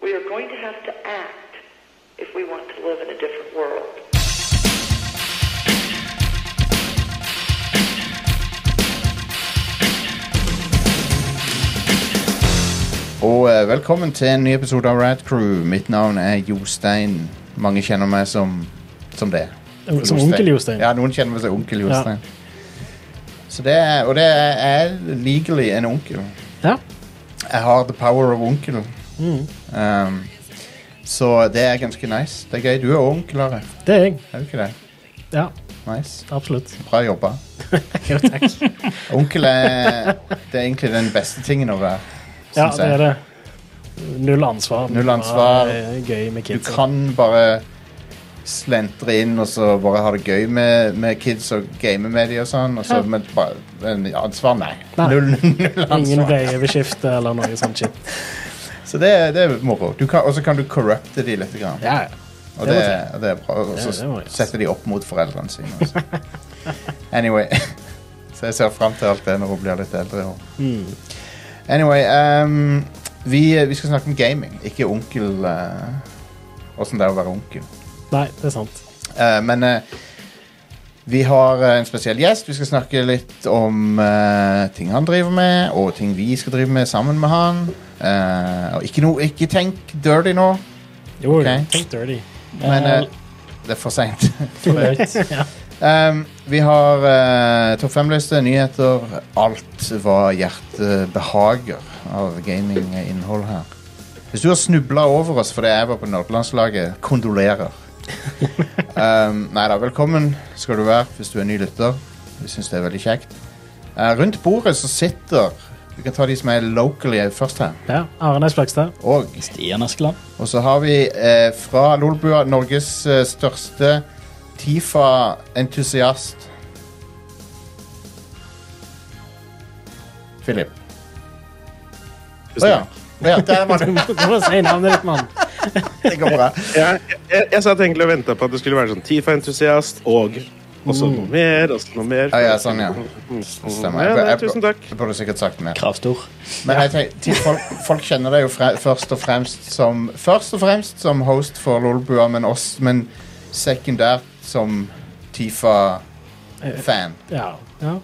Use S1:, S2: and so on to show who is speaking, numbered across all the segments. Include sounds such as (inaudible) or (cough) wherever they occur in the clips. S1: we're going to have to act if we want to live in a different world.
S2: Og eh, velkommen til en ny episode av Rad Crew. Mitt navn er Jostein. Mange kjenner meg som, som det.
S3: Som onkel Jostein.
S2: Ja, noen kjenner meg som onkel Jostein. Så det er, og det er, jeg er legally en onkel.
S3: Ja.
S2: Jeg har the power of onkel.
S3: Mm.
S2: Um, så det er ganske nice. Det er gøy. Du er også onkel, Are.
S3: Det er jeg.
S2: Er du ikke det?
S3: Ja,
S2: Nice.
S3: absolutt.
S2: Bra jobba.
S3: (laughs) Jo, takk.
S2: Onkel
S3: (laughs)
S2: er, det er egentlig den beste tingen å være.
S3: Ja,
S2: synes
S3: det
S2: jeg.
S3: er det. Null ansvar.
S2: Null ansvar.
S3: Bare gøy med
S2: Du
S3: kids.
S2: kan bare slentre inn og så bare ha det gøy med, med kids og game med de og sånn. Og så,
S3: Ja.
S2: Men bare, men ansvar, nei.
S3: Nei.
S2: Null, null
S3: Ingen
S2: ansvar.
S3: veier ved skiftet eller noe sånt shit.
S2: (laughs) Så det, er- det er moro. Du kan- Og så kan du corrupte de litt. Grann.
S3: Ja, ja.
S2: og
S3: det
S2: det,
S3: må
S2: er- og det er bra. Og så
S3: det må jeg.
S2: setter de opp mot foreldrene sine. og så. (laughs) Anyway. (laughs) Så jeg ser fram til alt det når hun blir litt eldre. og-
S3: Mm.
S2: Anyway, ehm, vi, vi skal snakke om gaming, ikke onkel eh, Åssen det er å være onkel.
S3: Nei, det er sant.
S2: Eh, men eh, vi har eh, en spesiell gjest. Vi skal snakke litt om eh, ting han driver med, og ting vi skal drive med sammen med han. Eh, og ikke, noe- ikke tenk dirty nå,
S3: Jo,
S2: Ok.
S3: tenk dirty.
S2: men eh, det er for seint.
S3: (laughs)
S2: (laughs)
S3: Too late. ja.
S2: um, vi har eh, topp fem-liste, nyheter, alt hva hjertet behager av gaminginnhold her. Hvis du har snubla over oss fordi jeg var på Nordlandslaget, kondolerer. um, nei da, velkommen skal du være hvis du er ny lytter. Vi syns det er veldig kjekt. Eh, rundt bordet så sitter Vi kan ta de som er locally først her.
S3: ja. Arne Fløgstad.
S2: Og
S4: Stian Askeland.
S2: og så har vi eh, fra Lolbua Norges eh, største Tifa-entusiast. Philip. Å ja. Å ja. Der var
S3: (laughs) Du
S2: du.
S3: må du må si navnet ditt, mann.
S2: Det går
S5: (laughs)
S2: bra.
S5: jeg, jeg, jeg satt egentlig og venta på at det skulle være sånn Tifa-entusiast og og så noe mer, og så noe
S2: Mm.
S5: mer. Mm.
S2: Ja, ja, sånn, ja. Stemmer.
S5: Ja,
S2: Jeg,
S5: nei,
S2: jeg,
S5: tusen takk.
S2: jeg burde sikkert sagt mer.
S4: Kravstor.
S2: Men jeg tenk, ti- folk, folk kjenner deg jo fre, først og fremst som Først og fremst som host for Lolbua, men, oss, men sekundært som Tifa-fan.
S3: Ja. ja.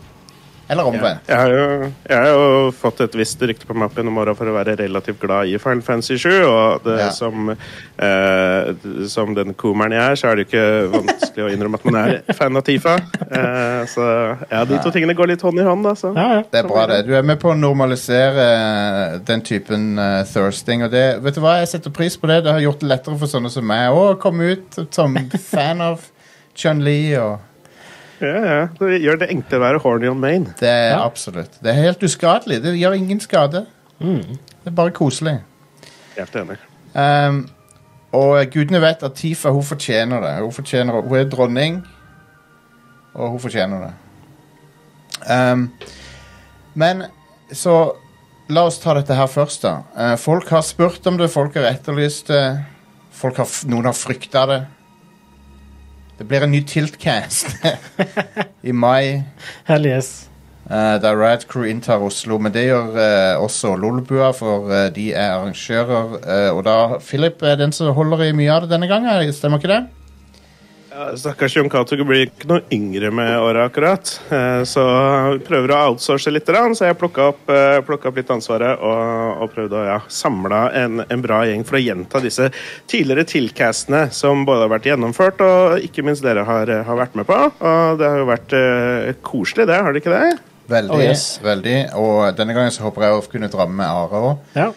S2: Eller omvendt.
S5: Jeg har, jo, jeg har jo fått et visst rykte på mappen om åra for å være relativt glad i Final Fantasy 7. Og det,
S2: Ja.
S5: som, eh, som den komeren jeg er, så er det jo ikke vanskelig å innrømme at man er fan av Tifa. Eh, så ja, de to tingene går litt hånd i hånd, altså. da. Så.
S3: ja, ja.
S2: Det er bra, det. Du er med på å normalisere eh, den typen eh, thirsting. Og det, vet du hva, jeg setter pris på det. Det har gjort det lettere for sånne som meg å komme ut som
S3: (laughs)
S2: fan av Chun-Li. Og
S5: Ja, ja. Det gjør det enklere å være horny on main.
S2: det er
S3: Ja.
S2: absolutt. Det er helt uskadelig. Det gjør ingen skade.
S3: Mm.
S2: Det er bare koselig.
S5: Helt enig.
S2: Ehm, og gudene vet at Tifa hun fortjener det. Hun, fortjener, hun er dronning, og hun fortjener det. Ehm, men så la oss ta dette her først, da. Eh, folk har spurt om det, folk har etterlyst det. Folk har, f- noen har frykta det. Det blir en ny Tiltcast (laughs) i mai.
S3: Hell yes.
S2: Eh, der Rad Crew inntar Oslo, men det gjør eh, også Lolbua, for eh, de er arrangører. eh, og da Philip er den som holder i mye av det denne gangen, stemmer ikke det?
S5: Ja, Stakkars Jon Cato blir ikke noe yngre med åra akkurat. Eh, Så vi prøver å outsource litt, grann, så jeg plukka opp, eh, plukket opp litt ansvaret og, og prøvde å ja, samle en, en bra gjeng for å gjenta disse tidligere tilcastene som både har vært gjennomført og ikke minst dere har, eh, har vært med på. Og det har jo vært eh, koselig, det, har det ikke det?
S2: Veldig.
S4: Oh, yes.
S2: veldig Og denne gangen så håper jeg å kunne dra med Are òg.
S3: Ja.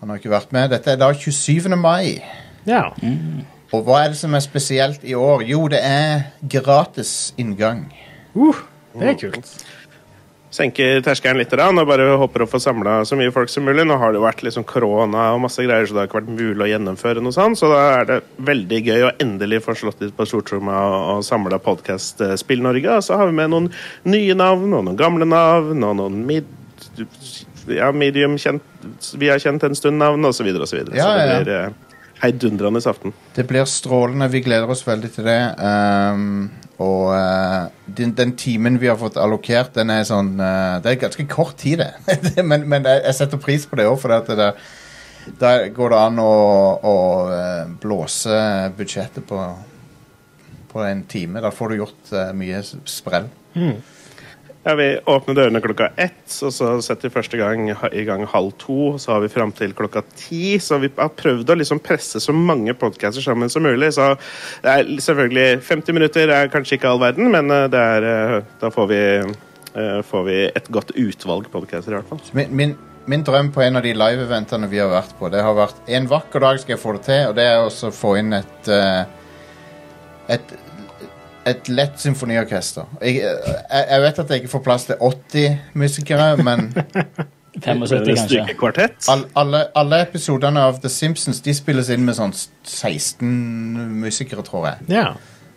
S2: Han har ikke vært med. Dette er da 27. mai.
S3: ja.
S2: Mm. Og hva er det som er spesielt i år? Jo, det er gratis inngang.
S3: Uh, det er kult.
S5: senker terskelen litt grann, og bare håper å få samla så mye folk som mulig. Nå har det jo vært liksom korona og masse greier, så det har ikke vært mulig å gjennomføre noe sånt. Så da er det veldig gøy å endelig få slått litt på stortromma og, og samla podkast Spill Norge. Og så har vi med noen nye navn, og noen gamle navn, og noen mid... Ja, medium kjent Vi har kjent en stund navn, og så videre og så videre.
S2: Ja,
S5: så det
S2: ja, ja.
S5: blir eh, heidundrende aften.
S2: Det blir strålende. Vi gleder oss veldig til det. Ehm, og eh, den, den timen vi har fått allokert, den er (laughs) sånn eh, Det er ganske kort tid, det. men men jeg, jeg setter pris på det òg, for det, at det, Da går det an å, å eh, blåse budsjettet på, på en time. Da får du gjort eh, mye s- sprell.
S5: Ja, Vi åpner dørene klokka ett, og så setter vi første gang ha- i gang halv to. og Så har vi fram til klokka ti. Så vi har prøvd å liksom presse så mange podcaster sammen som mulig. Så det er selvfølgelig 50 minutter er kanskje ikke all verden, men eh, det er, eh, da får vi, eh, får vi et godt utvalg podcaster i hvert fall.
S2: Så Min, min, min drøm på en av de live-eventene vi har vært på, det har vært en vakker dag skal jeg få det til, og det er også å få inn et eh, et, et lett symfoniorkester. Jeg, jeg, jeg vet at jeg ikke får plass til 80 musikere, men
S4: 75, kanskje.
S5: Kvartett.
S2: All, alle, alle episodene av The Simpsons De spilles inn med sånn 16 musikere, tror jeg.
S3: Ja.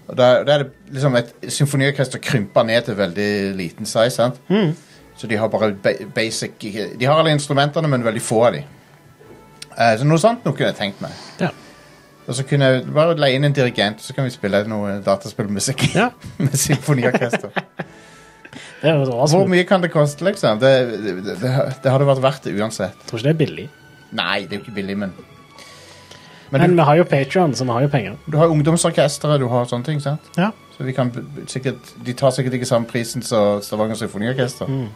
S2: Og da, da er det liksom et symfoniorkester krympa ned til veldig liten size. sant?
S3: Mm.
S2: Så de har bare ba basic De har alle instrumentene, men veldig få av de. Eh, så noe sånt noe kunne jeg tenkt meg.
S3: Ja.
S2: Og så kunne jeg bare leie inn en dirigent, så kan vi spille noe dataspillmusikk
S3: Ja.
S2: (laughs) med symfoniorkester.
S3: Det er
S2: Hvor
S3: awesome.
S2: mye kan det koste, liksom? Det, det, det, det hadde vært verdt det uansett.
S3: Jeg tror ikke det er billig.
S2: Nei, det er jo ikke billig, men Men,
S3: Men
S2: du,
S3: vi har jo Patreon, så vi har jo penger.
S2: du har ungdomsorkesteret, du har sånne ting, sant?
S3: Ja.
S2: Så vi kan b- b- sikkert, De tar sikkert ikke samme prisen som Stavanger Symfoniorkester.
S3: Mm.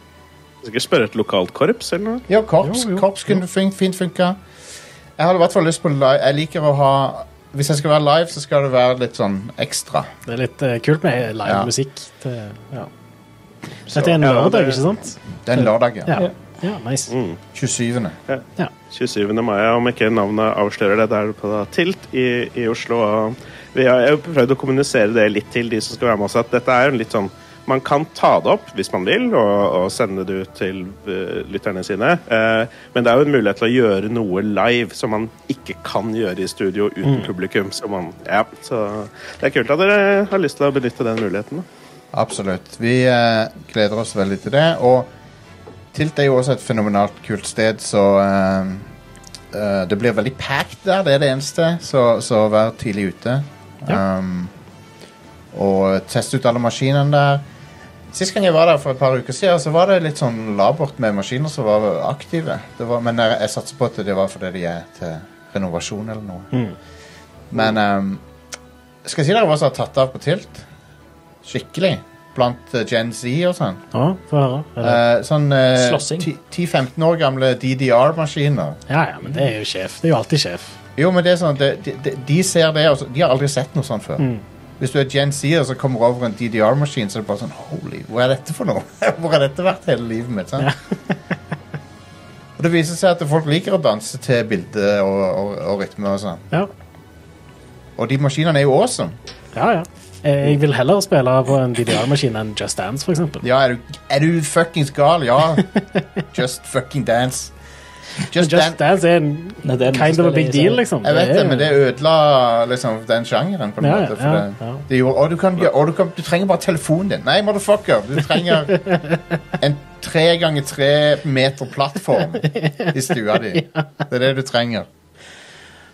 S5: Sikkert spørre et lokalt korps eller noe.
S2: Ja, korps,
S3: Jo, jo,
S2: korps kunne fin- fint funka. Jeg hadde i hvert fall lyst på live. Jeg liker å ha Hvis jeg skal være live, så skal det være litt sånn ekstra.
S3: Det er litt eh, kult med live
S2: Ja.
S3: musikk. Til, ja. Dette er en
S5: ja,
S3: lørdag,
S5: det-
S3: ikke sant?
S2: Den lørdagen.
S3: Ja. ja, nice.
S2: 27.
S5: 27. mai, om ikke navnet avslører det. Det er på da Tilt i, i Oslo. Og vi har jeg har prøvd å kommunisere det litt til de som skal være med oss, at dette er jo en litt sånn man kan ta det opp hvis man vil, og, og sende det ut til eh, lytterne sine. Eh, men det er jo en mulighet til å gjøre noe live som man ikke kan gjøre i studio uten publikum. Så, man, ja, så det er kult at dere har lyst til å benytte den muligheten. Da.
S2: Absolutt. Vi eh, gleder oss veldig til det. Og Tilt er jo også et fenomenalt kult sted, så eh, eh, Det blir veldig packed der, det er det eneste, så, så vær tidlig ute.
S3: Ja.
S2: Um, og test ut alle maskinene der. Sist gang jeg var der for et par uker siden, så var det litt sånn labert med maskiner som var aktive. Det var, men jeg, jeg satser på at det var fordi de er til renovasjon eller noe. Men um, skal jeg si dere hva som har tatt av på tilt? Skikkelig. Blant eh, Gen Z og sånn.
S3: Ja, få høre.
S2: Eh,
S3: Eller-
S2: sånn eh,
S4: Slåssing.
S2: 10 10-15 år gamle DDR-maskiner.
S3: Ja, ja, men det er jo sjef. Det er jo alltid sjef.
S2: Jo, men det er sånn, det- de, de, de ser det, og så- de har aldri sett noe sånt før.
S3: Mm.
S2: Hvis du er Gen Z og så kommer du over en DDR-maskin, så er det bare sånn Holy, hva er dette for noe? (laughs) Hvor har dette vært hele livet mitt? sant? (laughs) og det viser seg at folk liker å danse til bilde og, og, og rytme og sånn.
S3: Ja,
S2: Og de maskinene er jo awesome.
S3: ja. ja. Eh, Jeg vil heller spille på en DDR-maskin enn Just Dance, for eksempel.
S2: Ja, er du, er du fuckings gal?
S3: (laughs)
S2: Ja. Just fucking dance. Just,
S3: Just
S2: dance.
S3: Dance er en
S4: Nei, det er den
S3: kind
S4: som
S3: of a big
S4: spiller i
S3: deal,
S4: salen.
S3: liksom.
S2: Jeg vet det, men det
S3: er-
S2: ødela liksom, den sjangeren. på en
S3: Ja,
S2: måte. For
S3: ja,
S2: det,
S3: ja.
S2: det gjorde, og du, kan, gjøre- og du, kan, du trenger bare telefonen din. Nei, motherfucker! Du trenger
S3: (laughs)
S2: en tre ganger tre meter plattform i stua
S3: (laughs)
S2: di. Det er det du trenger.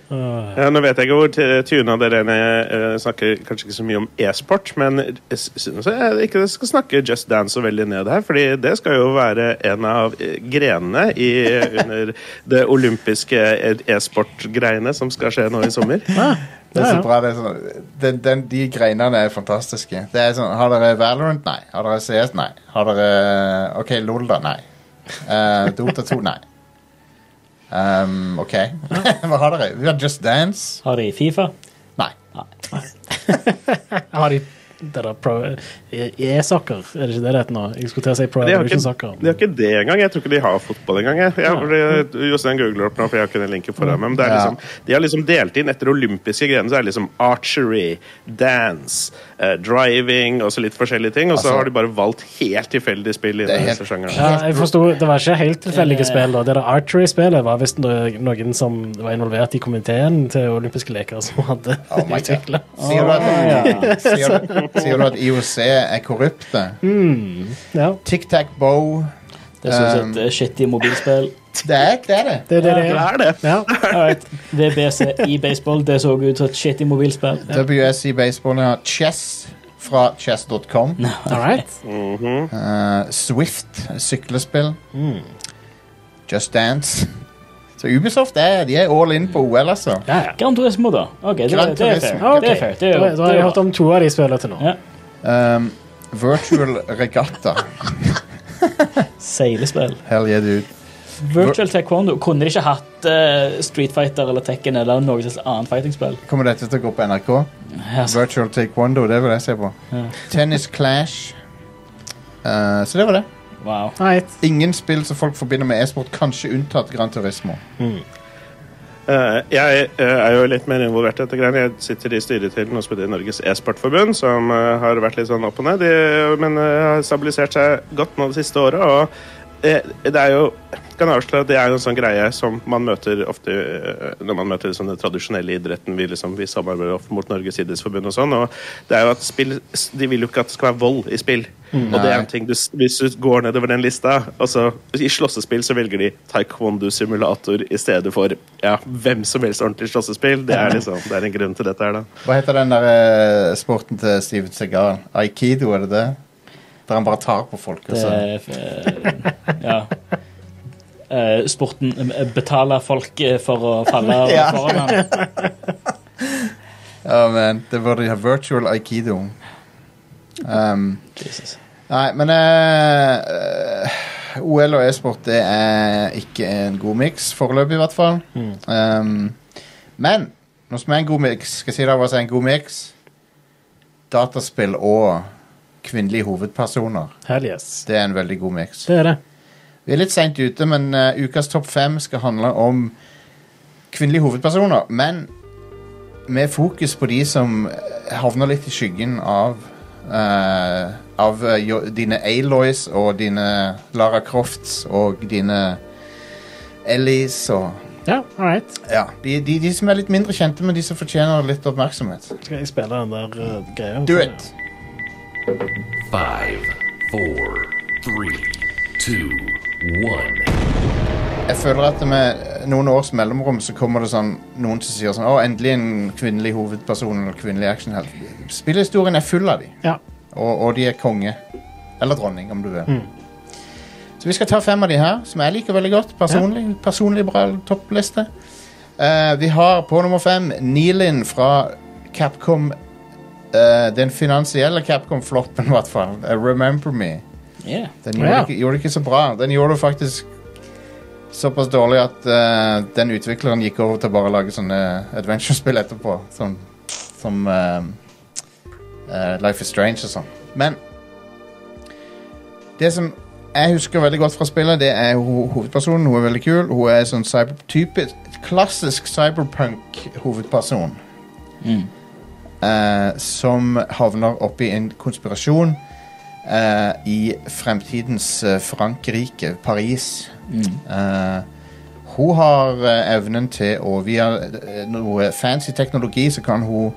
S5: Ja, nå vet jeg ikke hvor t- tuna dere uh, snakker kanskje ikke så mye om e-sport, men jeg synes jeg ikke dere skal snakke Just Dance så veldig ned her, fordi det skal jo være en av eh, grenene i, eh, under det olympiske e- e-sport-greiene som skal skje nå i sommer.
S2: Det er så
S3: Ja, ja.
S2: bra. Det er sånn, den, den, de greinene er fantastiske. Det er sånn, Har dere Valorant? Nei. Har dere CS? Nei. Har dere OK, LOL, da? Nei. Eh, Dota 2?
S3: (laughs)
S2: Nei. Um, OK. (laughs) Hva har dere? Vi har Just Dance?
S4: Har de Fifa?
S2: Nei.
S4: Nei.
S3: Har de det der pro... E- E-soccer, er det ikke det det heter nå? Jeg skulle til å si Pro
S5: De har,
S3: Evolution
S5: ikke,
S3: Soccer.
S5: de har ikke det engang. Jeg tror ikke de har fotball engang. jeg. Jeg- fordi- Jostein googler opp nå, for jeg har ikke den linken foran meg. Men det er
S2: Ja.
S5: liksom, de har liksom delt inn etter olympiske grener. Så er det liksom archery, dance, eh, driving og så litt forskjellige ting. Og så
S2: Altså-
S5: har de bare valgt helt tilfeldige spill
S2: Det er
S5: innen
S2: helt-
S5: disse sjangrene.
S3: Ja, jeg forsto, Det var ikke helt tilfeldige spill. da. Det der Archery-spillet var visst no- noen som var involvert i komiteen til olympiske leker som hadde
S2: Oh my God.
S3: utviklet.
S2: Sier du at, sier, du- sier du at IOC er korrupte?
S3: Ja,
S2: Tic Tac Bow
S4: Det er stort
S2: Um,
S4: sett eh, shitty mobilspill.
S2: Det er det. Er det.
S3: det er det det
S5: Det
S3: er.
S5: er det.
S3: Ja,
S4: Alright. VBC i baseball, det så ut som et shitty mobilspill.
S2: WSC Baseball har Chess fra chess.com.
S3: all right.
S4: Mm.
S2: Eh, Swift, syklespill. Just Dance. Så Ubisoft er, de er all in på OL, altså.
S3: Ja, ja.
S4: Gran Turismo, da. Ok, det, det
S2: Gran
S4: er fair.
S2: Turismo.
S3: Ja, ok.
S4: Det er fair. Det er
S3: Da,
S4: jo,
S3: da har
S4: det er
S3: jeg
S4: jo-
S3: hørt om to av de spiller til nå.
S4: ja.
S2: Um, virtual regatta.
S4: Seilespill.
S2: Hell yeah, dude.
S4: Virtual Taekwondo. Kunne de ikke hatt eh, Street Fighter eller Tekken eller noe slags annet fightingspill?
S2: Kommer dette til å gå på NRK?
S4: Altså,
S2: Virtual taekwondo, det vil jeg se på.
S4: Ja.
S2: Tennis clash. Eh, så det var det.
S4: wow.
S3: Right.
S2: Ingen spill som folk forbinder med e-sport, kanskje unntatt Gran Turismo.
S5: Eh, jeg eh, er jo litt mer involvert i dette. greiene. Jeg sitter i styret til noe som heter Norges e-sportforbund, som eh, har vært litt sånn opp og ned, de, men eh, har stabilisert seg godt nå det siste året. og eh, det er jo, jeg kan avsløre at det er jo en sånn greie som man møter ofte eh, når man møter liksom den tradisjonelle idretten vi, liksom, vi samarbeider ofte mot Norges idrettsforbund og sånn. og det er jo at spill, De vil jo ikke at det skal være vold i spill. Og det er en ting du, s- Hvis du går nedover den lista altså, I slåssespill så velger de taekwondo-simulator i stedet for ja, hvem som helst ordentlig slåssespill. Det er, liksom, det er en grunn til dette her, da.
S2: Hva heter den der eh, sporten til Steven Segal? Aikido, er det det? Der han bare tar på folk. Og sånn.
S4: Det
S2: så.
S4: er eh, Ja. Eh, sporten eh, betaler folk eh, for å
S3: (laughs)
S4: falle
S2: Ja.
S4: foran ham.
S2: Ja, men det burde de ha virtual aikido. Um,
S4: Jesus.
S2: Nei, men eh, eh, OL og e-sport det er ikke en god miks, foreløpig i hvert fall. Um, men noe som er en god miks, skal jeg si deg hva som er en god miks? Dataspill og kvinnelige hovedpersoner.
S3: Hell yes.
S2: Det er en veldig god miks.
S3: Det er det.
S2: Vi er litt seint ute, men eh, ukas topp fem skal handle om kvinnelige hovedpersoner. Men med fokus på de som eh, havner litt i skyggen av eh, Av eh, jo, dine Aloys og dine Lara Crofts og dine Ellies og
S3: Ja, all right.
S2: Ja. De, de, de som er litt mindre kjente, men de som fortjener litt oppmerksomhet.
S3: Skal jeg spille den der eh, greia?
S2: Do it!
S6: Five, four, three, two, one.
S2: Jeg føler at med noen års mellomrom så kommer det sånn noen som sier sånn Å, endelig en kvinnelig hovedperson eller kvinnelig actionhelt. Spillhistorien er full av de,
S3: Ja.
S2: og, og de er konge. Eller dronning, om du vil. Så vi skal ta fem av de her, som jeg liker veldig godt. Personlig, personlig bra toppliste. Eh, vi har på nummer fem Nilin fra Capcom eh, Den finansielle Capcom-floppen, i hvert fall. Eh, Remember Me.
S4: Yeah.
S2: Den gjorde,
S3: Ja.
S2: det ikke, gjorde det ikke så bra. Den gjorde det faktisk såpass dårlig at eh, den utvikleren gikk over til å bare lage sånne adventure-spill etterpå. Som, som eh, eh, Life is Strange og sånn. Men det som jeg husker veldig godt fra spillet, det er ho hovedpersonen. Hun er veldig kul. Hun er sånn cyber typisk, klassisk cyberpunk-hovedperson. Eh, som havner oppi en konspirasjon eh, i fremtidens eh, Frankrike, Paris. Eh, hun har eh, evnen til å Via eh, noe fancy teknologi så kan hun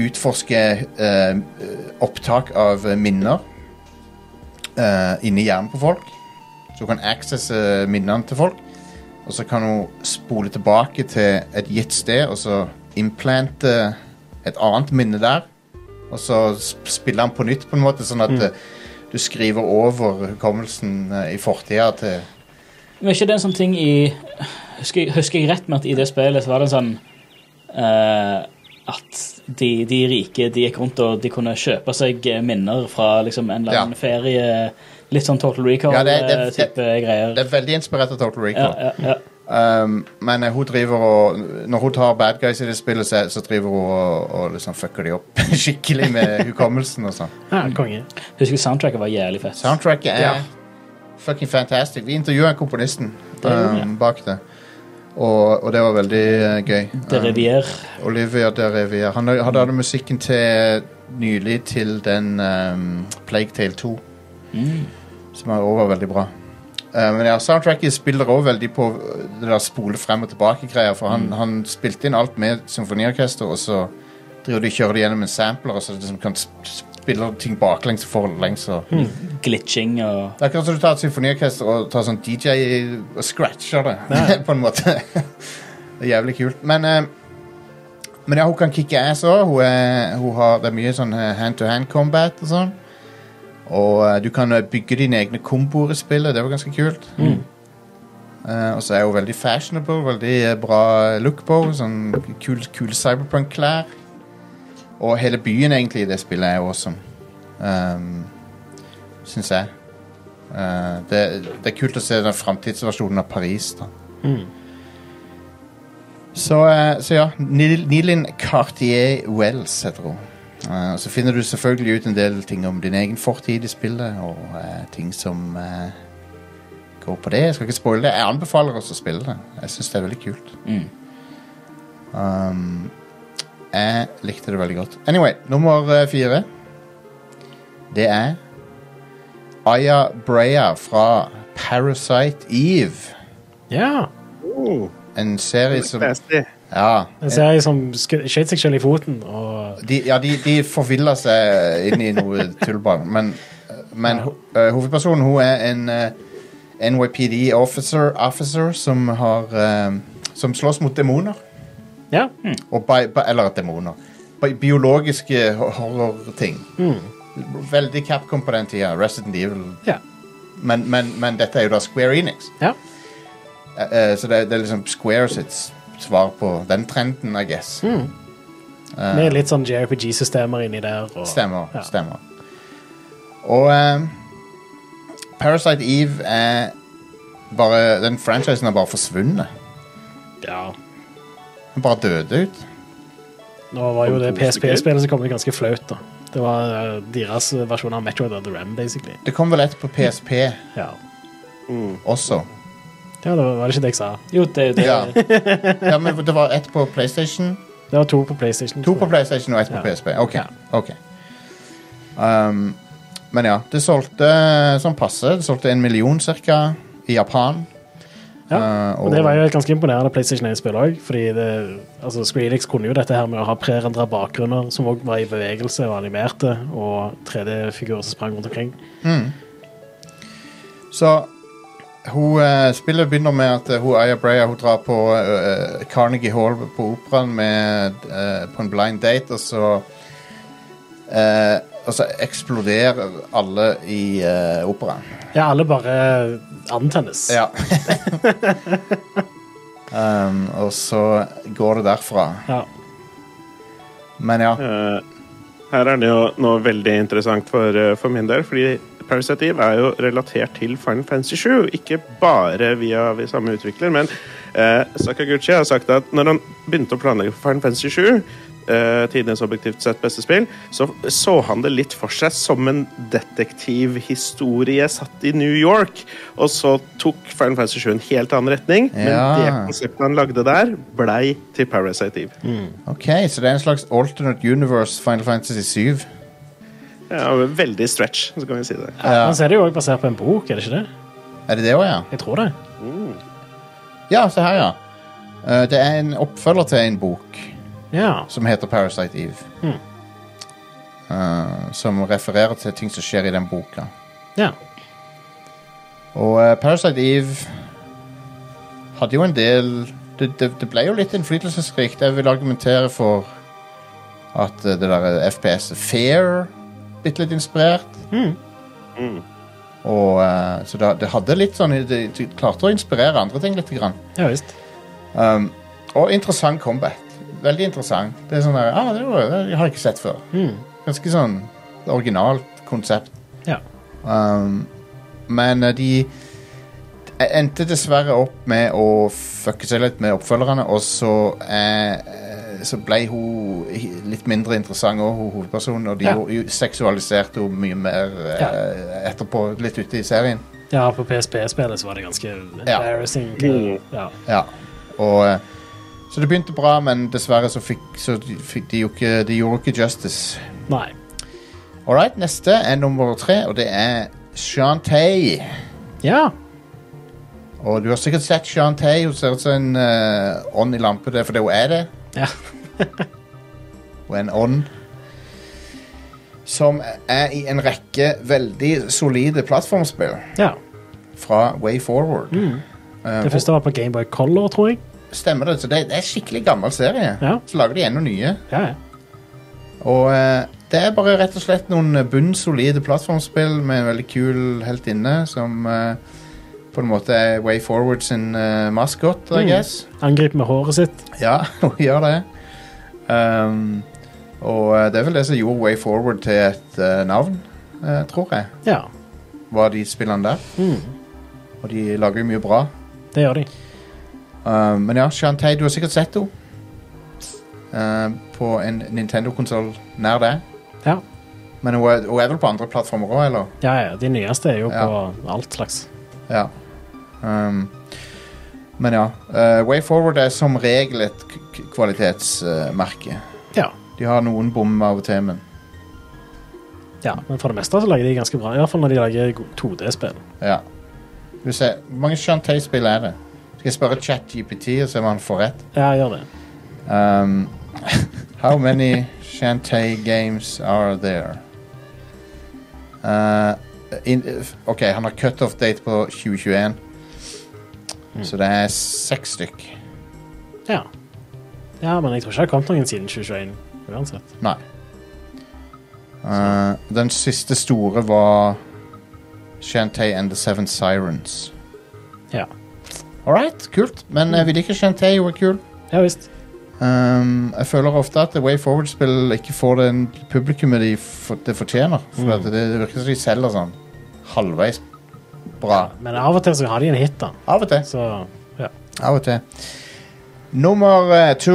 S2: utforske eh, opptak av eh, minner eh, inni hjernen på folk. Så hun kan accesse minnene til folk. Og så kan hun spole tilbake til et gitt sted og så implante et annet minne der. Og så sp- spille den på nytt, på en måte, sånn at eh, du skriver over hukommelsen eh, i fortida til
S4: Men er ikke det en sånn ting i Husker, jeg- husker jeg rett med at i det spillet så var det en sånn eh, At de, de rike de gikk rundt og de kunne kjøpe seg eh, minner fra liksom en eller annen
S2: Ja.
S4: ferie. Litt sånn Total
S2: Ja, det- det-
S4: Recall-type greier.
S2: Det er veldig inspirert av Total
S4: ja,
S2: Recall.
S4: ja, ja.
S2: Um, men eh, hun driver og Når hun tar bad guys i det spillet, så, så driver hun og, og liksom fucker de opp (laughs) skikkelig med hukommelsen og sånn.
S3: ja konge.
S4: Husker soundtracket var jævlig fett.
S2: Soundtracket er
S3: Ja.
S2: fucking fantastic. Vi intervjua komponisten
S4: gjorde
S2: um, bak det, og, og det var veldig eh, gøy.
S4: The
S2: Um,
S4: Rivier.
S2: Olivia de Rivière. Han hadde han hadde musikken til nylig til den um, Plague Tale 2, som er over veldig bra. Eh, men ja, soundtracket spiller også veldig på uh, det der spole frem og tilbake-greier, for han, han spilte inn alt med symfoniorkester, og så driver de og kjører det gjennom en sampler, og så liksom kan sp- spille ting baklengs og forlengs. Og.
S4: Glitching og
S2: Det er akkurat som du tar et symfoniorkester og tar sånn DJ og scratcher det, (laughs) på en måte. det er jævlig kult. Men, eh, men ja, hun kan kicke ass òg. Hun, er- hun har det er mye sånn hand to hand combat og sånn. Og eh, du kan eh, bygge dine egne komboer i spillet. Det var ganske kult. Eh, og så er hun veldig fashionable, veldig eh, bra look på henne. Sånn kul, kul cyberpunk-klær. Og hele byen egentlig i det spillet er awesome. Um, Syns jeg. Eh, det, det er kult å se den framtidsversjonen av Paris, da. Så, eh, så ja, Nil- Nilin Cartier Wells heter hun. Eh, og så finner du selvfølgelig ut en del ting om din egen fortid i spillet, og eh, ting som eh, går på det. Jeg skal ikke spoile det. Jeg anbefaler oss å spille det. Jeg syns det er veldig kult.
S4: Mm.
S2: Um, jeg likte det veldig godt. Anyway, nummer eh, fire Det er Aya Breya fra Parasite Eve.
S3: Ja.
S5: Oh,
S2: En serie som
S5: nasty.
S2: Ja.
S3: En serie som sk- skjøt seg selv i foten. og...
S2: De, ja, de, de forvilla seg inn i noe tullball, men, men ho- eh, hovedpersonen hun er en eh, NYPD officer, officer som har eh, Som slåss mot demoner.
S3: Ja.
S2: Og bi bi eller demoner. Bi biologiske ho- horrorting. Veldig Capcom på den tida. Resident Evil.
S3: Ja.
S2: Men, men, men dette er jo da Square Enix.
S3: ja.
S2: Eh, eh, så det, det er liksom Square sitt s- svar på den trenden, I guess.
S3: Mm. Med litt sånn JRPG-systemer inni der. Og...
S2: Eh. Stemmer.
S3: Ja.
S2: stemmer. Og eh, Parasite Eve er bare Den franchisen har bare forsvunnet.
S3: Ja.
S2: Den bare døde ut.
S3: Nå var jo det
S5: Fantastisk
S3: PSP-spillet som kom det ganske flaut, da. Det var eh, deres versjon av Metroid of the Ram, basically.
S2: Det kom vel et på PSP
S3: Ja.
S2: også.
S3: ja, det var, var det ikke det jeg sa?
S4: Jo, det, det,
S2: Ja. ja, men det var ett på PlayStation.
S3: Det var to på PlayStation.
S2: To
S3: tror
S2: på
S3: jeg.
S2: PlayStation og ett på
S3: Ja.
S2: PSP. Ok.
S3: Ja.
S2: ok. Um, men ja, det solgte sånn passe. Det solgte en million cirka i Japan.
S3: Ja,
S2: Eh,
S3: og det var jo et ganske imponerende PlayStation 1-spill òg. Fordi det, altså Skrillex kunne jo dette her med å ha prerendra bakgrunner som òg var i bevegelse og animerte, og 3D-figurer som sprang rundt omkring.
S2: Så hun, eh, spillet begynner med at eh, hun, Aya Breya hun drar på eh, Carnegie Hall på operaen med, eh, på en blind date, og så eh, Og så eksploderer alle i eh, operaen.
S3: Ja, alle bare antennes.
S2: Ja. (laughs) um, og så går det derfra.
S3: Ja.
S2: Men ja.
S5: Eh, her er det jo noe veldig interessant for, eh, for min del, fordi Parasite Eve er jo relatert til Final Fantasy 7, ikke bare via vi samme utvikler, men eh, Sakaguchi har sagt at når han begynte å planlegge for Final Fantasy 7, eh, tidenes objektivt sett beste spill, så så han det litt for seg som en detektivhistorie satt i New York, og så tok Final Fantasy 7 en helt annen retning,
S2: Ja.
S5: men det konseptet han lagde der, blei til Parasite Eve.
S2: Ok, så det er en slags alternate universe Final Fantasy 7.
S5: Ja, veldig stretch, så kan vi si det.
S3: Men så er det jo òg basert på en bok, er det ikke det?
S2: Er det det òg, ja?
S3: Jeg tror det.
S2: Ja, se her, ja. Eh, det er en oppfølger til en bok
S3: Ja.
S2: som heter Parasite Eve. Eh, som refererer til ting som skjer i den boka.
S3: ja.
S2: Og eh, Parasite Eve hadde jo en del Det, det, det ble jo litt innflytelsesrikt. Jeg vil argumentere for at eh, det der FPS-et Fair bitte litt inspirert. Og, eh, så det, det hadde litt sånn det, det klarte å inspirere andre ting litt. Grann.
S3: Ja visst.
S2: Um, og interessant combat. Veldig interessant. Det er sånn der, ah, det, var, det har jeg ikke sett før. Ganske sånn originalt konsept.
S3: Ja.
S2: Um, men eh, de e-, endte dessverre opp med å fucke seg litt med oppfølgerne, og så, eh, så ble hun hi- litt mindre interessant òg, hun hovedpersonen, og de
S3: Ja.
S2: jo- jo seksualiserte henne mye mer eh, etterpå, litt ute i serien.
S3: ja, på PSP-spillet så var det ganske embarrassing.
S5: Mm.
S3: Ja.
S2: Ja, og eh, Så det begynte bra, men dessverre så fikk, så de- fikk de jo ikke De gjorde ikke justice.
S3: Nei.
S2: Alright, neste er nummer tre, og det er Shantae.
S3: Ja.
S2: Og du har sikkert sett Shantae. Hun ser ut som en eh, ånd i lampe, det er fordi hun er det.
S3: ja.
S2: (laughs) Hun er en ånd. Som er i en rekke veldig solide plattformspill
S3: ja.
S2: fra Way Forward.
S3: Mm.
S2: Eh,
S3: Det første var på Gameboy Color, tror jeg.
S2: Stemmer det? Så det, det er en skikkelig gammel serie.
S3: Ja.
S2: Så lager de ennå nye.
S3: Ja, ja.
S2: Og eh, det er bare rett og slett noen bunnsolide plattformspill med en veldig kul heltinne som eh, på en måte er Way Forward sin eh, maskot, I
S3: Mm.
S2: guess.
S3: Angriper med håret sitt.
S2: Ja, (laughs) hun gjør det. Ehm, og eh, det er vel det som gjorde Way Forward til et eh, navn, eh, tror jeg.
S3: Ja,
S2: Var de spillene der. Og de lager jo mye bra.
S3: det gjør de.
S2: Ehm, men ja, Shantae, du har sikkert sett henne. Ehm, på en Nintendo-konsoll nær deg.
S3: Ja.
S2: Men hun er, hun er vel på andre plattformer òg, eller?
S3: Ja, ja, De nyeste er jo
S2: Ja.
S3: på alt slags.
S2: Ja. Ehm, men ja. eh, Way Forward er som regel et k- k- kvalitetsmerke.
S3: Ja.
S2: De har noen bom av og til, men
S3: ja. Men for det meste så lager de ganske bra. Iallfall når de lager go- 2D-spill.
S2: ja. Skal vi se. Hvor mange Shantae-spill er det? Skal jeg spørre ChatGPT og se om han får rett?
S3: Ja, gjør det.
S2: Um, how many Shantae games are there? Uh, in, ok, han har cut-off date på 2021. Så det er seks stykk.
S3: Ja. ja, men jeg tror ikke det har kommet noen siden 2021. Uansett.
S2: Nei. Uh, den siste store var Shantae and the Seven Sirens.
S3: Ja,
S2: All right, kult. Men jeg vil ikke Shantae, hun er kul.
S3: ja visst.
S2: Um, jeg føler ofte at Way Forward-spill ikke får den publikummet de for, det fortjener. For at det virker som de selger sånn halvveis bra.
S3: Men av og til så har de en hit, da.
S2: Av og til.
S3: Så ja.
S2: Av og til. Nummer eh, to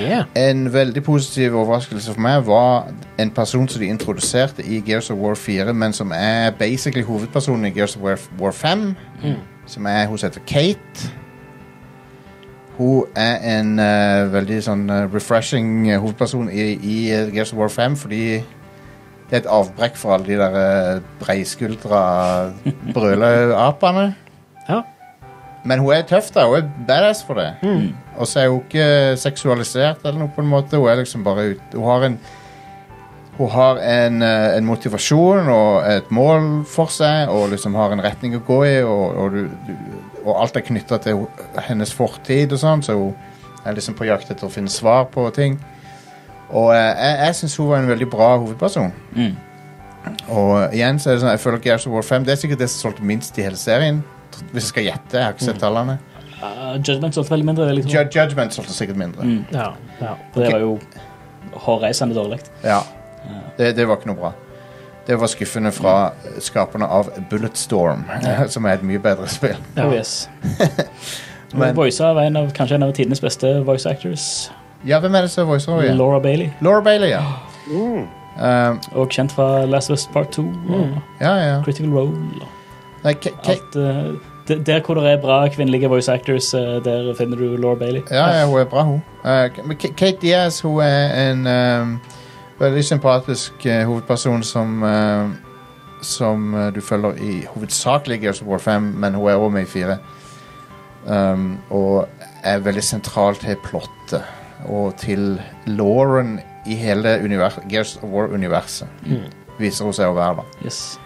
S3: Yeah.
S2: En veldig positiv overraskelse for meg var en person som de introduserte i Gears of War 4, men som er basically hovedpersonen i Gears of War, War 5. Som er, Hun heter Kate. Hun er en eh, veldig sånn eh, refreshing eh, hovedperson i, i eh, Gears of War 5 fordi det er et avbrekk for alle de der uh, breiskuldra brøleapene.
S3: Ja.
S2: Men hun er tøff, da. Hun er badass for det. Og så er hun ikke seksualisert eller noe på en måte. Hun er liksom bare ut Hun har en Hun har en, eh, en motivasjon og et mål for seg og liksom har en retning å gå i, og, og, du, du, og alt er knytta til ho- hennes fortid og sånn, så hun er liksom på jakt etter å finne svar på ting. Og eh, jeg, jeg syns hun var en veldig bra hovedperson.
S4: Mm.
S2: Og igjen så er det sånn, jeg føler Gears of War 5 Det er sikkert det som solgte minst i hele serien. Hvis jeg skal gjette. Jeg har ikke sett tallene.
S4: Uh, judgment solgte veldig mindre. Liksom.
S2: Ju- Judgment solgte sikkert mindre.
S4: Mm.
S3: ja, ja.
S2: ok.
S4: For det var jo hårreisende dårlig.
S2: Ja. Det, det var ikke noe bra. Det var skuffende fra skaperne av Bulletstorm, (laughs) som er et mye bedre spill.
S3: Ja.
S4: Oh, yes.
S2: (laughs) Men-
S4: Men... Voisa var en av, kanskje en av tidenes beste voice actors.
S2: Ja, hvem er det som voicer over igjen?
S4: Laura Bailey.
S2: Laura Bailey,
S4: (gasps)
S2: ja. Um,
S4: Og kjent fra Last of Us Part 2 og
S2: ja, ja.
S4: Critical Role. Og
S2: Nei, K K
S4: alt, eh, de- der hvor det er bra kvinnelige voice actors, eh, der finner du Laura Bailey.
S2: ja, ja, hun er bra, hun. Eh, K- men K Kate Diaz hun er en um, veldig sympatisk eh, hovedperson som eh, Som eh, du følger i hovedsakelig Gears of War 5, men hun er også med i 4. Um, og er veldig sentral til plottet og til Lauren i hele univers Gears of War-universet. Viser hun seg å være, da.
S4: Yes.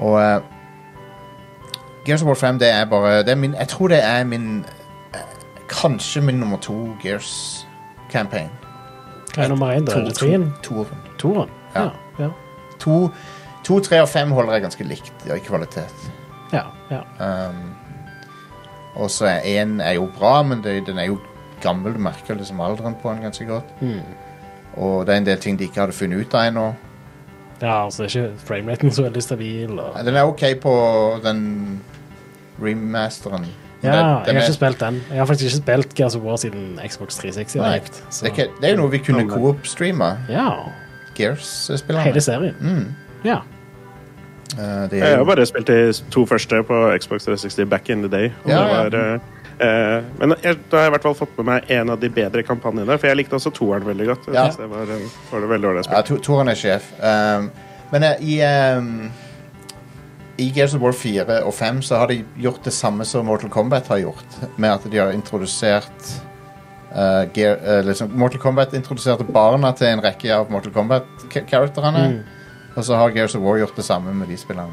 S2: Og eh, Gears of War 5 det er bare det er min, Jeg tror det er min eh, Kanskje min nummer to Gears campaign.
S3: Hva er nummer én, da? Er det treen?
S2: to, av dem.
S3: Toeren?
S2: Ja.
S3: Ja.
S2: to, to, tre og fem holder jeg ganske likt i kvalitet.
S3: Ja. ja.
S2: Um, og så er én er jo bra, men det, den er jo gammel. Du merker liksom alderen på den ganske godt.
S3: Mm.
S2: Og det er en del ting de ikke hadde funnet ut av ennå.
S3: ja altså, det er ikke frameraten så veldig stabil. Og...
S2: Den er OK på den remasteren.
S3: Ja,
S2: Den- den
S3: jeg har
S2: er-
S3: ikke spilt den. Jeg har faktisk ikke spilt Gears of War siden Xbox 360.
S2: Nei,
S3: direkt, så-
S2: det, er ikke, det er jo noe vi kunne co-op-streame.
S3: Ja. Hele
S2: Gears-spillerne.
S3: serien.
S2: Mm.
S3: Ja.
S2: Eh, det er
S5: Jeg har
S2: jo-
S5: bare spilt de to første på Xbox 360 back in the day. Og
S2: Ja,
S5: det
S2: ja.
S5: var, eh, eh, men jeg, da har jeg i hvert fall fått med meg en av de bedre kampanjene, for jeg likte også toeren veldig godt. Jeg
S2: Ja.
S5: synes det var, eh, var det veldig ålreit
S2: ja,
S5: spill.
S2: to- Toren er sjef. Um, men eh, i um, I Gears of War 4 og 5 så har de gjort det samme som Mortal Kombat har gjort, med at de har introdusert eh, Gear, eh, liksom, Mortal Kombat introduserte barna til en rekke av Mortal Kombat-karakterene.
S5: Mm.
S2: Og så har Gears of War gjort det samme med de spillene.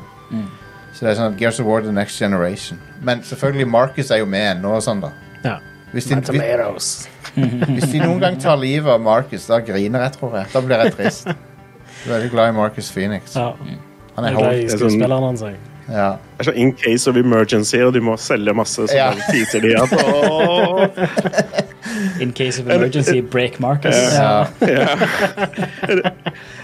S2: Så det er sånn Gears of War The Next Generation. Men selvfølgelig, Marcus er jo med ennå og sånn, da.
S3: ja.
S2: Hvis de,
S3: My tomatoes.
S2: Hvis de noen gang tar livet av Marcus, da griner jeg, tror jeg. Da blir jeg trist. Jeg er Veldig glad i Marcus Phoenix.
S3: Ja.
S2: Han
S3: Jeg
S2: er
S3: er glad
S2: hold.
S3: i skuespilleren hans. jeg.
S2: Ja.
S5: Det er sånn in case of emergency, og de må selge masse, så
S2: Ja.
S5: bare teaser de
S2: (laughs)
S5: at åh,
S4: In case of emergency, break Marcus.
S2: Ja.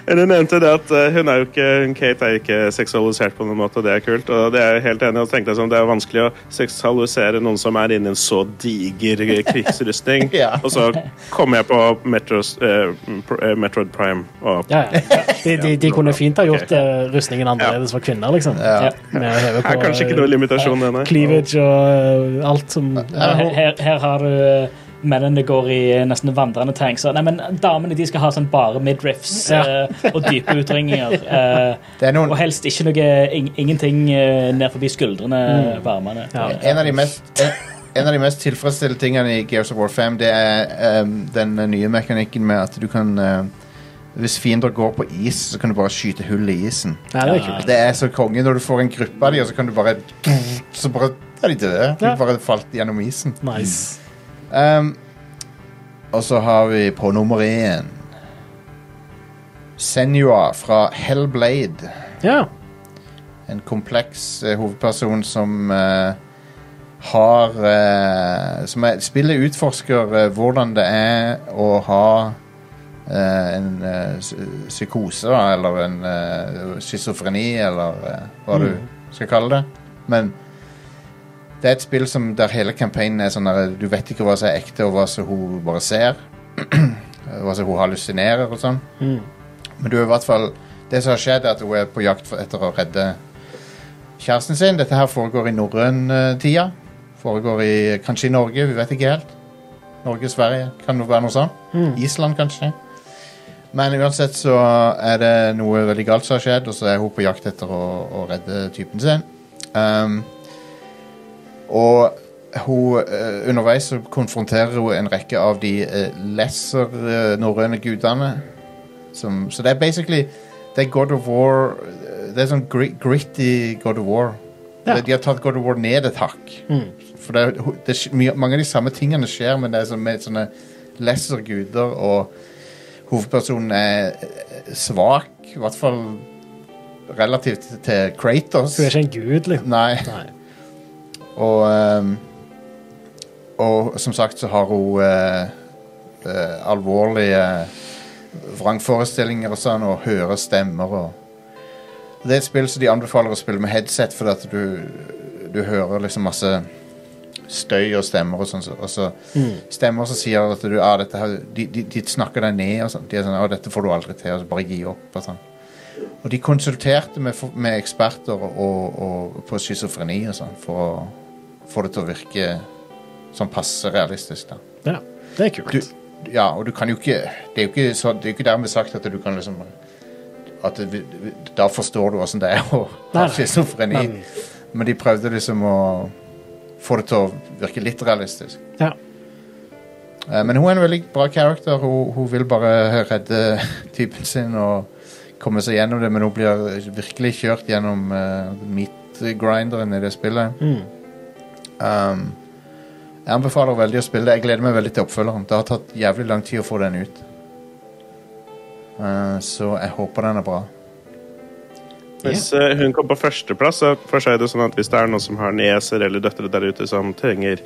S5: Eller Hun nevnte det at eh, hun er jo ikke, hun Kate er jo ikke seksualisert på noen måte, og det er kult. Og det er jeg helt enig i. og tenkte jeg sånn, Det er vanskelig å seksualisere noen som er inni en så diger
S2: (laughs)
S5: eh, krigsrustning.
S2: Ja.
S5: Og så kom jeg på Metros, eh, Pr- eh, Metroid Prime. Og
S3: Ja,
S2: (laughs)
S3: ja. De, de, de
S5: (laughs)
S3: kunne fint ha gjort eh, rustningen annerledes for kvinner, liksom.
S4: Ja.
S3: Med å heve
S5: er kanskje ikke
S3: eh,
S5: noe limitasjon, denne.
S3: cleavage og eh, alt som
S4: Her, her, her har du eh, mennene går i eh, nesten vandrende tanks. og- Nei, men damene de skal ha sånn bare midriffs
S3: Ja.
S4: eh, og dype utringninger. eh,
S2: Det er noen
S4: og helst ikke noe ing, ingenting eh, ned forbi skuldrene
S2: Mm.
S4: Eh, på armene.
S3: Ja.
S2: En av de mest en, en av de mest tilfredsstillende tingene i Gears of War 5 Det er ehm, den nye mekanikken med at du kan eh, Hvis fiender går på is Så kan du bare skyte hull i isen
S3: Ja, det er kult.
S2: Det er så konge når du får en gruppe av de Og så kan du bare Så bare er de døde De
S3: Ja.
S2: bare falt gjennom isen
S3: Nice.
S2: Ehm, Og så har vi på nummer 1 Senua fra Hellblade
S3: Ja.
S2: en kompleks eh, hovedperson som eh, har eh, Som er, spillet utforsker eh, hvordan det er å ha eh, en eh, psy- psykose, da, eller en uh, schizofreni, eller eh, hva du skal kalle det. Men det er et spill som der hele campaignen er sånn der, Du vet ikke hva som er ekte, og hva som hun bare ser. (clears throat) hva som hun hallusinerer og sånn. Men du er i hvert fall Det som har skjedd, er at hun er på jakt for, etter å redde kjæresten sin. Dette her foregår i norrøn eh, tida. Foregår i kanskje i Norge, vi vet ikke helt. Norge, Sverige, kan det være noe sånt. Island, kanskje. Men uansett så er det noe veldig galt som har skjedd, og så er hun på jakt etter å, å redde typen sin. Um, og hun, eh, underveis så konfronterer hun en rekke av de uh, lesser eh, norrøne gudene. Som, så det er basically Det er God of War eh, Det er sånn gri- gritty God of War.
S3: Ja. Mm.
S2: De har tatt God of War ned et hakk. For det, er- det, er mye, mange av de samme tingene skjer, men det er sånn med sånne lesser guder, og hovedpersonen er eh, svak. I hvert fall relativt til Kratos.
S3: Hun er ikke en gud, liksom.
S2: Nei.
S3: Nei.
S2: Og ehm, Og som sagt så har hun eh, eh, alvorlige vrangforestillinger og sånn, og hører stemmer og Det er et spill som de anbefaler å spille med headset, fordi at du, du hører liksom masse støy og stemmer og sånn. så- Og så stemmer som sier at du ah, dette her, de, de, de snakker deg ned og sånn. De er sånn 'Å, dette får du aldri til', og så bare gi opp og sånn. Og de konsulterte med, fo- med eksperter og, og, på schizofreni og sånn for å få det til å virke sånn passe realistisk. da.
S3: Ja. Det er kult.
S2: Du, ja, og du kan jo ikke Det er jo ikke, så, det er jo ikke dermed sagt at du kan liksom At det, vi- vi- da forstår du åssen det er å
S3: Nei,
S2: ha
S3: nei.
S2: schizofreni.
S3: Men-
S2: Men de prøvde liksom å få det til å virke litt realistisk.
S3: Ja.
S2: Eh, Men hun er en veldig bra character. Hun, hun vil bare redde typen sin og komme seg gjennom det, men hun blir virkelig kjørt gjennom uh, meat-grinderen i det spillet. Um, jeg anbefaler veldig å spille det. Jeg gleder meg veldig til oppfølgeren. Det har tatt jævlig lang tid å få den ut. Eh, så jeg håper den er bra.
S5: Hvis eh, hun kom på førsteplass, så for seg er det sånn at hvis det er noen som har nieser eller døtre der ute som trenger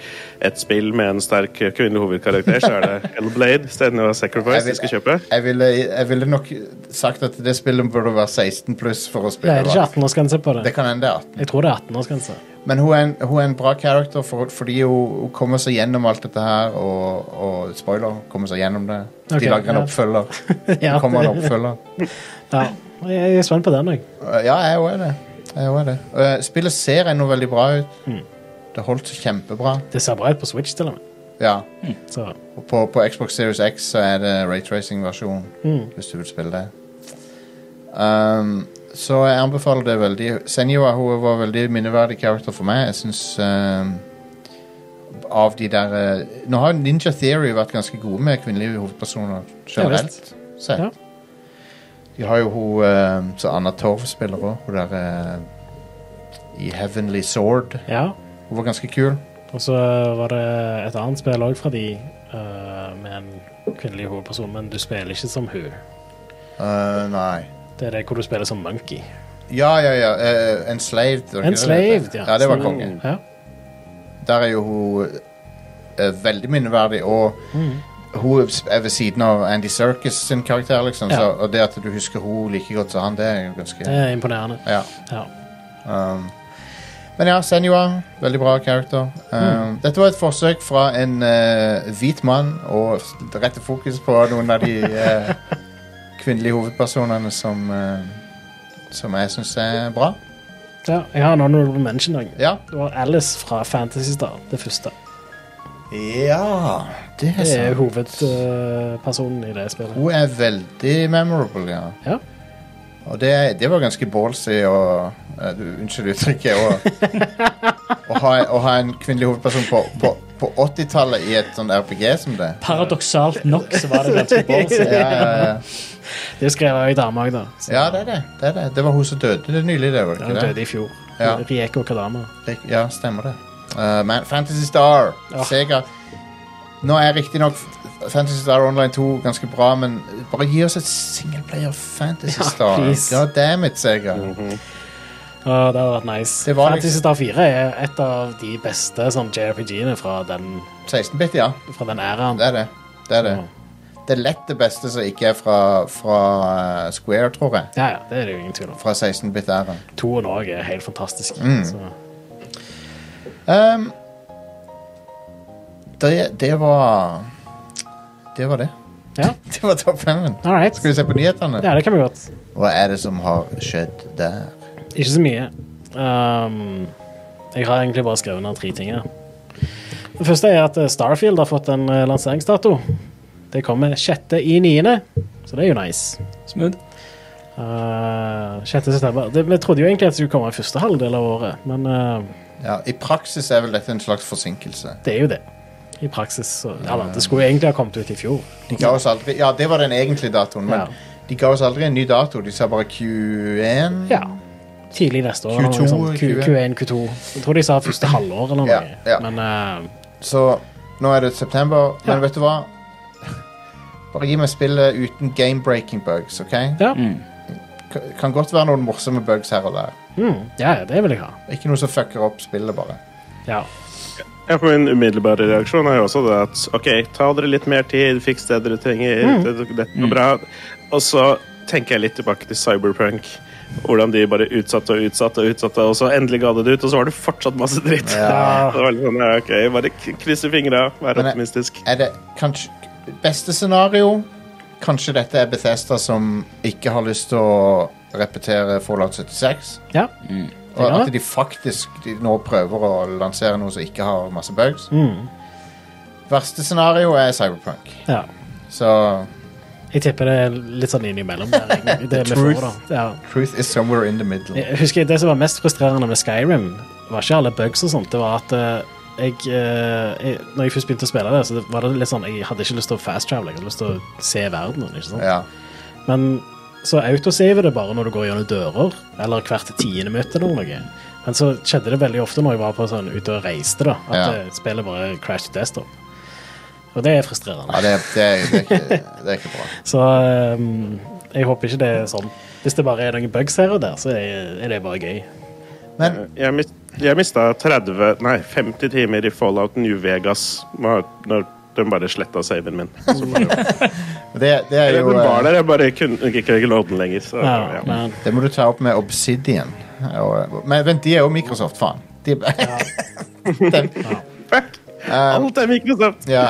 S5: et spill med en sterk eh, kvinnelig hovedkarakter, så er
S2: (laughs)
S5: det Hellblade istedenfor Sacrifice de skal kjøpe.
S2: jeg, ville, jeg ville nok sagt at det spillet burde være 16 pluss for å
S3: Det
S2: spille.
S3: er ikke
S2: hva?
S3: 18-årsgrense på det.
S2: det kan hende det er 18.
S3: Jeg tror det er 18-årsgrense.
S2: Men hun er en, hun er en bra character for, fordi hun, hun kommer seg gjennom alt dette her, og, og spoiler, kommer seg gjennom det. De
S3: Ok,
S2: lager en
S3: ja.
S2: oppfølger.
S3: (laughs) Ja.
S2: Det kommer en oppfølger.
S3: Ja. Jeg er spent på den, jeg.
S2: Uh, Ja, jeg òg er det. Jeg også er det. Uh, Spillet ser ennå veldig bra ut.
S3: Mm.
S2: Det holdt så kjempebra.
S3: Det ser bra ut på Switch, til og med.
S2: Ja.
S3: Så
S2: Og på, på Xbox Series X så er det raytracing-versjon, hvis du vil spille det. Um, så jeg anbefaler det veldig. Senja hun var veldig minneverdig character for meg. Jeg synes um, Av de der eh, Nå har Ninja Theory vært ganske gode med kvinnelige hovedpersoner generelt sett.
S3: Ja.
S2: De har jo hun eh, Så Anna Torv spiller òg. Hun der eh, i Heavenly Sword.
S3: ja.
S2: Hun var ganske kul.
S3: Og så var det et annet spill òg fra de eh, med en kvinnelig hovedperson, men du spiller ikke som hun.
S2: Eh, nei.
S3: Det er det hvor du spiller som Monkey.
S2: Ja, ja, ja. eh, Enslaved. var det ikke det det het?
S3: Enslaved, ja.
S2: ja. Det var
S3: Stemmer.
S2: konge.
S3: Ja.
S2: Der er jo hun eh, veldig minneverdig, og
S3: Mm.
S2: hun er ved siden av Andy Serkis sin karakter, liksom.
S3: Ja.
S2: Så, og det at du husker hun like godt som han, det er jo ganske
S3: Det er imponerende.
S2: Ja.
S3: Ja.
S2: Um, men ja, Senua. Veldig bra character. Um,
S3: Mm.
S2: Dette var et forsøk fra en eh, hvit mann å s- rette fokus på noen av de
S3: (laughs)
S2: eh, kvinnelige hovedpersonene som, eh, som jeg syns er bra.
S3: ja. Jeg har en honorable mention. Jeg.
S2: Ja.
S3: Det var Alice fra Fantasystar, det første.
S2: ja det er
S3: Det er
S2: sant.
S3: hovedpersonen i det spillet.
S2: Hun er veldig memorable, ja.
S3: Ja.
S2: Og det, det var ganske ballsy og eh, du- Unnskyld uttrykket. Å, å, ha, å ha en kvinnelig hovedperson på, på, på 80-tallet i et sånn RPG som det.
S4: Paradoksalt nok så var det ganske ballsy.
S2: Ja, ja, ja.
S3: Det skrev jeg i dame òg, da. Så
S2: ja det, er det. det er det. Det var hun som døde det nylig, det. var det
S3: Han
S2: ikke
S3: døde
S2: det?
S3: i fjor.
S2: Ja.
S3: Rieko Kadama.
S2: Rik- Ja, stemmer det. Eh, men Fantasy Star,
S3: Ja.
S2: Sega Nå er riktignok Fantasy Star Online 2 ganske bra, men bare gi oss et singleplayer Fantasy
S3: Ja,
S2: Star.
S3: please. Mhm.
S2: God damn it, Sega.
S3: Ja, det hadde vært nice.
S2: Det var
S3: Fantasy Star 4 er et av de beste sånn, JRPG-ene fra den,
S2: 16-bit, ja.
S3: fra den æraen.
S2: Det er det. Det er det.
S3: Ja.
S2: Det er lett det beste som ikke er fra, fra eh, Square, tror jeg.
S3: Ja, ja, det er det jo ingen tvil om.
S2: Fra 16-bit-æraen.
S3: Toen òg er helt fantastisk.
S2: Mm.
S3: Så,
S2: Um, det, det var Det var det. (laughs)
S3: ja,
S2: Det var topp femmen.
S3: all right.
S2: Skal vi se på nyhetene?
S3: Ja, det kan vi godt.
S2: Hva er det som har skjedd der?
S3: Ikke så mye. Ehm, jeg har egentlig bare skrevet ned tre ting her. Det første er at eh, Starfield har fått en eh, lanseringsdato. Det kommer 6. i 9., så det er jo nice.
S4: Smooth.
S3: Eh, 6. september. Det, vi trodde jo egentlig at det skulle komme i første halvdel av året, men eh,
S2: Ja, I praksis er vel dette en slags forsinkelse.
S3: det er jo det. I praksis. Så, eller, det skulle jo egentlig ha kommet ut i fjor.
S2: De ga oss aldri, ja, det var den egentlige datoen, men
S3: Ja.
S2: de ga oss aldri en ny dato. De sa bare Q1.
S3: Ja. Tidlig neste år. eller noe
S2: Q2,
S3: sånt. Q, Q1, Q2. Jeg tror de sa første halvår eller noe.
S2: eh, Ja, ja.
S3: Men eh,
S2: Så nå er det september, men
S3: Ja.
S2: vet du hva? Bare gi meg spillet uten game-breaking bugs, OK?
S3: ja.
S2: K- Kan godt være noen morsomme bugs her og der.
S3: Mm, ja, ja, det vil jeg ha.
S2: Ikke noe som fucker opp spillet, bare.
S3: Ja.
S5: Ja, for Min umiddelbare reaksjon er jo også det at OK, ta dere litt mer tid, fiks det dere trenger.
S2: Mm.
S5: Det, dette går bra. Og så tenker jeg litt tilbake til Cyberprank. Hvordan de bare utsatte og utsatte, og utsatte, og så endelig ga det det ut, og så var det fortsatt masse dritt.
S2: Ja.
S5: (laughs) Det var litt sånn, ja, ok, Bare k- krysse fingra, vær
S2: Men jeg-
S5: optimistisk.
S2: Er det kanskje Beste scenario Kanskje dette er Bethesda som ikke har lyst til å repetere Fallout 76.
S3: ja.
S2: Og
S3: Ja.
S2: at de faktisk de nå prøver å lansere noe som ikke har masse bugs.
S3: Mm.
S2: Verste scenario er Cyberpunk.
S3: ja.
S2: Så
S3: Jeg tipper det er litt sånn innimellom der. egentlig. Det vi
S2: truth.
S3: får, da. Ja.
S2: truth is somewhere in the middle.
S3: Jeg husker Det som var mest frustrerende med Skyrim, var ikke alle bugs og sånt. Det var at eh, jeg, eh, jeg Når jeg først begynte å spille det, så det var det litt sånn Jeg hadde ikke lyst til å fast travel, jeg hadde lyst til å se verden. Ikke sant?
S2: Ja.
S3: Men så autosaver det bare når du går gjennom dører, eller hvert tiende møte eller noe. Men så skjedde det veldig ofte når jeg var på sånn ute og reiste, da, at
S2: Ja.
S3: eh, spillet bare crash desktop. Og det er frustrerende.
S2: Ja, det, det, det, er ikke, det er ikke bra.
S3: Så ehm, jeg håper ikke det er sånn. Hvis det bare er noen bugs her og der, så er er det bare gøy.
S2: Men
S5: Jeg, mis- jeg mista 30, nei 50 timer i Fallout New Vegas når, når de bare sletta saven min. Så bare,
S2: det, det er
S5: den
S2: (laughs) jo
S5: var
S2: eh,
S5: der, jeg bare kunne ikke, ikke nådde den lenger. Så,
S3: Ja,
S5: ja.
S3: men
S2: Det må du ta opp med Obsidian. Og- Men vent, de er jo Microsoft, faen. De,
S5: Fuck!
S2: Eh,
S5: Alt er Microsoft.
S2: (laughs) Ja.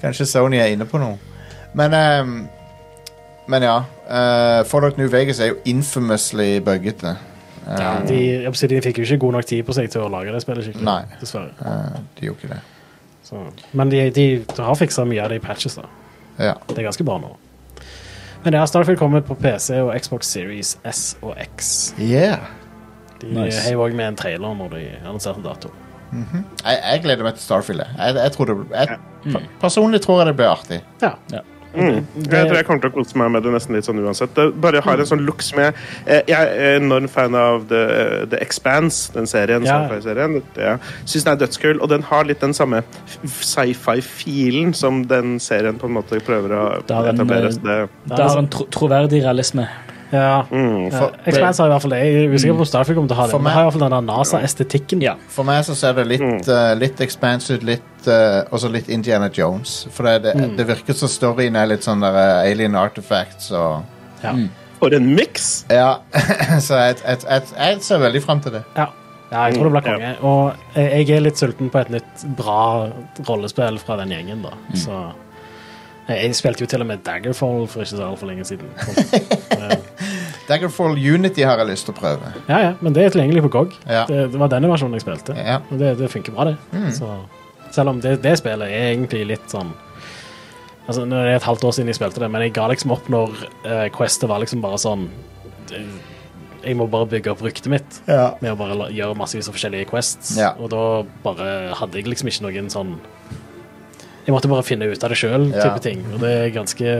S2: Kanskje Sony er inne på noe. Men ehm, Men ja. eh, Fallout New Vegas er jo infamously buggete.
S3: ja, de, Obsidian fikk jo ikke god nok tid på seg til å lage det spillet skikkelig.
S2: Nei.
S3: Dessverre.
S2: Eh, de gjorde ikke det.
S3: Så. Men de, de har fiksa mye av det i patches, da.
S2: Ja.
S3: Det er ganske bra nå. Men det har Starfield kommet på PC og Xbox Series S og X.
S2: Yeah.
S3: De eh,
S4: Nice.
S3: heiv òg med en trailer når de annonserte dato.
S2: Jeg, jeg gleder meg til Starfield. jeg. Jeg, jeg tror det, jeg, personlig tror jeg det blir artig.
S3: Ja.
S5: Mm. Jeg tror jeg kommer til å kose meg med det nesten litt sånn uansett. Det bare har en sånn look som jeg eh, Jeg er enorm fan av The, The Expanse, den serien.
S3: Ja.
S5: Sci-fi-serien. Jeg syns den er dødskul, og den har litt den samme f- sci-fi-filen som den serien på en måte prøver å
S4: Da er den,
S5: etablere.
S4: eh,
S5: Så det,
S4: Det er en tro troverdig realisme.
S3: Ja.
S5: Mm,
S3: Ja, Expanse har i hvert fall det. Jeg er usikker på om Starfield kommer til å ha det.
S2: For
S3: men det
S2: meg-
S3: har i hvert fall den der NASA-estetikken.
S4: Ja.
S2: For meg så ser det litt, eh, litt Expanse ut, litt, eh, også litt Indiana Jones. For det, det, det virker som storyen er litt sånn der eh, Alien Artifacts og
S3: Ja.
S2: Mm.
S5: For en miks!
S2: Ja, (laughs) så jeg, jeg, jeg, jeg ser veldig frem til det.
S3: Ja. ja, jeg tror det blir konge. Og jeg jeg er litt sulten på et nytt bra rollespill fra den gjengen, da.
S2: Mm.
S3: Så eh, jeg, jeg spilte jo til og med Daggerfall for ikke så altfor lenge siden.
S2: Daggerfall Unity har jeg lyst til å prøve.
S3: Ja, ja, men det er tilgjengelig på GOG.
S2: Ja.
S3: Det, det var denne versjonen jeg spilte.
S2: Ja. Mm.
S3: Og det, det funker bra, det. Så, selv om det, det spillet er egentlig litt sånn Altså, nå er det et halvt år siden jeg spilte det, men jeg ga liksom opp når eh, Questet var liksom bare sånn det- Jeg må bare bygge opp ryktet mitt
S2: Ja.
S3: med å bare la- gjøre massevis av forskjellige quests.
S2: Ja.
S3: Og da bare hadde jeg liksom ikke noen sånn Jeg måtte bare finne ut av det sjøl,
S2: Ja.
S3: type ting. Og det er ganske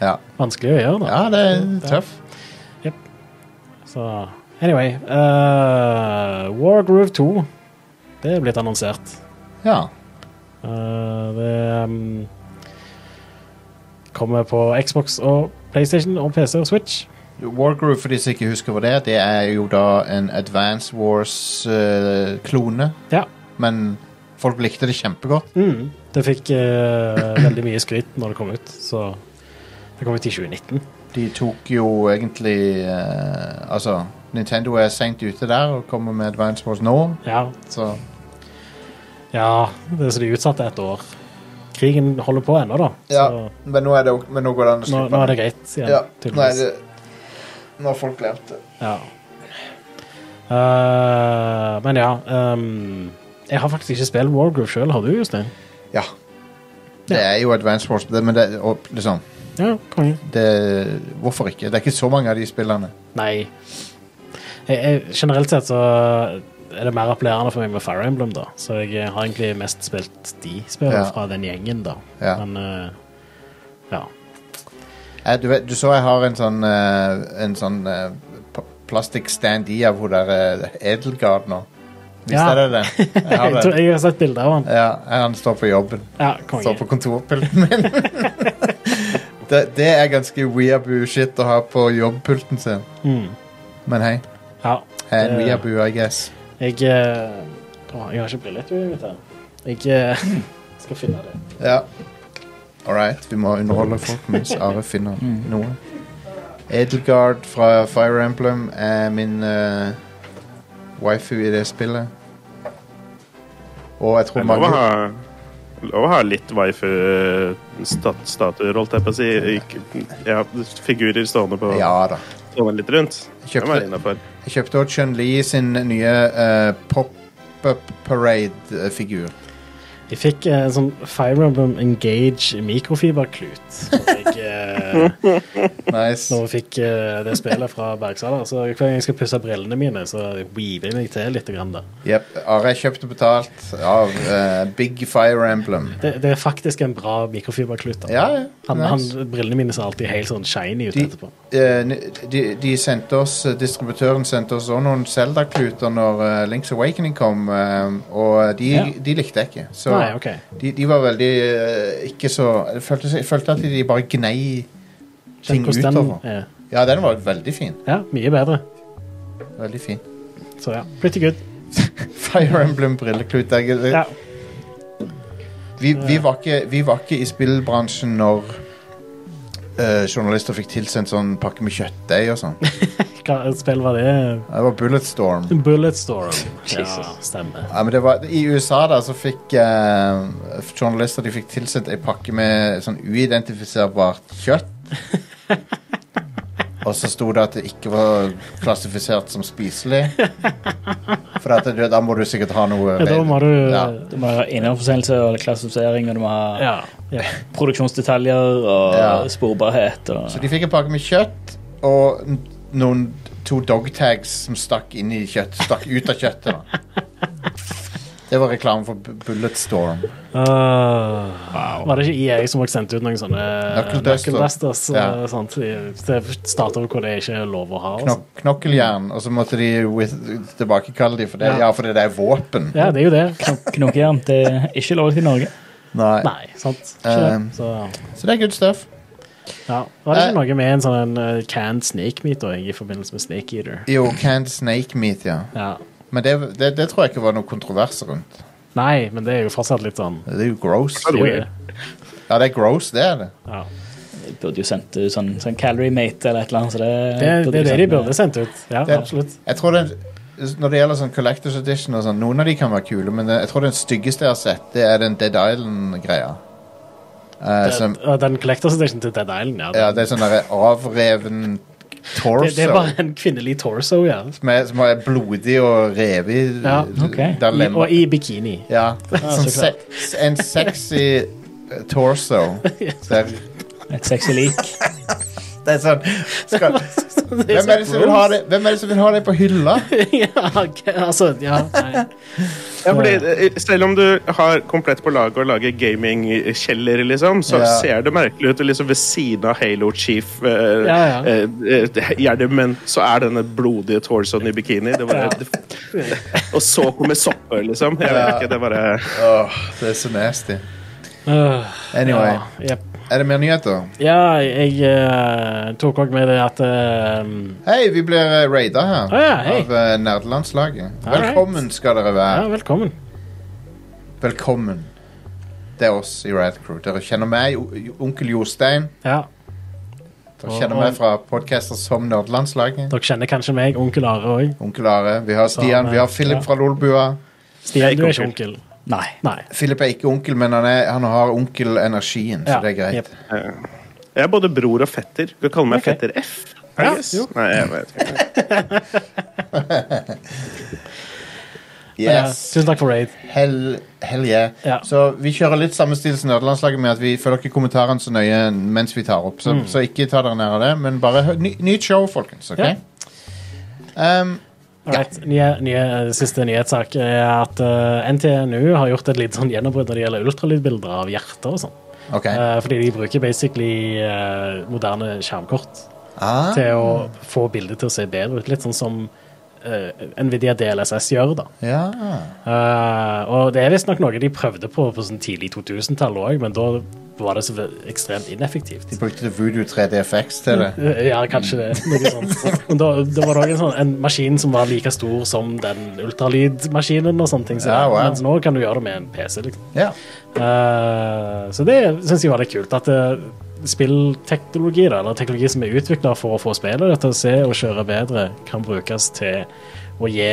S2: Ja,
S3: vanskelig å gjøre, da.
S2: ja det er tøff.
S3: Så anyway eh, War Groove 2 Det er blitt annonsert.
S2: Ja.
S3: Eh, det mm, kommer på Xbox og PlayStation og PC og Switch.
S2: Wargroove, for de som ikke husker hva det er, det er jo da en Advance Wars-klone.
S3: Ja.
S2: Men folk likte det kjempegodt.
S3: Mm. Det fikk eh, veldig mye skryt når det kom ut, så det kom ut i 2019.
S2: De tok jo egentlig eh, Altså, Nintendo er seint ute der og kommer med Advance Wars nå,
S3: Ja,
S2: så
S3: ja det er så de utsatte et år. Krigen holder på ennå, da. Så
S2: men nå, er det, ok- men nå går det an å
S3: nå, nå er det greit igjen, tydeligvis.
S2: Nå har folk glemt det.
S3: Ja. Eh, men ja ehm, Jeg har faktisk ikke spilt Wargroove sjøl, har du, Jostein?
S2: Ja. Det er jo Advance Wars, det, men det, og, liksom,
S3: Ja, konge.
S2: det Hvorfor ikke? Det er ikke så mange av de spillene.
S3: Nei. Jeg, jeg, generelt sett så er det mer appellerende for meg med Fire Emblem, da. Så jeg har egentlig mest spilt de spillene
S2: Ja.
S3: fra den gjengen, da.
S2: Ja.
S3: Men eh, ja.
S2: Jeg, Eh, du, vet, du så jeg har en sånn eh, En sånn eh, pa- plastikkstand i av hun der eh, Edelgard nå. Visste
S3: Ja.
S2: jeg deg
S3: (laughs)
S2: det? Jeg har
S3: Jeg, tror,
S2: det.
S3: jeg har sett bilder av han.
S2: Ja, han står på jobben.
S3: Ja,
S2: Står på
S3: konge.
S2: kontorpulten min. (laughs) det, det er ganske weaboo-shit å ha på jobbpulten sin.
S3: Mm.
S2: Men hei,
S3: Ja.
S2: jeg er en
S3: det-
S2: weaboo, I guess.
S3: Jeg eh, å, Jeg har ikke brilleturet mitt her. Jeg eh, (laughs) skal finne det.
S2: Ja. All right. Vi må underholde folk Mm. mens Are finner noe. Edelgard fra Fire Emblem er min eh, waifu i det spillet. Og jeg tror
S5: Det er lov å
S2: mange
S5: ha, lov å ha litt waifu-statuer, holdt jeg på å si. Ikke- Ja, figurer stående på
S2: Ja da.
S5: stående litt rundt.
S2: Kjøpte-
S5: Det var innafor.
S2: Jeg kjøpte også Chun-Li sin nye eh, pop-up parade-figur.
S3: Jeg fikk eh, en sånn Fire Emblem Engage mikrofiberklut. som Jeg,
S2: (laughs)
S3: eh,
S2: Nice.
S3: når jeg fikk eh, det spillet fra Bergsala. Så hver gang jeg skal pusse brillene mine, så weaver jeg meg til litt. Grann, da.
S2: Yep. Are er kjøpt og betalt av eh, Big Fire Emblem.
S3: Det, det er faktisk en bra mikrofiberklut. Da.
S2: Ja, ja.
S3: Han,
S2: Nice.
S3: han, brillene mine ser alltid helt sånn shiny ut
S2: De-
S3: etterpå.
S2: Eh, de, de sendte oss eh, Distributøren sendte oss også noen Zelda-kluter når eh, Link's Awakening kom, eh, og de,
S3: Ja.
S2: de likte jeg ikke. Så
S3: Nei, ok.
S2: de, de var veldig eh, ikke så jeg følte, jeg følte at de bare gnei ting altså.
S3: Kjenn hvordan den
S2: utover.
S3: er.
S2: Ja, den var veldig fin.
S3: Ja, mye bedre.
S2: Veldig fin.
S3: Så ja, pretty good.
S2: Fire Emblem-brilleklut. jeg- jeg-
S3: Ja.
S2: Vi, vi, var ikke, vi var ikke i spillbransjen når eh, journalister fikk tilsendt sånn pakke med kjøttdeig og
S3: (laughs)
S2: sånn.
S3: Hva spill var det?
S2: Det var Bulletstorm.
S3: Bulletstorm. Ja,
S4: Jesus.
S3: stemmer.
S2: Ja, men det var, I USA da, så fikk eh, journalister de fikk tilsendt ei pakke med sånn uidentifiserbart kjøtt.
S3: (laughs)
S2: Og så sto det at det ikke var klassifisert som spiselig. For at det, da må du sikkert ha noe
S3: Ja, da må du
S2: ja.
S4: Du må ha innholdsforsendelse og klassifisering, og du må ha
S3: Ja. ja.
S4: produksjonsdetaljer og
S2: Ja.
S4: sporbarhet. Og,
S2: Så de fikk en pakke med kjøtt og n- noen to dogtags som stakk inn i kjøtt, stakk ut av kjøttet. da Det var reklame for Bu- Bulletstorm.
S3: Ah. Var det ikke EA som også sendte ut noen sånne
S2: Knuckle Duster.
S3: knuckledusters?
S2: Ja.
S3: Sånt, i til stater hvor det ikke er lov å ha? altså. og sånt.
S2: knok knokkeljern, og så måtte de with, tilbakekalle de for det.
S3: Ja.
S2: Ja. fordi det er våpen.
S3: Ja, det er jo det.
S4: Knok- Knokkejern. Det er ikke lov til i Norge.
S2: Nei.
S3: Nei, sant. Ikke det.
S2: Um,
S3: Så,
S2: Så det er good stuff.
S3: Ja. Var det ikke noe med en sånn eh, canned snake meat også, i forbindelse med Snake Eater?
S2: Jo, Canned Snake Meat, ja.
S3: Ja.
S2: Men det, det, det tror jeg ikke var noe kontrovers rundt.
S3: Nei, men det er jo fortsatt litt sånn
S2: Det er jo gross.
S5: det er weird.
S2: Ja, det er gross, det er det.
S3: Ja.
S4: De burde jo sendt ut sånn, sånn Calorie Mate eller et eller annet. Så
S3: Det,
S4: det,
S3: det, er det de
S4: sendt-
S3: burde sendt ut. Ja,
S2: Det-
S3: absolutt.
S2: Jeg tror det når det gjelder sånn Collectors Edition og sånn, Noen av de kan være kule, men det, jeg tror den styggeste jeg har sett, det er den Dead Island-greia. Eh, som,
S3: Og Den Collectors Edition til Dead Island, ja.
S2: ja, det er sånn derre avreven torso.
S3: Det, det er bare en kvinnelig torso, ja.
S2: Som er, som er blodig og revet.
S3: Ja,
S4: ok.
S2: Der
S3: I,
S2: lemmer
S3: og i bikini. (laughs)
S2: Ja. Sånn
S4: så klart.
S2: se, en sexy eh, torso.
S3: (laughs)
S2: Der.
S4: Et sexy lik.
S2: Det er sånn
S3: (laughs)
S2: skal, hvem, er det som vil ha det, hvem er det som vil ha det på hylla?
S3: (laughs) ja, ok, altså, ja, nei.
S5: Ja, fordi eh, Selv om du har komplett på laget og lager gamingkjeller, liksom, så
S2: Ja.
S5: ser det merkelig ut. og Liksom Ved siden av Halo Chief, eh,
S3: Ja, ja.
S5: eh, eh, hjelmen, så er denne blodige torsoen i bikini. Det bare, og så kommer soppet, liksom. Jeg vet ikke, det bare
S2: Åh, det er så nasty.
S3: (laughs) Øh,
S2: Anyway,
S3: ja, jep.
S2: er det mer nyheter?
S3: ja, jeg eh, tok òg med det at eh,
S2: Hei, vi blir eh, raida her
S3: Å ja, hei.
S2: av eh, nerdelandslaget.
S3: Alright.
S2: Velkommen skal dere
S3: Ja,
S2: være.
S3: velkommen.
S2: Velkommen. Det er oss i Rad Crew. Dere kjenner meg, o- onkel Jostein.
S3: Ja,
S2: Dere kjenner meg fra podcaster som Nerdelandslaget.
S3: Dere kjenner kanskje meg, onkel Are òg.
S2: Onkel Are. Vi har Stian. Vi har Philip
S3: Ja.
S2: fra Lolbua.
S3: Stian,
S5: Jeg er
S3: du er
S5: ikke
S3: ikke onkel.
S4: Nei.
S3: Nei.
S2: Philip er ikke onkel, men han, er, han har onkel-energien, så
S3: Ja,
S2: det er greit.
S3: jep.
S5: Jeg er både bror og fetter. Du kan kalle meg
S3: Ok.
S5: fetter F. I
S3: Ja,
S5: guess.
S3: jo.
S5: Nei, jeg vet ikke.
S3: Ja,
S2: Yes.
S3: tusen takk for raid.
S2: Hell, hell yeah.
S3: Ja.
S2: Så vi kjører litt samme stil som Nederlandslaget med at vi følger ikke kommentarene så nøye mens vi tar opp. Så,
S3: Mm.
S2: så ikke ta dere nær av det, men bare hø- ny, nytt show, folkens. ok?
S3: Ja.
S2: Um,
S3: Alright, Nye, nye, eh, siste nyhetssak er at eh, NTNU har gjort et litt sånn gjennombrudd når det gjelder ultralydbilder av hjerter og sånn.
S2: ok.
S3: Eh, fordi de bruker basically eh, moderne skjermkort
S2: ah,
S3: til å få bildet til å se bedre ut. Litt sånn som eh, Nvidia DLSS gjør, da.
S2: ja.
S3: Eh, og det er visstnok noe de prøvde på på sånn tidlig 2000-tall òg, men da var det så ve- ekstremt ineffektivt.
S2: De brukte Voodoo 3DFX til det.
S3: Eh, Ja, kanskje det. Noe sånt. Men da, da var det òg en, sånn, en maskin som var like stor som den ultralydmaskinen. og sånne ting. Så,
S2: Ja, wow.
S3: Mens nå kan du gjøre det med en PC. liksom.
S2: Ja.
S3: Eh, så det syns jeg var litt kult. At eh, spillteknologi, da, eller teknologi som er utvikla for å få spillet til å se og kjøre bedre, kan brukes til å gi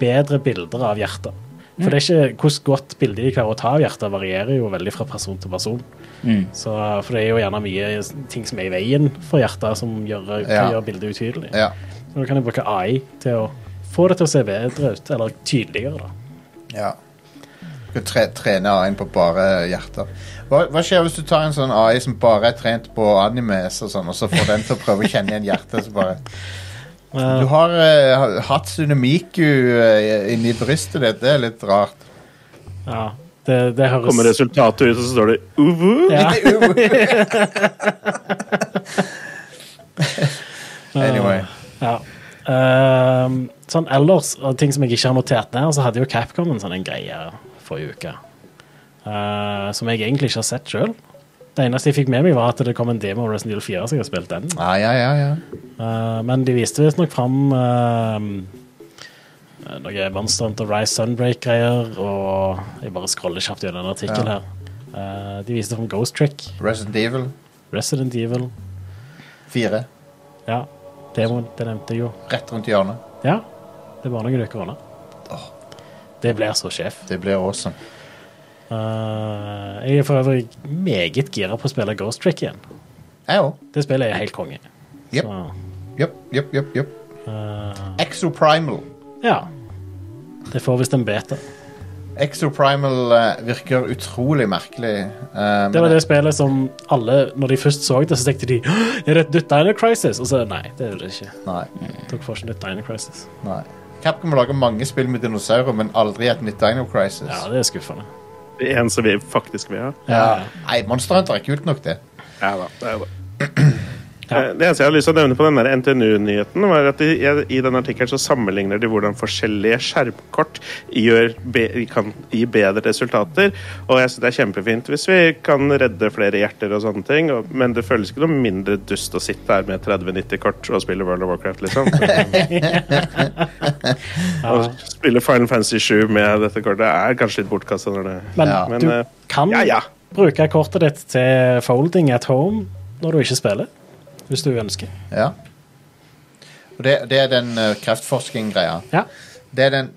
S3: bedre bilder av hjertet.
S2: Mm.
S3: For det er ikke hvordan godt bilde de klarer å ta av hjertet, varierer jo veldig fra person til person.
S2: Mm.
S3: Så, for det er jo gjerne mye ting som er i veien for hjertet, som gjør, kan
S2: Ja.
S3: gjøre bildet utydelig.
S2: ja.
S3: Så nå kan jeg bruke AI til å få det til å se bedre ut, eller tydeligere, da.
S2: ja. Du kan tre, trene AI-en på bare hjerter. Hva, hva skjer hvis du tar en sånn AI som bare er trent på animes og sånn, og så får den til å prøve å kjenne igjen hjertet, så bare Du har eh, Hatsune Miku eh, inni brystet ditt. Det er litt rart.
S3: Ja, det, det høres
S5: Kommer resultatet ut, og så står det uvu.
S3: Ja.
S2: anyway.
S3: Ja. Ehm, sånn ellers, og ting som jeg ikke har notert ned, så hadde jo Capcom en sånn en greie forrige uke. Eh, som jeg egentlig ikke har sett sjøl. Det eneste jeg fikk med meg, var at det kom en demo av Resident Evil 4, så jeg har spilt den.
S2: Ja, ja, ja, ja.
S3: Eh, men de viste visstnok fram eh, noe Monster Hunter Rise Sunbreak-greier, og jeg bare scroller kjapt gjennom en artikkel
S2: Ja.
S3: her. Eh, de viste fram Ghost Trick,
S2: Resident Evil
S3: Resident Evil,
S2: 4.
S3: ja, demoen, det nevnte jeg jo.
S2: Rett rundt hjørnet.
S3: Ja, det var noen uker unna.
S2: Åh.
S3: Det blir så sjef.
S2: Det blir awesome.
S3: Eh, jeg er for øvrig meget gira på å spille Ghost Trick igjen.
S2: Jeg òg.
S3: Det spillet er helt konge.
S2: Jep.
S3: Så,
S2: Jepp, jepp, jepp. jepp. Exoprimal.
S3: Eh, ja. Det får visst en beta.
S2: Exoprimal eh, virker utrolig merkelig. eh,
S3: Det var
S2: men-
S3: det spillet som alle, når de først så det, så tenkte de «Åh, Er det et nytt Dino Crisis? Og så nei, det er det ikke.
S2: Nei,
S3: Dere får ikke nytt Dino Crisis.
S2: nei. Capcom lager mange spill med dinosaurer, men aldri et nytt Dino Crisis.
S3: Ja, det er skuffende.
S5: Det eneste vi faktisk vil ha.
S2: Ja. Nei, Monster Hunter er kult nok, det.
S5: Ja da. det er det. Eh, Det eneste jeg har lyst til å nevne på den der NTNU-nyheten, var at de, i- i den artikkelen så sammenligner de hvordan forskjellige skjermkort gjør, be, kan gi bedre resultater. Og jeg synes det er kjempefint hvis vi kan redde flere hjerter og sånne ting, og, men det føles ikke noe mindre dust å sitte her med 3090-kort og spille World of Warcraft, (laughs) liksom. Og spille Final Fantasy 7 med dette kortet er kanskje litt bortkasta når det
S3: Men
S2: Ja.
S5: Men,
S3: du
S5: eh,
S3: kan
S5: ja, ja.
S3: bruke kortet ditt til folding at home når du ikke spiller. Hvis du ønsker.
S2: Ja. Og det, det er den uh, kreftforskning-greia.
S3: Ja,
S2: Det er den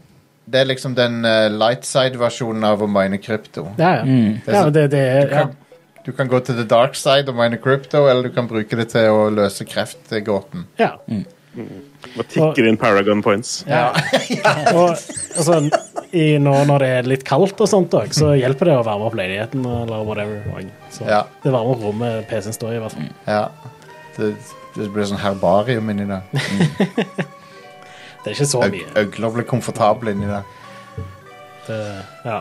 S2: det er liksom den eh, light side-versjonen av å mine krypto.
S3: ja. ja. ja men det, det er ja.
S2: kan- Du kan gå til the dark side og mine krypto, eller du kan bruke det til å løse kreftgåten.
S3: ja.
S5: Og tikker inn Paragon Points.
S3: ja. Og altså, i, nå når det er litt kaldt og sånt òg, så hjelper det å varme opp leiligheten eller whatever. og- Så
S2: Ja.
S3: Det varmer opp rommet PC-en står i, i hvert fall.
S2: Ja. Det, det blir sånn herbarium inni der.
S3: Det er ikke så mye.
S2: Øg- Øgler blir komfortable inni der.
S3: Det, ja.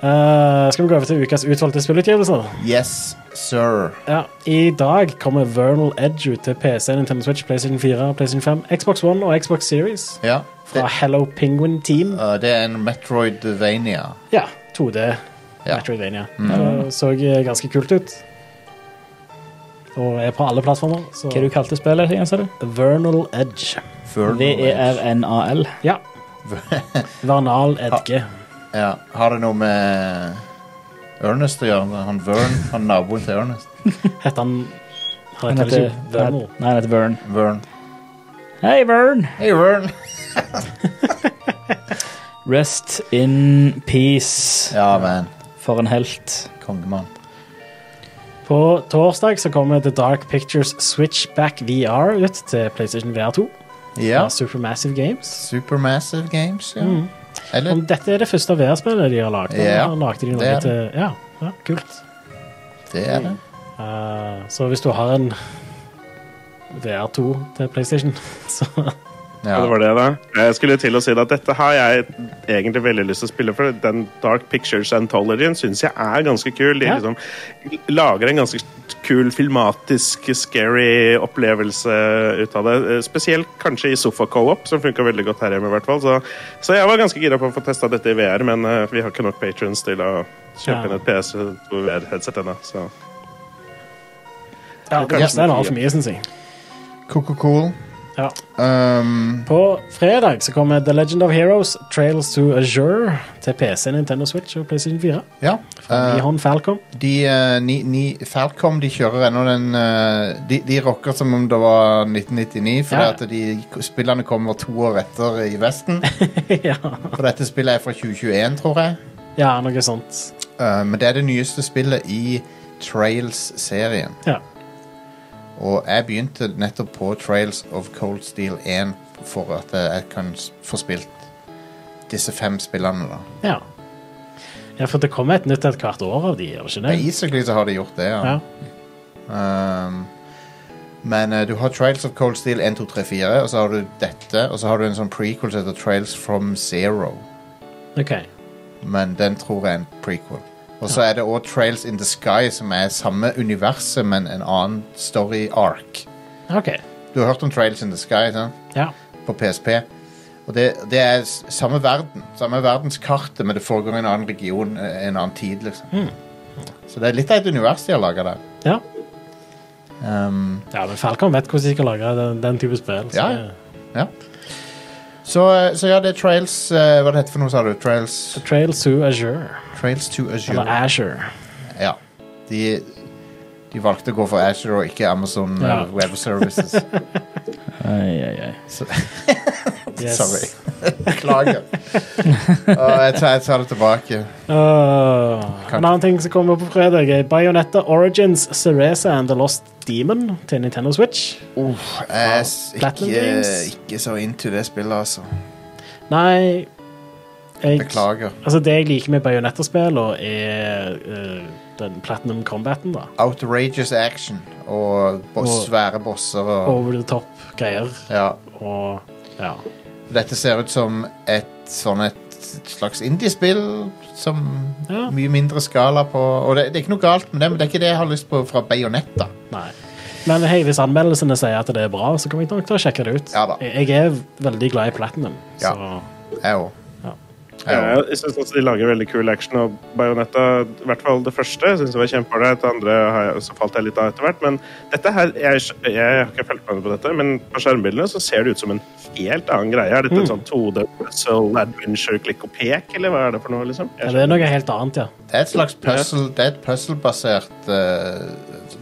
S3: Eh, skal vi gå over til ukas utvalgte spillutgivelser?
S2: Yes, sir.
S3: Ja, I dag kommer Vernal Edge ut til PC, Nintendo Switch, PlayStation 4, PlayStation 5, Xbox One og Xbox Series
S2: Ja.
S3: fra
S2: Det,
S3: Hello Penguin Team.
S2: eh, det er en Metroidvania.
S3: Ja, 2D
S2: Ja.
S3: Metroidvania. Det så eh, ganske kult ut. Og er på alle plattformer. Så
S4: Hva du kalte spillet igjen, sa du?
S3: Vernal Edge.
S2: Vernal
S4: E
S2: Edge.
S4: V-e-r-n-a-l.
S3: Ja. Vernal Edge.
S2: Ja. Har det noe med Ernest å gjøre? Han Vern, han naboen til Ernest.
S3: Heter han Han
S4: Han
S3: heter
S4: heter
S3: ikke Vernal.
S4: Nei, han heter Vern.
S2: Vern.
S4: Hei, Vern!
S2: Hei, Vern. (laughs)
S4: Rest in peace.
S2: Ja, man.
S4: For en helt.
S2: Kongemann.
S3: På torsdag så kommer The Dark Pictures Switchback VR ut til PlayStation VR 2.
S2: Ja.
S3: Fra Supermassive Games.
S2: Supermassive Games, ja. Eller
S3: Om dette er det første VR-spillet de har lagd.
S2: Ja,
S3: eller lagde de noe
S2: det er det.
S3: til Ja, ja kult.
S2: det er det.
S3: Eh, så hvis du har en VR2 til PlayStation, (laughs) så
S5: Ja. Det
S2: Ja.
S5: var det, da. Jeg skulle til å si det at dette har jeg egentlig veldig lyst til å spille for. Den Dark Pictures Anthologyen syns jeg er ganske kul. De
S3: Ja.
S5: liksom lager en ganske kul, filmatisk, scary opplevelse ut av det. Eh, Spesielt kanskje i sofa co-op, som funka veldig godt her hjemme. I hvert fall. Så, så jeg var ganske gira på å få testa dette i VR, men eh, vi har ikke nok patrons til å
S3: Ja.
S5: kjøpe inn et PS2 VR-headset ennå. så-
S3: ja, Det neste er en annen for mye, syns jeg.
S2: Coco Cool.
S3: Ja.
S2: Um,
S3: På fredag så kommer The Legend of Heroes Trails to Azure til PC, Nintendo Switch og PlayStation 4.
S2: ja. Eh. Uh,
S3: Fra Nihon Falcom. (laughs)
S2: De, eh, ni, ni, Falcom de kjører ennå den eh, de, de rocker som om det var 1999, for
S3: Ja.
S2: at de, spillene kommer to år etter i Vesten.
S3: ja.
S2: For dette spillet er fra 2021, tror jeg.
S3: ja, noe sånt.
S2: Eh, men det er det nyeste spillet i Trails-serien.
S3: Ja.
S2: Og jeg begynte nettopp på Trails of Cold Steel 1 for at jeg kan s- få spilt disse fem spillene. da.
S3: ja. Ja, for det kommer et nytt et hvert år av de, gjør det ikke det?
S2: Basically så har de gjort det, ja.
S3: Ja.
S2: Um, men eh, du har Trails of Cold Steel 1, 2, 3, 4, og så har du dette, og så har du en sånn prequel som heter Trails from Zero.
S3: OK.
S2: Men den tror jeg er en prequel. Og så er det òg Trails in the Sky, som er samme universet, men en annen story arc.
S3: ok.
S2: Du har hørt om Trails in the Sky sant?
S3: Ja.
S2: på PSP. Og det, det er s- samme verden. Samme verdenskartet, men det foregår i en annen region, eh, en annen tid, liksom. Så det er litt av et univers de har laga der.
S3: ja.
S2: Um,
S3: Ja, men Falcon vet hvordan de skal lage den, den type spill. så-
S2: Ja, ja. Ja. Så, så ja, det er Trails eh, Hva det heter for noe, sa du? Trails,
S3: Trails to Azure.
S2: trails to Azure.
S3: Eller Azure.
S2: Ja. De, de valgte å gå for Azure og ikke Amazon
S3: Ja.
S2: eh, Web Services.
S4: Ai, ai, ai.
S3: (laughs) Yes.
S2: Sorry. (laughs)
S3: (laughs)
S2: Beklager. Og jeg, tar, jeg tar det tilbake.
S3: Åh, en annen ting som kommer på fredag, er Bayonetta Origins, Cereza and The Lost Demon til Nintendo Switch.
S2: Uff, jeg er s-
S3: Platinum
S2: ikke,
S3: Games.
S2: ikke så into det spillet, altså.
S3: Nei jeg,
S2: Beklager.
S3: Altså, det jeg liker med Bayonetta-spillene, er eh, den Platinum Combaten, da.
S2: Outrageous action og boss,
S3: Og-
S2: svære bosser og
S3: Over the top-greier.
S2: ja.
S3: Og ja.
S2: Dette ser ut som et sånn et slags indiespill som
S3: Ja.
S2: mye mindre skala på Og det, det er ikke noe galt med det, men det er ikke det jeg har lyst på fra Bayonetta.
S3: Nei. Men hei, hvis anmeldelsene sier at det er bra, så kommer jeg nok til å sjekke det ut.
S2: Ja da.
S3: Jeg jeg er veldig glad i Platinum,
S2: Ja.
S3: så
S2: Jeg òg.
S3: Ja.
S5: Ja, Eh, jeg synes også de lager veldig kul action, og Bajonetta, i hvert fall det første, synes jeg var kjempeålreit. Det andre har jeg, så falt jeg litt av etter hvert. Men dette her Jeg, jeg har ikke fulgt med på dette, men på skjermbildene så ser det ut som en helt annen greie. Er dette
S3: Mm.
S5: en sånn 2D puzzle adventure klikk og pek, eller hva er det for noe, liksom?
S3: ja,
S5: Jeg
S3: det er noe helt annet, ja.
S2: Det er et slags puzzle, det er et puzzlebasert eh,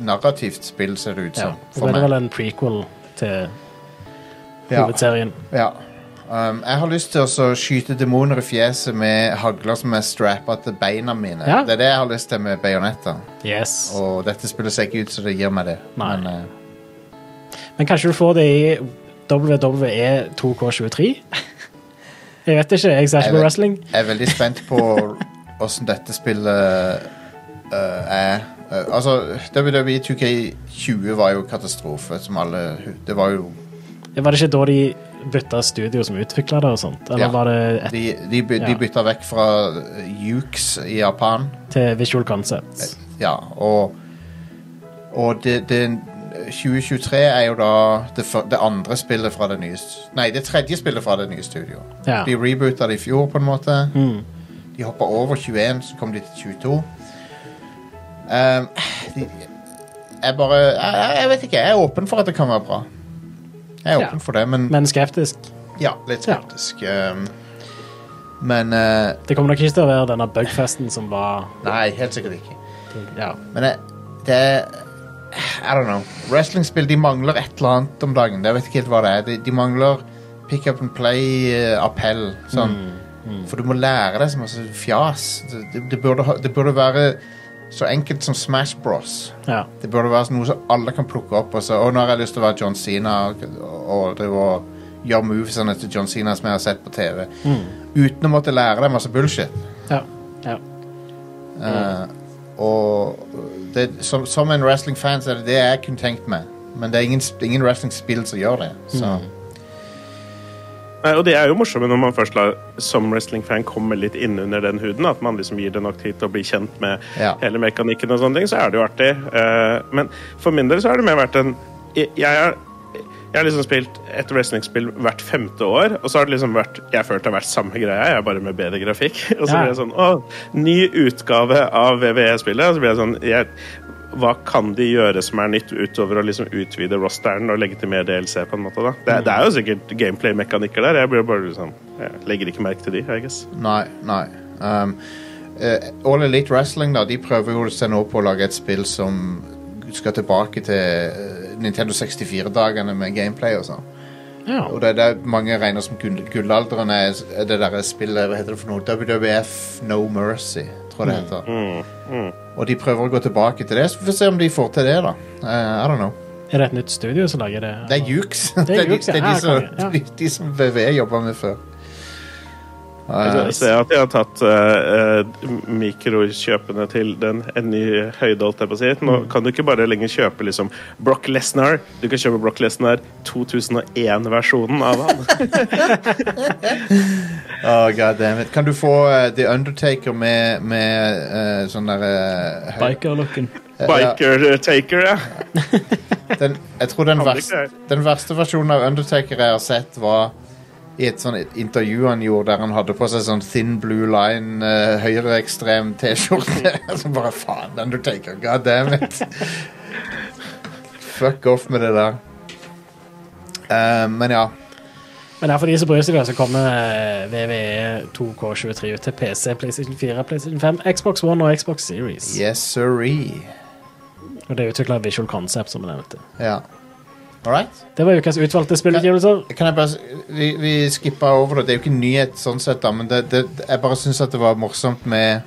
S2: narrativt spill, ser det ut
S3: ja.
S2: som.
S3: Det er vel en prequel til
S2: Ja.
S3: hovedserien.
S2: Ja. Um, jeg har lyst til å så skyte demoner i fjeset med hagler som er strappa til beina mine.
S3: Ja.
S2: Det er det jeg har lyst til med bajonetter.
S3: Yes.
S2: Og dette spillet ser ikke ut som det gir meg det.
S3: Nei.
S2: Men, eh,
S3: Men kanskje du får det i E WWE 2K23? Jeg vet ikke, jeg ser
S2: Jeg
S3: ikke på
S2: vet-
S3: wrestling.
S2: jeg er veldig spent
S3: (laughs)
S2: på åssen dette spillet eh, er. Eh, altså, WWE 2K20 var jo katastrofe, som alle Det var jo
S3: Var det ikke da de bytta studio som utvikla det og sånt? Eller
S2: Ja.
S3: var det et
S2: De, de, by, de
S3: Ja.
S2: bytta vekk fra Ukes i Japan.
S3: til Visual Concepts?
S2: Ja, og Og det, det 2023 er jo da det, fø- det andre spillet fra det nye s- Nei, det tredje spillet fra det nye studioet.
S3: Ja. Mm.
S2: De reboota det i fjor, på en måte. De hoppa over 21, så kom de til 22. Ehm, de, jeg bare jeg, jeg vet ikke. Jeg er åpen for at det kan være bra. Jeg er
S3: Ja.
S2: åpen for det, men
S3: Men skeptisk.
S2: ja, litt
S3: Ja.
S2: skeptisk. Ehm, men eh,
S3: Det kommer nok ikke til å være denne bugfesten som var
S2: Nei, helt sikkert ikke.
S3: Ja.
S2: Men jeg, det er I don't know. Wrestlingspill de mangler et eller annet om dagen. Jeg vet ikke helt hva det er. De, de mangler pick up and play-appell. sånn. For du må lære deg så masse fjas. Det, det, det, burde, ha- det burde være så enkelt som Smash Bros.
S3: ja.
S2: Det burde være noe som alle kan plukke opp. Og så, «Å, nå har jeg lyst til å være John Cena og, og, drive og gjøre movesene til John Cena som jeg har sett på TV. Uten å måtte lære deg masse bullshit.
S3: ja. ja.
S2: Eh, og det, som, som en wrestling-fan så er det det jeg kunne tenkt meg. Men det er ingen, sp- ingen wrestling-spill som gjør det. Så
S5: Nei, Eh, og det er jo morsomme når man først lar, som wrestling-fan komme litt innunder den huden. At man liksom gir det nok tid til å bli kjent med
S2: Ja.
S5: hele mekanikken og sånne ting. Så er det jo artig. Eh, men for min del så har det mer vært en Jeg jeg har, jeg har liksom spilt et wrestling-spill hvert femte år, og så har det liksom vært Jeg føler det har vært samme greia, jeg er bare med bedre grafikk. (laughs) Og så
S3: Ja.
S5: blir det sånn Å, ny utgave av VVE-spillet. Og så blir jeg sånn jeg, hva kan de gjøre som er nytt, utover å liksom utvide rosteren og legge til mer DLC? på en måte da? Det, det er jo sikkert gameplay-mekanikker der. Jeg blir bare liksom, jeg legger ikke merke til de, I guess.
S2: nei, nei. Um, eh, All Elite Wrestling da, de prøver jo seg nå på å lage et spill som skal tilbake til eh, Nintendo 64-dagene med gameplay og sånn.
S3: ja.
S2: Og det er det mange regner som gull, gullalderen er er det derre spillet Hva heter det for noe? WWF No Mercy, tror jeg det heter. Og de prøver å gå tilbake til det. Så vi får se om de får til det, da. Eh, I don't know.
S3: Er det et nytt studio som lager det?
S2: Det er Jukes. Det er, de-
S3: Jukes, ja.
S2: det er
S3: Ja,
S2: de, som,
S3: konge, ja.
S2: de, de som VV jobba med før.
S5: Jeg ser at de har tatt eh, eh, mikrokjøpene til den en ny høyde, holdt jeg på å si. Nå kan du ikke bare lenger kjøpe liksom Brock Lesnar. Du kan kjøpe Brock Lesnar 2001-versjonen av han.
S2: Oh, goddammit. Kan du få eh, The Undertaker med, med eh, sånn derre
S4: Biker-looken.
S5: Biker Taker, ja.
S2: den, Jeg tror den
S5: Kan det ikke
S2: verste, den verste versjonen av Undertaker jeg har sett, var i et sånn intervju han gjorde der han hadde på seg sånn thin blue line, uh, høyreekstrem T-skjorte. (laughs) Så bare faen, Undertaker, god damn it. Fuck off med det der. Eh, men ja.
S3: Men det er for de som bryr seg, da, så kommer eh, VVE 2K23 ut til PC, PlayStation 4, PlayStation 5, Xbox One og Xbox Series.
S2: Yes, sirree.
S3: Og det er utvikla Visual Concept, som jeg nevnte.
S2: Ja. All right.
S3: Det var ukas utvalgte spillutgivelser.
S2: Kan jeg bare, s- vi, vi skippa over det. Det er jo ikke en nyhet, sånn sett, da, men det, det, jeg bare syns at det var morsomt med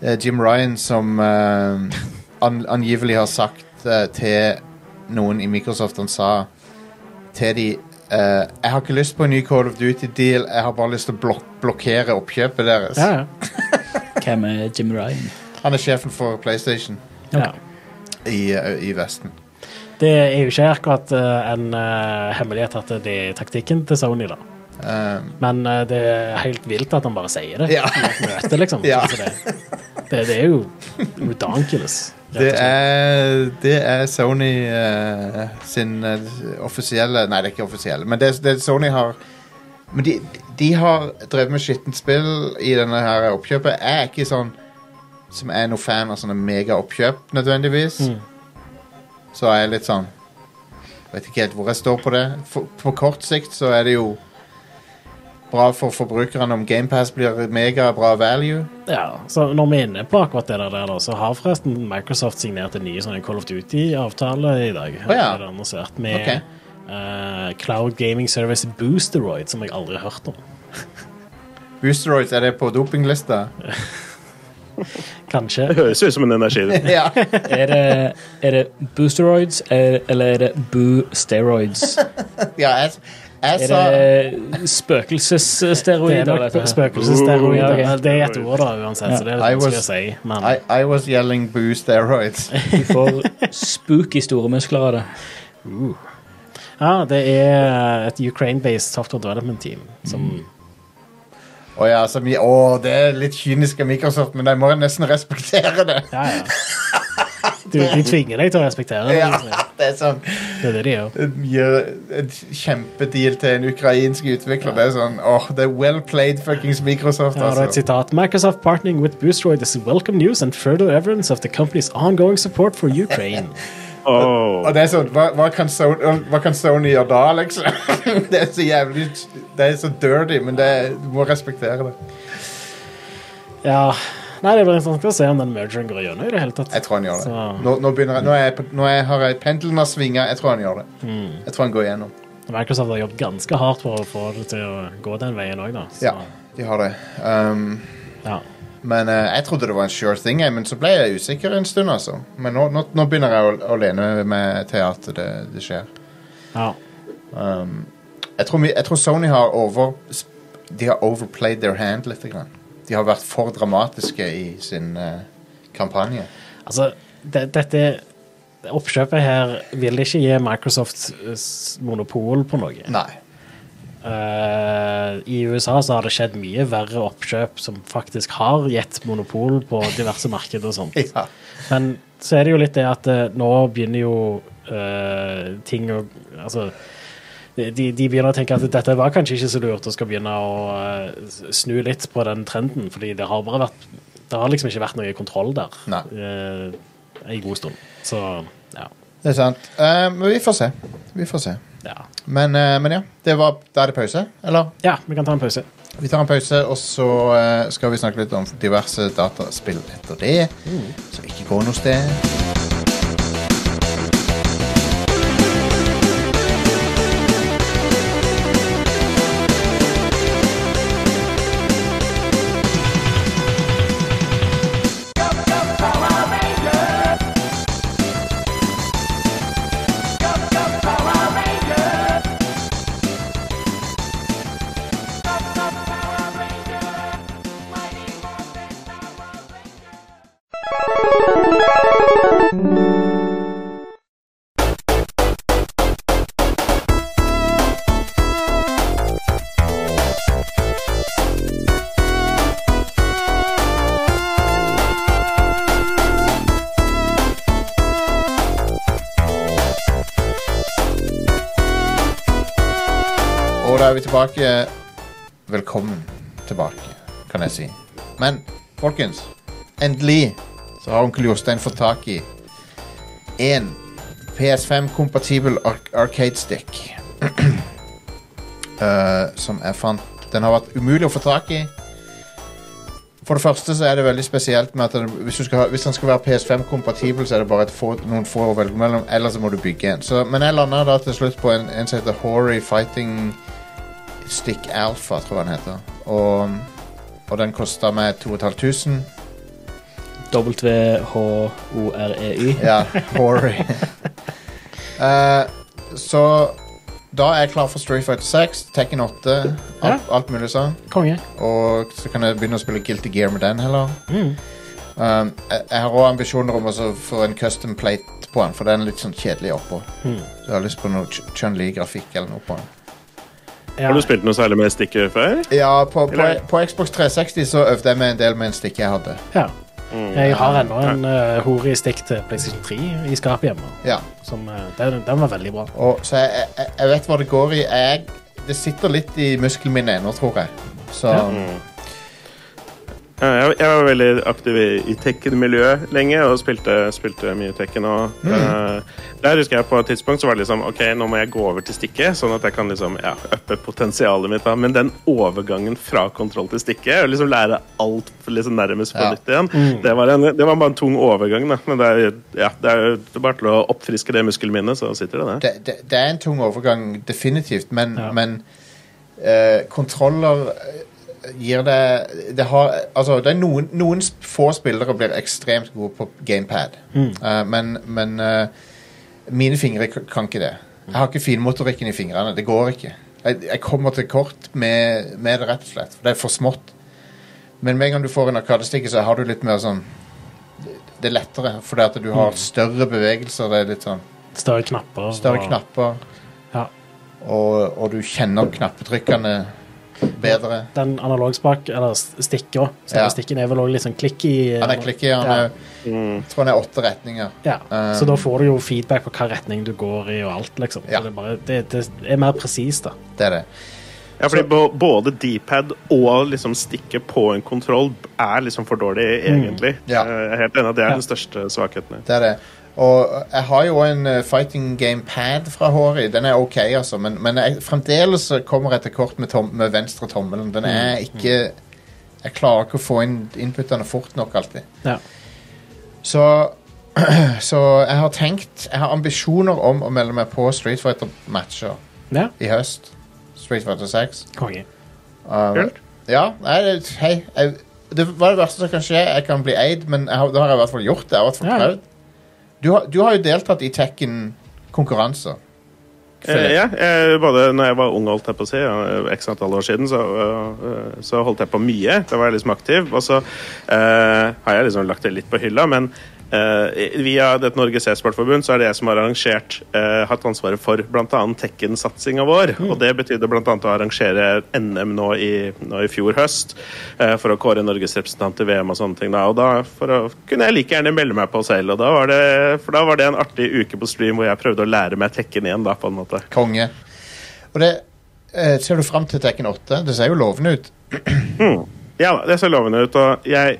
S2: eh, Jim Ryan som eh, an, angivelig har sagt eh, til noen i Microsoft Han sa til de eh, Jeg har ikke lyst på en ny Call of Duty-deal, jeg har bare lyst til å blok blokkere oppkjøpet deres.
S3: Ja, ja.
S4: Hvem er Jim Ryan?
S2: Han er sjefen for PlayStation
S3: ja.
S2: i, eh, i Vesten.
S3: Det er jo ikke akkurat eh, en eh, hemmelighet at det er taktikken til Sony, da.
S2: Um,
S3: Men eh, det er helt vilt at han bare sier det.
S2: (laughs) ja.
S3: Møte, liksom.
S2: Ja.
S3: Så Det, det, det er jo ridiculous.
S2: Det er, det er Sony eh, sin eh, offisielle Nei, det er ikke offisielle, men det, det Sony har Men de, de har drevet med skittent spill i denne her oppkjøpet. Jeg er ikke sånn som er noe fan av sånne megaoppkjøp nødvendigvis. Så er jeg litt sånn Vet ikke helt hvor jeg står på det. For, på kort sikt så er det jo bra for forbrukerne om GamePass blir megabra value.
S3: Ja, så når vi er inne på akkurat det der, da, så har forresten Microsoft signert en ny sånn Call of Duty-avtale i dag.
S2: Å ja.
S3: Det er annonsert med
S2: Ok.
S3: eh, Cloud Gaming Service Boosteroid, som jeg aldri har hørt om.
S2: Boosteroids, er det på dopinglista?
S3: Kanskje.
S5: Det høres ut som en energi.
S2: ja.
S4: Er det, er det boosteroids, er, eller er det boosteroids?
S2: Ja, jeg, jeg
S4: Er
S2: sa
S4: det
S3: Det er
S4: spøkelsessteroider?
S3: nok
S4: dette her?
S3: spøkelsessteroider.
S4: Ja, ok.
S3: men Det er et ord, da, uansett, så det er
S2: I
S3: litt vanskelig
S2: was-
S3: å si. Men
S2: I, I was yelling boo
S3: (laughs)
S2: steroids.
S4: Du får (laughs) spooky store muskler av det.
S3: ja, det er eh, et Ukraine-based software development team som
S2: Mm. Å ja, som i- å, det er litt kynisk av Microsoft, men de må jo nesten respektere det.
S3: Ja, ja. Du, de tvinger deg til å respektere det.
S2: (laughs) Ja,
S3: liksom.
S2: det er sånn
S3: Det er det de gjør.
S2: de Gjør en kjempedeal til en ukrainsk utvikler. Det er sånn åh, det er well played fuckings Microsoft,
S3: Her har du et
S2: altså.
S3: sitat. Microsoft partnering with Boosteroid is welcome news and further evidence of the company's ongoing support for
S2: (laughs)
S3: Ukraine.
S5: Oh.
S2: Og det er sånn, hva, hva, kan Sony, hva kan Sony gjøre da, liksom? (laughs) Det er så jævlig Det er så dirty, men det, er- du må respektere det.
S3: Ja, Nei, det blir interessant å se om den mergeren går gjennom i det hele tatt.
S2: Jeg tror han gjør det.
S3: Så-
S2: Nå, nå, begynner jeg, nå, er jeg på, nå er jeg, har jeg pendelen har svinga. Jeg tror han gjør det. Jeg tror han går igjennom.
S3: Microsoft har jobbet ganske hardt for å få det til å gå den veien òg, da. Så,
S2: Ja, de har det. Um,
S3: ja.
S2: men eh, jeg trodde det var en sure thing, jeg, men så ble jeg usikker en stund, altså. Men nå, nå, nå begynner jeg å, å lene meg til at det, det skjer.
S3: ja.
S2: Jeg tror, vi, jeg tror Sony har over De har overplayed their hand litt. Grann. De har vært for dramatiske i sin eh, kampanje.
S3: Altså, det, dette det oppkjøpet her vil ikke gi Microsoft eh, s- monopol på noe.
S2: Nei.
S3: Eh, I USA så har det skjedd mye verre oppkjøp som faktisk har gitt monopol på diverse markeder og sånt.
S2: Ja.
S3: Men så er det jo litt det at eh, nå begynner jo eh, ting å Altså de, de begynner å tenke at dette var kanskje ikke så lurt, og skal begynne å eh, snu litt på den trenden. Fordi det har bare vært Det har liksom ikke vært noe kontroll der
S2: Nei.
S3: eh, en god stund. Så ja.
S2: Det er sant. Eh, men vi får se. Vi får se.
S3: ja.
S2: Men, eh, men ja, det var, da er det pause, eller?
S3: Ja, vi kan ta en pause.
S2: Vi tar en pause, og så eh, skal vi snakke litt om diverse dataspill etter det. Så ikke gå noe sted. Og da er vi tilbake. Velkommen tilbake, kan jeg si. Men folkens, endelig så har onkel Jostein fått tak i en PS5-kompatibel ar arcade-stick. (clears throat) Eh, som jeg fant Den har vært umulig å få tak i. For det første så er det veldig spesielt med at det, hvis, du skal ha, hvis den skal være PS5-kompatibel, så er det bare et få, noen få å velge mellom, eller så må du bygge en. Så, men jeg landa da til slutt på en, en som heter Hoary Fighting Stick Alpha, tror jeg den heter. Og, og den kosta meg 2500.
S4: W-H-O-R-E-Y.
S2: Ja, (laughs) Hoary. Eh, så da er jeg klar for Street Fighter 6, Tekken 8, alt,
S3: Ja.
S2: alt mulig sånn.
S3: Konge.
S2: Og så kan jeg begynne å spille Guilty Gear med den heller. Um, jeg, jeg har òg ambisjoner om å så få en custom plate på den, for den er litt sånn kjedelig oppå. Så jeg har lyst på noe Ch- Chun-Li-grafikk eller noe på den.
S3: Ja.
S5: Har du spilt noe særlig med stikket før?
S2: Ja, på, på,
S5: Eller-
S2: på Xbox 360 så øvde jeg meg en del med en stikke jeg hadde.
S3: Ja. Jeg har ennå en eh, hore i stikk til PlayStation 3 i skapet hjemme.
S2: Ja.
S3: Som, eh, den, den var veldig bra.
S2: Og, så jeg, jeg, jeg vet hva det går i. Jeg, det sitter litt i musklene mine ennå, tror jeg. Så
S3: Ja.
S5: Ja, Jeg, jeg var veldig aktiv i, i Tekken-miljøet lenge og spilte, spilte mye Tekken. Og, eh, der husker jeg på et tidspunkt så var det liksom Ok, nå må jeg gå over til stikket, sånn at jeg kan liksom, ja, uppe potensialet mitt. Da. Men den overgangen fra kontroll til stikket, og liksom lære alt liksom nærmest på
S2: Ja.
S5: nytt igjen, det, var en, det var bare en tung overgang. Da. Men det er, jo- ja, det er jo bare til å oppfriske det muskelminnet, så sitter det der.
S2: det, det, det er en tung overgang, definitivt, men, men eh, kontroller eh, gir deg det har, altså, det er noen, noen sp- få spillere blir ekstremt gode på gamepad, Eh, men, men eh, mine fingre k- kan ikke det. Jeg har ikke finmotorikken i fingrene. Det går ikke. Jeg, jeg kommer til kort med, med det, rett og slett. For det er for smått. Men med en gang du får en arkadestikke, så har du litt mer sånn Det er lettere, fordi at du har større bevegelser. Det er litt sånn
S3: Større knapper.
S2: Større
S3: og-
S2: knapper,
S3: Ja.
S2: og, og du kjenner knappetrykene bedre.
S3: Den analogspak, eller s- stikker, så
S2: Ja.
S3: stikken er vel også litt sånn klikk i eh,
S2: Han er klikker, han er, jeg tror han er åtte retninger.
S3: Ja,
S2: Um,
S3: så da får du jo feedback på hva retning du går i og alt, liksom.
S2: Ja.
S3: Så det, er bare, det, det er mer presist, da.
S2: Det er det.
S5: Ja, fordi bo- både D-pad og liksom stikket på en kontroll er liksom for dårlig, egentlig.
S2: Mm. Ja.
S5: Eh, Jeg er helt enig at det er
S3: Ja.
S5: den største svakheten. her.
S2: det, er det. Og jeg har jo en eh, fighting game pad fra Hori. Den er ok, altså, men, men jeg, fremdeles så kommer jeg til kort med, tom, med venstre tommelen. Den er ikke Jeg klarer ikke å få inn inputene fort nok alltid.
S3: Ja.
S2: Så, (clears throat) så jeg har tenkt Jeg har ambisjoner om å melde meg på Street Fighter-matcher
S3: ja.
S2: i høst. Street Fighter 6.
S3: Konge.
S5: Kult.
S2: Ja, nei, det, hei jeg, Det var det verste som kan skje Jeg kan bli eid, men jeg har, da har jeg i hvert fall gjort det Jeg har i hvert fall
S3: Ja.
S2: prøvd du har, du har jo deltatt i Tekken-konkurranser
S5: Eh, ja, eh, både når jeg var ung, holdt jeg på å si, ja, x antall år siden, så, eh, så holdt jeg på mye. Da var jeg liksom aktiv. Og så eh, har jeg liksom lagt det litt på hylla, men eh, via dette Norges e-sportforbund så er det jeg som har arrangert, eh, hatt ansvaret for bl.a. Tekken-satsinga vår. Og det betydde bl.a. å arrangere NM nå i, nå i fjor høst, eh, for å kåre Norges representant til VM og sånne ting. Da. Og da for å, kunne jeg like gjerne melde meg på selv, og da var, det, for da var det en artig uke på stream hvor jeg prøvde å lære meg Tekken igjen, da, på en måte.
S2: Konge Og det eh, ser du frem til Tekken 8 Det ser jo lovende ut
S5: Mm. Ja da, det ser lovende ut. Og jeg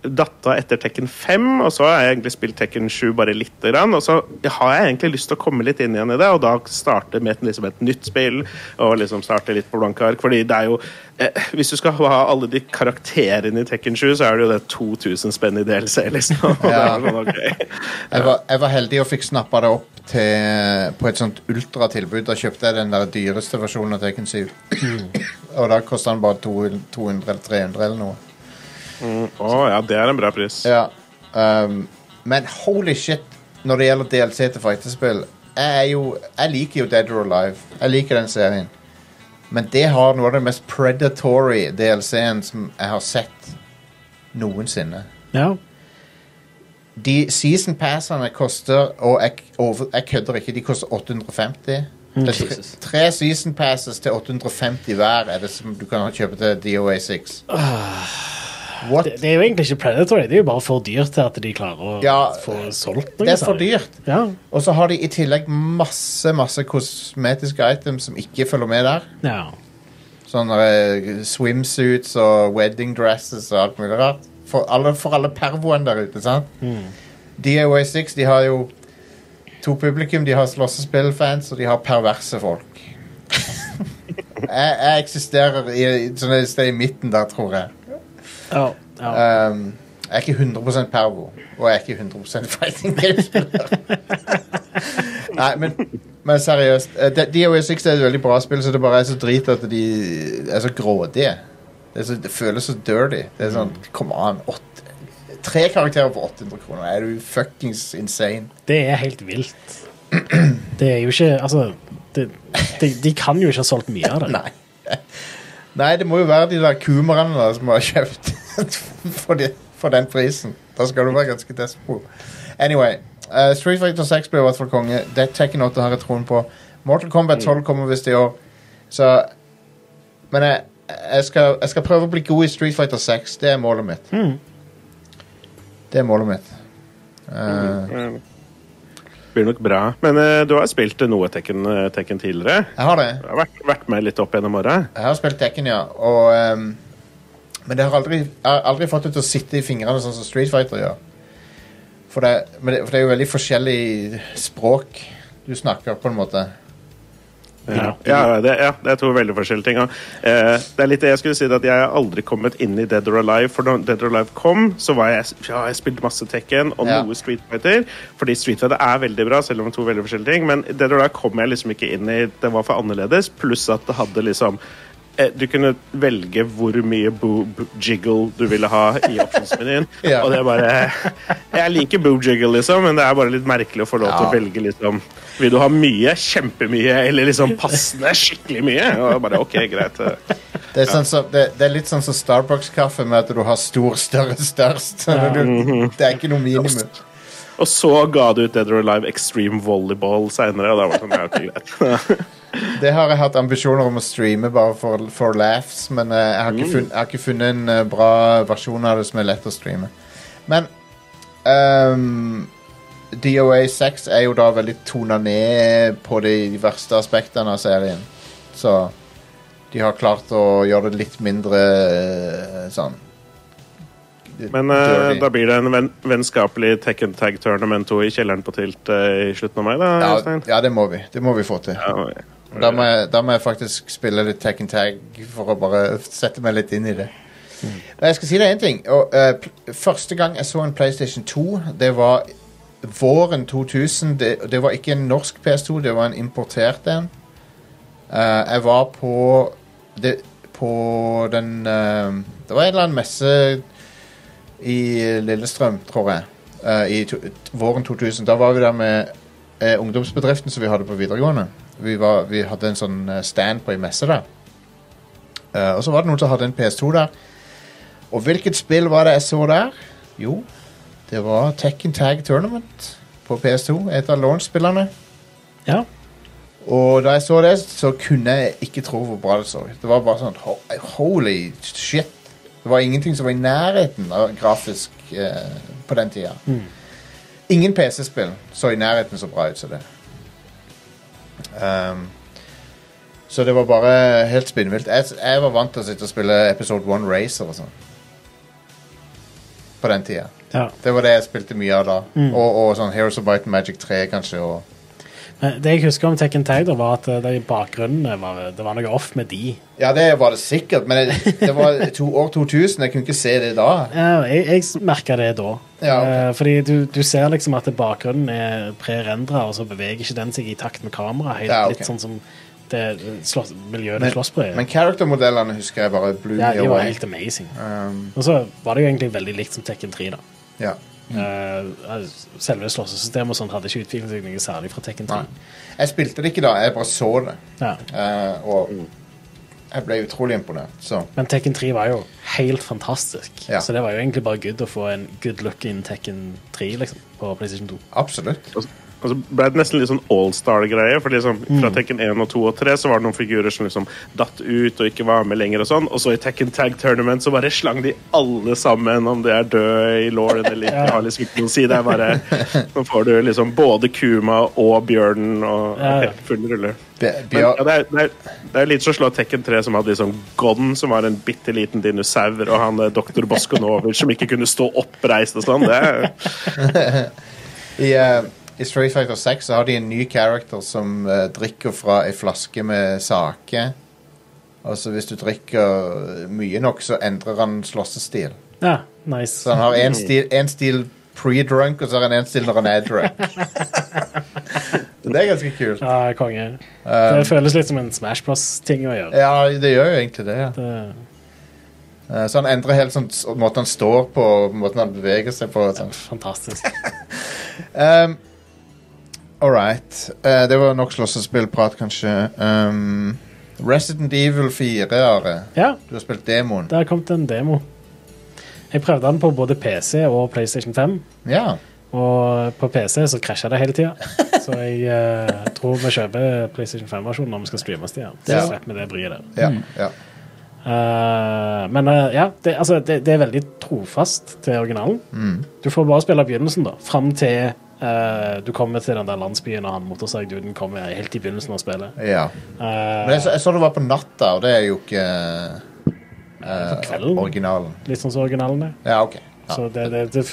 S5: datta etter Tekken 5, og så har jeg egentlig spilt Tekken 7 bare lite grann. Og så har jeg egentlig lyst til å komme litt inn igjen i det, og da starte med et, liksom et nytt spill. Og liksom starte litt på blanke ark. Fordi det er jo eh, Hvis du skal ha alle de karakterene i Tekken 7, så er det jo det 2000 spenn i DLC, liksom. (laughs) Og det
S2: Ja.
S5: er sånn, ok.
S2: jeg var, jeg var heldig og fikk snappa det opp til, på et sånt ultratilbud Da kjøpte jeg den der dyreste versjonen av Tekken 7
S5: Mm.
S2: Og da kostet den bare 200 200 eller 300 eller noe
S5: Å ja, det er en bra pris.
S2: Ja. Um, men holy shit, når det gjelder DLC til fightespill Jeg, er jo, jeg liker jo Dead or Alive. Jeg liker den serien. Men det har noe av den mest predatory DLC-en som jeg har sett noensinne.
S3: Ja.
S2: De season passene koster Og jeg, over, jeg kødder ikke, de koster 850. Det er tre,
S4: Jesus.
S2: tre season passes til 850 hver er det som du kan kjøpe til DOA6. What?
S3: Det, det er jo egentlig ikke predatory, det er jo bare for dyrt til at de klarer å
S2: Ja,
S3: få solgt liksom. noe.
S2: Det er for
S3: særlig.
S2: dyrt.
S3: Ja,
S2: Og så har de i tillegg masse masse kosmetiske items som ikke følger med der.
S3: ja.
S2: Sånne eh, swimsuits og wedding dresses og alt mulig rart. For alle, for alle pervoene der ute, sant? DIY6 de har jo to publikum. De har slåssespillfans, og de har perverse folk. jeg, jeg eksisterer i, i sånn et sted i midten der, tror jeg.
S3: ja, ja.
S2: Um, jeg er ikke 100 pervo, og jeg er ikke 100 (laughs) fighting game-spiller. Nei, men, men seriøst. eh, D- DOA6 er et veldig bra spill, så det bare er så drit at de er så grådige. Det, er så, det føles så dirty. Det er sånn, Come on. åtte- tre karakterer for 800 kroner. Er du fuckings insane?
S3: Det er helt vilt. Det er jo ikke Altså, det, de, de kan jo ikke ha solgt mye av det.
S2: (laughs) Nei. Nei, det må jo være de der kumerne da, som har kjøpt (laughs) for, de, for den prisen. Da skal du være ganske desperat. Anyway, eh, Street Fighter 6 ble i hvert fall konge. Det Tekken 8 har jeg troen på. Mortal Kombat 12 kommer visst i år. Så Men jeg, jeg, skal, jeg skal prøve å bli god i Street Fighter 6. Det er målet mitt. Det er målet mitt. Eh,
S5: Eh, Blir nok bra. Men eh, du har spilt eh, noe Tekken, eh, Tekken tidligere?
S2: jeg har det.
S5: Du har vært, vært med litt opp gjennom åra?
S2: Jeg har spilt Tekken, ja. Og, ehm, men det har aldri, jeg har aldri fått det til å sitte i fingrene sånn som Street Fighter gjør. For det, men det, for det er jo veldig forskjellig språk du snakker, på en måte.
S5: Ja, ja, det, ja, det er to veldig forskjellige ting. og, Eh, det er litt det jeg skulle si at Jeg har aldri kommet inn i Dead or Alive. For da Dead or Alive kom, så var jeg, ja, jeg spilte masse Tekken og
S2: Ja.
S5: noe Street Fighter. Fordi Street Fighter er veldig bra, selv om det er to veldig forskjellige ting. Men Dead or Alive kom jeg liksom ikke inn i. Det var for annerledes. Pluss at det hadde liksom eh, du kunne velge hvor mye boob jiggle du ville ha i optionsmenyen.
S2: Ja.
S5: Og det er bare (laughs) Jeg liker boob jiggle, liksom, men det er bare litt merkelig å få lov til å
S2: Ja.
S5: velge liksom Vil du ha mye, kjempemye, eller liksom passende, skikkelig mye? Og bare OK, greit.
S2: Det er, sånn som, det, det er litt sånn som Starbucks-kaffe, med at du har stor, større, størst. Du, (laughs) det er ikke noe minimum.
S5: Og så ga du ut Dead or Alive Extreme Volleyball seinere, og da var det sånn ja, ok, greit.
S2: Det har jeg hatt ambisjoner om å streame bare for, for laughs, men eh, jeg, har ikke
S5: Mm.
S2: funnet, jeg har ikke funnet en eh, bra versjon av det som er lett å streame. Men ehm, DOA 6 er jo da veldig tona ned på de verste aspektene av serien. Så de har klart å gjøre det litt mindre eh, sånn (laughs)
S5: Men eh,
S2: dirty.
S5: da blir det en ven vennskapelig Tekken Tag Tournament 2 i kjelleren på Tilt eh, i slutten av mai, da,
S2: ja,
S5: Øystein?
S2: ja, det må vi. Det må vi få til.
S5: Ja.
S2: Da må, jeg, da må jeg faktisk spille litt Tekken Tag for å bare sette meg litt inn i det. Men Jeg skal si deg en ting. Og, eh, pl- første gang jeg så en PlayStation 2, det var våren 2000. Det, det var ikke en norsk PS2, det var en importert en. Eh, jeg var på det, På den eh, Det var en eller annen messe i Lillestrøm, tror jeg. eh, I to, t- våren 2000. Da var vi der med eh, ungdomsbedriften som vi hadde på videregående. Vi, var, vi hadde en sånn eh, stand på ei messe der. Eh, og så var det noen som hadde en PS2 der. Og hvilket spill var det jeg så der? Jo, det var Tekken Tag Tournament på PS2. Et av launch-spillerne.
S3: Ja.
S2: Og da jeg så det, så kunne jeg ikke tro hvor bra det så ut. Det var bare sånn ho- holy shit. Det var ingenting som var i nærheten av grafisk eh, på den tida. Ingen PC-spill så i nærheten så bra ut som det. Ehm, så det var bare helt spinnvilt. Jeg, jeg var vant til å sitte og spille Episode 1 Racer og sånn. På den tida.
S3: ja.
S2: Det var det jeg spilte mye av da. Og, og sånn Heroes of Might and Magic 3, kanskje. Og,
S3: Men Eh, det jeg husker om Tekken Tag, da, var at eh, det i bakgrunnen var, det var noe off med de.
S2: Ja, det var det sikkert, men det, det var to, år 2000. Jeg kunne ikke se det da.
S3: Ja, Eh, jeg jeg merka det da.
S2: Ja, ok.
S3: Eh, Fordi du, du ser liksom at bakgrunnen er prerendra, og så beveger ikke den seg i takt med kameraet. Helt
S2: Ja, ok.
S3: Litt sånn som det eh, slåss, miljøet
S2: Men,
S3: det slåss på. er.
S2: men character-modellene husker jeg bare. Blue
S3: Ja, de
S2: og
S3: var
S2: white.
S3: helt amazing. og så var det jo egentlig veldig likt som Tekken 3, da.
S2: Ja.
S3: Eh, selve slåssesystemet og sånn hadde ikke utviklet seg noe særlig fra Tekken 3.
S2: Nei. Jeg spilte det ikke da, jeg bare så det.
S3: Ja.
S2: Eh, og jeg ble utrolig imponert. Så
S3: Men Tekken 3 var jo helt fantastisk.
S2: Ja.
S3: Så det var jo egentlig bare good å få en good look in Tekken 3 liksom, på PlayStation 2.
S2: absolutt.
S5: Og så- og så Altså, ble det nesten litt sånn allstar-greie. For liksom,
S3: Mm.
S5: fra Tekken 1 og 2 og 3 så var det noen figurer som liksom datt ut og ikke var med lenger. Og sånn Og så i Tekken Tag Tournament så bare slang de alle sammen, om de er døde i Lorden eller ikke. har liksom ikke noe å si. Det er bare
S3: (laughs)
S5: Nå får du liksom både Kuma og bjørnen og
S3: Ja, ja.
S5: helt full rulle.
S2: Bj-
S5: Men, ja,
S2: Bjør-
S5: det, er, det, er, det er litt så slå Tekken 3 som hadde liksom Gon, som var en bitte liten dinosaur, og han eh, doktor Boskonover som ikke kunne stå oppreist og sånn. Det er
S2: I, eh, I Street Fighter 6 så har de en ny character som eh, drikker fra ei flaske med sake. Og så hvis du drikker mye nok, så endrer han slåssestil.
S3: Ja, nice.
S2: Så han har en stil, en stil pre-drunk, og så har han en stil når han er
S3: (laughs)
S2: drunk. Så det er ganske kult.
S3: Ja, konge. det føles litt som en Smash Bros-ting å gjøre.
S2: Eh, Ja, det gjør jo egentlig det. ja.
S3: Det-
S2: Eh, Så han endrer helt sånn s- måten han står på, og måten han beveger seg på. og Sånn.
S3: Fantastisk.
S2: Um, All right. Eh, det var nok slåssespillprat, kanskje. Um, Resident Evil 4, Are.
S3: Ja,
S2: Du har spilt demoen.
S3: det har kommet en demo. Jeg prøvde den på både PC og PlayStation 5,
S2: Ja.
S3: og på PC så krasja det
S2: (laughs)
S3: hele tida. Så jeg eh, tror vi kjøper PlayStation 5-versjonen når vi skal streames det igjen. Så
S2: Ja.
S3: Mm. slipper vi det bryet der.
S2: ja, ja.
S3: Eh, men eh, ja, det, altså, det, det er veldig trofast til originalen.
S2: Mm.
S3: Du får bare spille begynnelsen, da. Fram til eh, du kommer til den der landsbyen og han motorsagduden kommer helt i begynnelsen av spillet.
S2: Ja.
S3: Eh,
S2: Men jeg, så- jeg så det var på natta, og det er jo ikke eh,
S3: På kvelden.
S2: originalen.
S3: Litt sånn som originalen er.
S2: Ja, OK. Ja.
S3: Mm. Så det, det, det,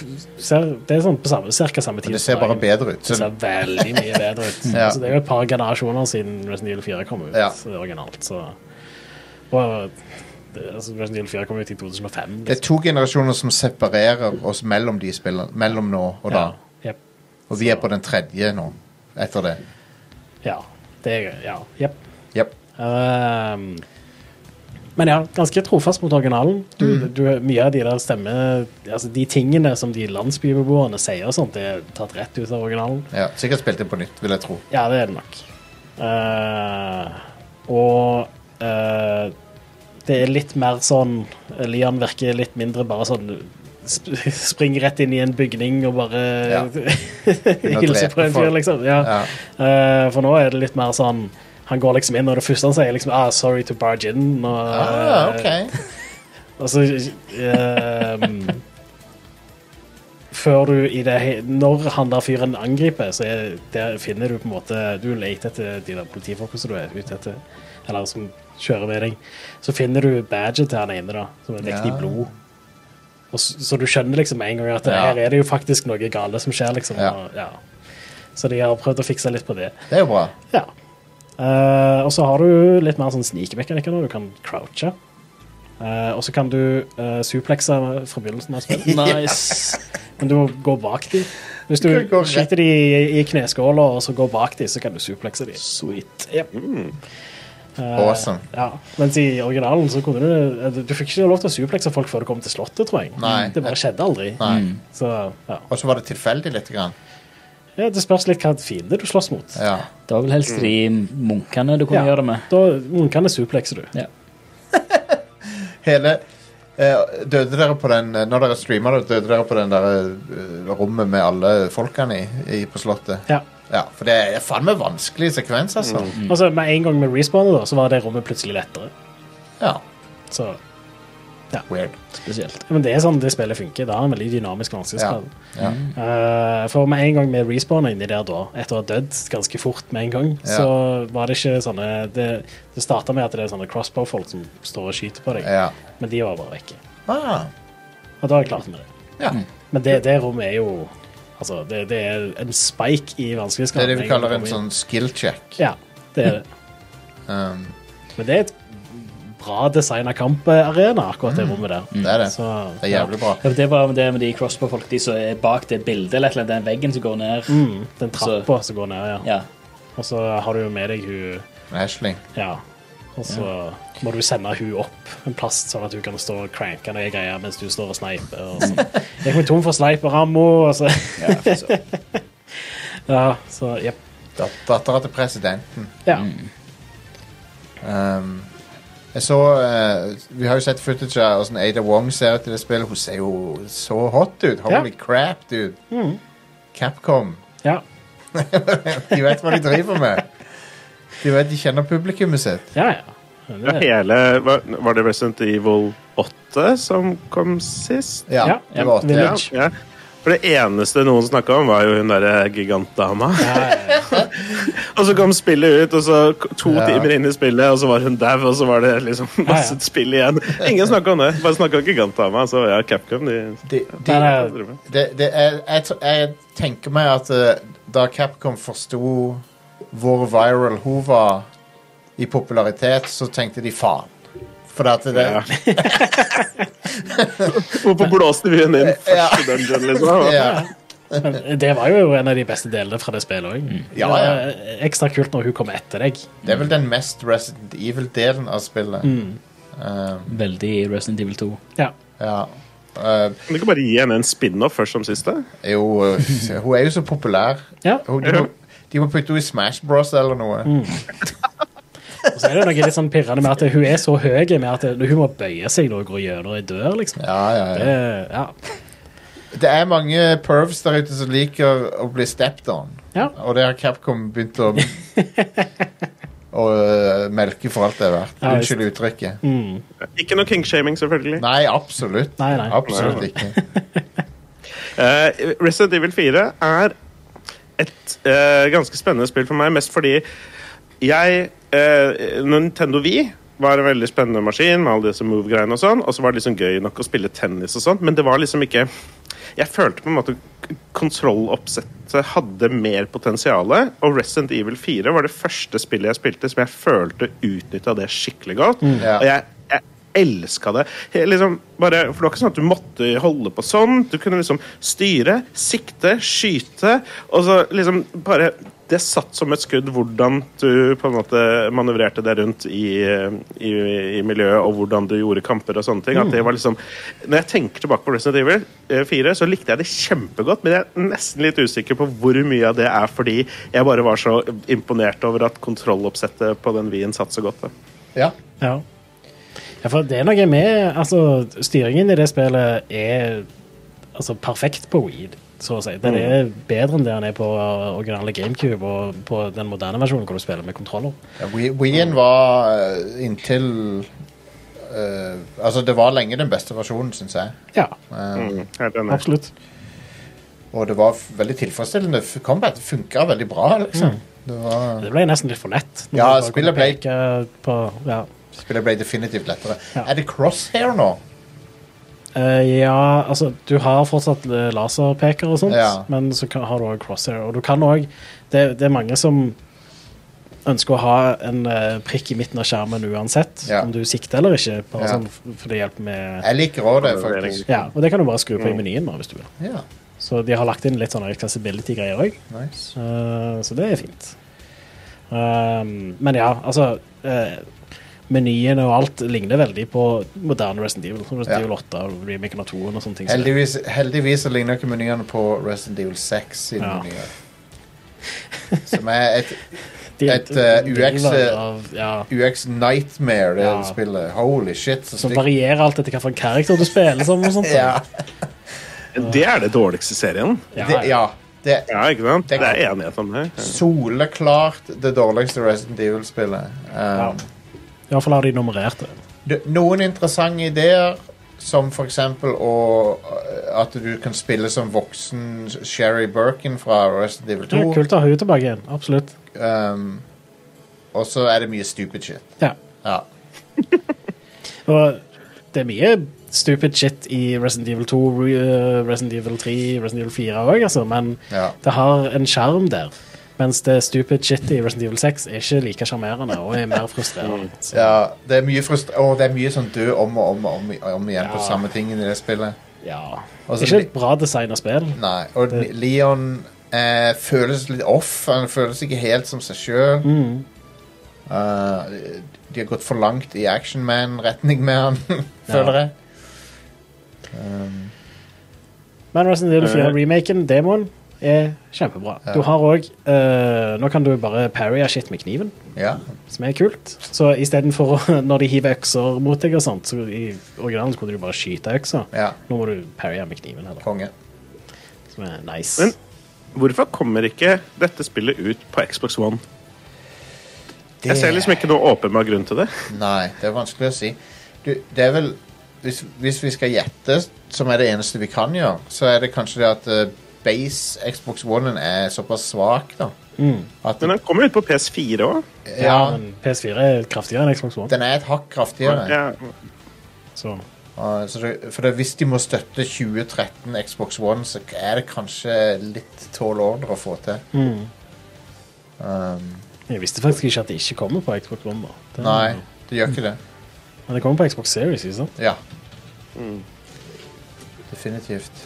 S3: ser, det er sånn på samme, cirka samme tid.
S2: Men det ser
S3: som
S2: bare
S3: dagen.
S2: bedre ut. Så,
S3: Det ser veldig mye bedre ut.
S2: (laughs) Ja.
S3: Så Det er jo et par generasjoner siden Resident Evil 4 kom ut
S2: Ja.
S3: så det er originalt. Så. Og, det, altså, Resident Evil 4 kom ut i 2005.
S2: det er to generasjoner som separerer oss mellom de spillene. Mellom nå og da.
S3: Ja. Jep.
S2: Og vi er på den tredje nå, etter det.
S3: ja. Det er gøy. Ja. Jep.
S2: Yep.
S3: Ehm, men ja, ganske trofast mot originalen. Du,
S2: Mm.
S3: du, mye av de der stemme Altså de tingene som de landsbybeboerne sier og sånt, det er tatt rett ut av originalen.
S2: Ja, sikkert spilt det på nytt, vil jeg tro.
S3: Ja, det er det nok. Eh, og eh, det er litt mer sånn Lian virker litt mindre bare sånn sp (laughs) Spring rett inn i en bygning og bare (laughs)
S2: Ja.
S3: hilse
S2: drepe
S3: på en fyr,
S2: folk.
S3: liksom. Ja.
S2: Ja.
S3: Eh, for nå er det litt mer sånn Han går liksom inn, og det første han sier, er liksom ah, 'Sorry to barge in'. Og, eh,
S2: Ah, ok.
S3: og så ehm, Før du i det he- Når han der fyren angriper, så er, der finner du på en måte Du leter etter de der politifolkene som du er ute etter, eller som kjører ved deg. Så finner du badget til han ene, da, som er dekt i
S2: Ja.
S3: blod. Og så, så du skjønner liksom med en gang at
S2: Ja.
S3: her er det jo faktisk noe gale som skjer, liksom.
S2: Ja.
S3: Og, ja. Så de har prøvd å fikse litt på det.
S2: Det er jo bra.
S3: Ja. Eh, og så har du litt mer sånn snikemekanikker nå. Du kan crouche. Eh, og så kan du eh, suplekse fra begynnelsen av
S2: (laughs)
S3: spillet.
S4: Nice.
S3: Men du må gå bak dem. Hvis du
S2: Du går rett-
S3: skyter dem i, i kneskåla og så går bak dem, så kan du suplekse dem.
S4: Sweet.
S3: Yep.
S2: Mm. Awesome.
S3: Ja. Mens i originalen så kunne du Du, du fikk ikke lov til å suplekse folk før du kom til Slottet, tror jeg.
S2: Nei.
S3: Det bare skjedde aldri.
S2: Nei.
S3: Så ja.
S2: Og så var det tilfeldig lite grann.
S3: ja. Det spørs litt hva fiende du slåss mot.
S2: Ja.
S4: Det var vel helst de munkene du kunne
S3: Ja.
S4: gjøre det med.
S3: Da munkene suplekser du.
S4: Ja.
S2: Hele eh, Døde dere på den eh, Når dere streama det, døde dere på den der eh, rommet med alle folkene i, i på Slottet?
S3: Ja.
S2: Ja, for det er faen meg vanskelig sekvens, altså.
S3: Altså, med en gang vi respawner, da, så var det rommet plutselig lettere.
S2: Ja.
S3: Så,
S2: Weird.
S4: Spesielt.
S3: men det er sånn det spillet funker. Det har en veldig dynamisk
S2: Ja.
S3: vanskelighetsgrad.
S2: ja.
S3: Eh, for med en gang vi respawner inni der da, etter å ha dødd ganske fort med en gang,
S2: Ja.
S3: så var det ikke sånne Det, det starta med at det er sånne crossbow-folk som står og skyter på deg,
S2: ja.
S3: men de var bare vekke.
S2: Ah,
S3: Og da er jeg klart med det.
S2: ja.
S3: Men det, det rommet er jo Altså, det, det er en spike i
S2: Det er
S3: vanskelighetsgraden.
S2: det vi
S3: med en gang
S2: kaller
S3: du
S2: en
S3: kommer inn.
S2: sånn skill check.
S3: Ja, det er det.
S2: Um,
S3: Men det er et bra designa kamparena,
S2: Mm.
S3: akkurat det rommet der.
S2: det er det.
S3: Så,
S2: Det er jævlig bra.
S4: Ja, for det var det med de crossbow-folk, de som er bak det bildet, eller et eller annet, den veggen som går ned.
S3: Mm, den trappa som går ned, ja.
S4: Ja.
S3: Og så har du jo med deg hun
S2: Ashley.
S3: Ja. Og så må du sende hun opp en plass, sånn at hun kan stå og cranke noe greier mens du står og sniper.
S2: (laughs)
S3: Og sånn. jeg kom tom for sniperammo, og så (laughs)
S4: ja for så.
S3: Ja, så jepp.
S2: Dat Dattera til presidenten.
S3: Ja.
S2: Mm. Um, jeg så eh, Vi har jo sett footage av hvordan Ada Wong ser ut i det spillet. Hun ser jo så hot ut. Holy crap, dude.
S3: Mm.
S2: Capcom. (laughs)
S3: ja.
S2: De vet hva de driver med. De vet, de kjenner publikummet sitt.
S3: Ja, ja. Men
S5: Ja,
S3: det-
S5: hele, var, var det Resident Evil 8 som kom sist?
S2: Ja,
S3: Ja,
S2: det var åtte.
S3: vil
S2: Ja.
S3: jeg.
S5: Ja. For det eneste noen snakka om, var jo hun derre gigantdama. (laughs) og så kom spillet ut, og så k- to
S2: Ja.
S5: timer inn i spillet, og så var hun dau, og så var det liksom
S3: Ja,
S5: masse
S3: ja.
S5: spill igjen. Ingen snakka om det. Bare snakka om gigantdama. Så ja, Capcom, de
S2: De, de,
S3: Der er-
S5: driver med.
S2: det, det er, jeg, tr- jeg tenker meg at eh, da Capcom forsto hvor viral hun var i popularitet, så tenkte de faen. For at det,
S5: Ja. (laughs) Hvorfor blåste vi henne inn første dungeon, liksom?
S2: ja.
S3: Men det var jo en av de beste delene fra det spillet òg.
S2: Mm. Ja, ja.
S3: Ekstra kult når hun kommer etter deg.
S2: det er vel den mest Resident Evil-delen av spillet. Eh,
S4: Veldig Resident Evil 2.
S3: Ja.
S2: ja. Eh,
S5: Kan du ikke bare gi henne en spin-off først som siste?
S2: jo, eh, hun er jo så populær.
S3: ja.
S2: Hun, de, må, de må putte henne i Smash Bros eller noe.
S3: Og så er det noe litt sånn pirrende med at hun er så høy med at hun må bøye seg når hun går gjennom ei dør, liksom.
S2: Ja, ja, ja.
S3: Det- ja.
S2: Det er mange pervs der ute som liker å bli stepped on.
S3: Ja. (laughs)
S2: Og det har Capcom begynt å å eh, melke for alt det er verdt.
S3: Ja, visst. Mm.
S2: Unnskyld uttrykket.
S5: Ikke noe kinkshaming, selvfølgelig.
S2: Nei, absolutt.
S3: Nei, nei.
S2: Absolutt ikke.
S5: Eh, Resident Evil 4 er et eh, ganske spennende spill for meg, mest fordi jeg eh, Nintendo Wii var en veldig spennende maskin med alle disse move-greiene og sånn, og så var det liksom gøy nok å spille tennis og sånn, men det var liksom ikke Jeg følte på en måte k- kontrolloppsettet hadde mer potensial, og Resident Evil 4 var det første spillet jeg spilte som jeg følte utnytta det skikkelig godt,
S2: Ja.
S5: og jeg, jeg elska det. Jeg Liksom bare, for det var ikke sånn at du måtte holde på sånn. Du kunne liksom styre, sikte, skyte. Og så liksom bare Det satt som et skudd hvordan du på en måte manøvrerte deg rundt i, eh, i, i miljøet, og hvordan du gjorde kamper og sånne ting. At det var liksom Når jeg tenker tilbake på Resident Evil eh, 4, så likte jeg det kjempegodt, men jeg er nesten litt usikker på hvor mye av det er fordi jeg bare var så imponert over at kontrolloppsettet på den Wien satt så godt. Da.
S2: Ja.
S3: Ja. ja, for det er noe med Altså, styringen i det spillet er altså, perfekt på Weed, så å si.
S2: Mm.
S3: Den er bedre enn det den er på originale GameCube og på den moderne versjonen hvor du spiller med kontroller.
S2: Ja, Wii- Wien var eh, inntil eh, Altså, det var lenge den beste versjonen, syns jeg.
S3: Ja,
S2: Eh,
S5: Mm, helt enig.
S3: absolutt.
S2: Og det var f- veldig tilfredsstillende. F- Combat funka veldig bra,
S3: Mm.
S2: liksom. Det var,
S3: Det ble nesten litt for lett. når
S2: Ja,
S3: du bare
S2: spillet
S3: kunne
S2: ble-
S3: peke På, ja.
S2: spillet ble definitivt lettere.
S3: Ja.
S2: Er det crosshair nå?
S3: Eh, ja, altså Du har fortsatt eh, laserpeker og sånt,
S2: Ja.
S3: men så kan, har du òg crosshair. Og du kan òg det, det er mange som ønsker å ha en eh, prikk i midten av skjermen uansett
S2: Ja.
S3: om du sikter eller ikke. Bare
S2: Ja.
S3: sånn f- for det hjelper med
S2: Jeg liker òg det, faktisk.
S3: Ja, Og det kan du bare skru på
S2: Mm.
S3: i menyen nå, hvis du vil.
S2: Ja,
S3: Så de har lagt inn litt sånne accessibility-greier òg.
S2: nice.
S3: Eh, så det er fint. Ehm, men ja, altså eh, Menyene og alt ligner veldig på moderne Resident Evil. Resident
S2: Ja.
S3: Evil 8 og remaken av 2 og sånne ting. Så det-
S2: Heldigvis, heldigvis så ligner ikke menyene på Resident Evil 6 sine
S3: Ja.
S2: menyer. Som er et
S3: de-
S2: et, eh,
S3: de-
S2: UX,
S3: deler av, ja,
S2: UX nightmare, det
S3: Ja.
S2: spillet. Holy shit, så
S3: Som
S2: stygt.
S3: varierer alt etter hvilken karakter du spiller som. Og sånt,
S2: Ja,
S5: Eh, Det er det dårligste serien.
S3: Ja,
S2: det,
S3: ja.
S2: ja, det er
S5: Ja, ikke sant?
S2: Det
S5: Det
S2: er
S5: er enighet om det.
S2: soleklart det dårligste Resident Evil-spillet.
S3: Ja.
S2: Um,
S3: I hvert fall har de nummerert det.
S2: det- Noen interessante ideer, som for eksempel å, at du kan spille som voksen Sherry Birkin fra Resident Evil
S3: Det er
S2: 2.
S3: kult å ha henne tilbake igjen. Absolutt.
S2: Um, og så er det mye stupid shit.
S3: Ja.
S2: Ja.
S3: Og det er mye stupid shit i Resident Evil 2, Re- eh, Resident Evil 3, Resident Evil 4 òg, altså, men
S2: Ja.
S3: det har en sjarm der. Mens det stupid shit i Resident Evil 6 er ikke like sjarmerende og er mer frustrerende. Så,
S2: Ja, det er mye frust- Å, det er mye sånn død om og om og om, om igjen på
S3: Ja.
S2: samme tingen i det spillet.
S3: ja.
S2: Og så
S3: Ikke
S2: li-
S3: et bra design av spill.
S2: Nei, og Leon eh, føles litt off. Han føles ikke helt som seg sjøl. Eh, de har gått for langt i Action Man-retning med han, (laughs) føler jeg.
S3: Men Resident Evil 4-remaken, demoen, er kjempebra. Du har òg Nå kan du bare parrye shit med kniven.
S2: Ja.
S3: som er kult. Så istedenfor å- (laughs) når de hiver økser mot deg og sånt, så i originalen så kunne du bare skyte øksa.
S2: Ja.
S3: Nå må du parry med kniven heller,
S2: Konge.
S3: som er nice.
S5: Men- Hvorfor kommer ikke dette spillet ut på Xbox One?
S2: Det,
S5: Jeg ser liksom ikke noe åpenbar grunn til det.
S2: Nei, det er vanskelig å si. Du, det er vel hvis, hvis vi skal gjette, som er det eneste vi kan gjøre, så er det kanskje det at eh, base Xbox One er såpass svak, da. At
S5: Men den kommer ut på PS4 òg.
S2: ja,
S3: men PS4 er kraftigere enn Xbox One.
S2: den er et hakk kraftigere.
S5: Ja.
S3: Så.
S2: Og Så det, for det, hvis de må støtte 2013 Xbox One, så er det kanskje litt tall order å få til. Um,
S3: Jeg visste faktisk ikke at det ikke kommer på Xbox One. da. Det,
S2: nei, det gjør ikke det.
S3: Men det kommer på Xbox Series. ikke sant?
S2: Ja. Definitivt.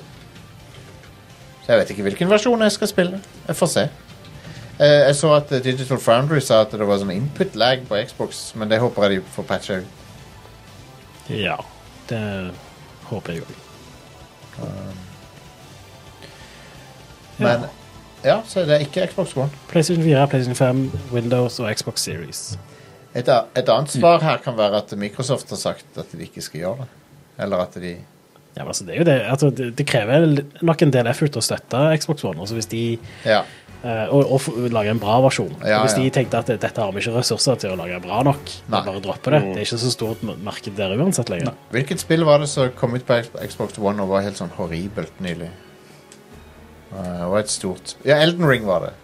S2: Så jeg vet ikke hvilken versjon jeg skal spille. Jeg får se. Eh, Jeg så at eh, Digital Foundry sa at det var sånn input lag på Xbox, men det håper jeg de får patcha ut.
S3: Ja. Det håper jeg òg.
S2: Men ja, så det er ikke Xbox One.
S3: PlayStation 4, PlayStation 5, Windows og Xbox Series.
S2: Et, a- et annet svar her kan være at Microsoft har sagt at de ikke skal gjøre det. Eller at de
S3: Ja, men altså, det, er jo det. Altså, det, det krever nok en del effort å støtte Xbox One. Altså, hvis de
S2: Ja.
S3: eh, og, og f- lage en bra versjon.
S2: Ja,
S3: Og hvis
S2: ja.
S3: de tenkte at dette har vi ikke ressurser til å lage bra nok, da
S2: Nei.
S3: bare dropper det. Det er ikke så stort m- marked der uansett lenger.
S2: Hvilket spill var det som kom ut på Xbox- Xbox One og var helt sånn horribelt nylig? Eh, Det var et stort Ja, Elden Ring var det.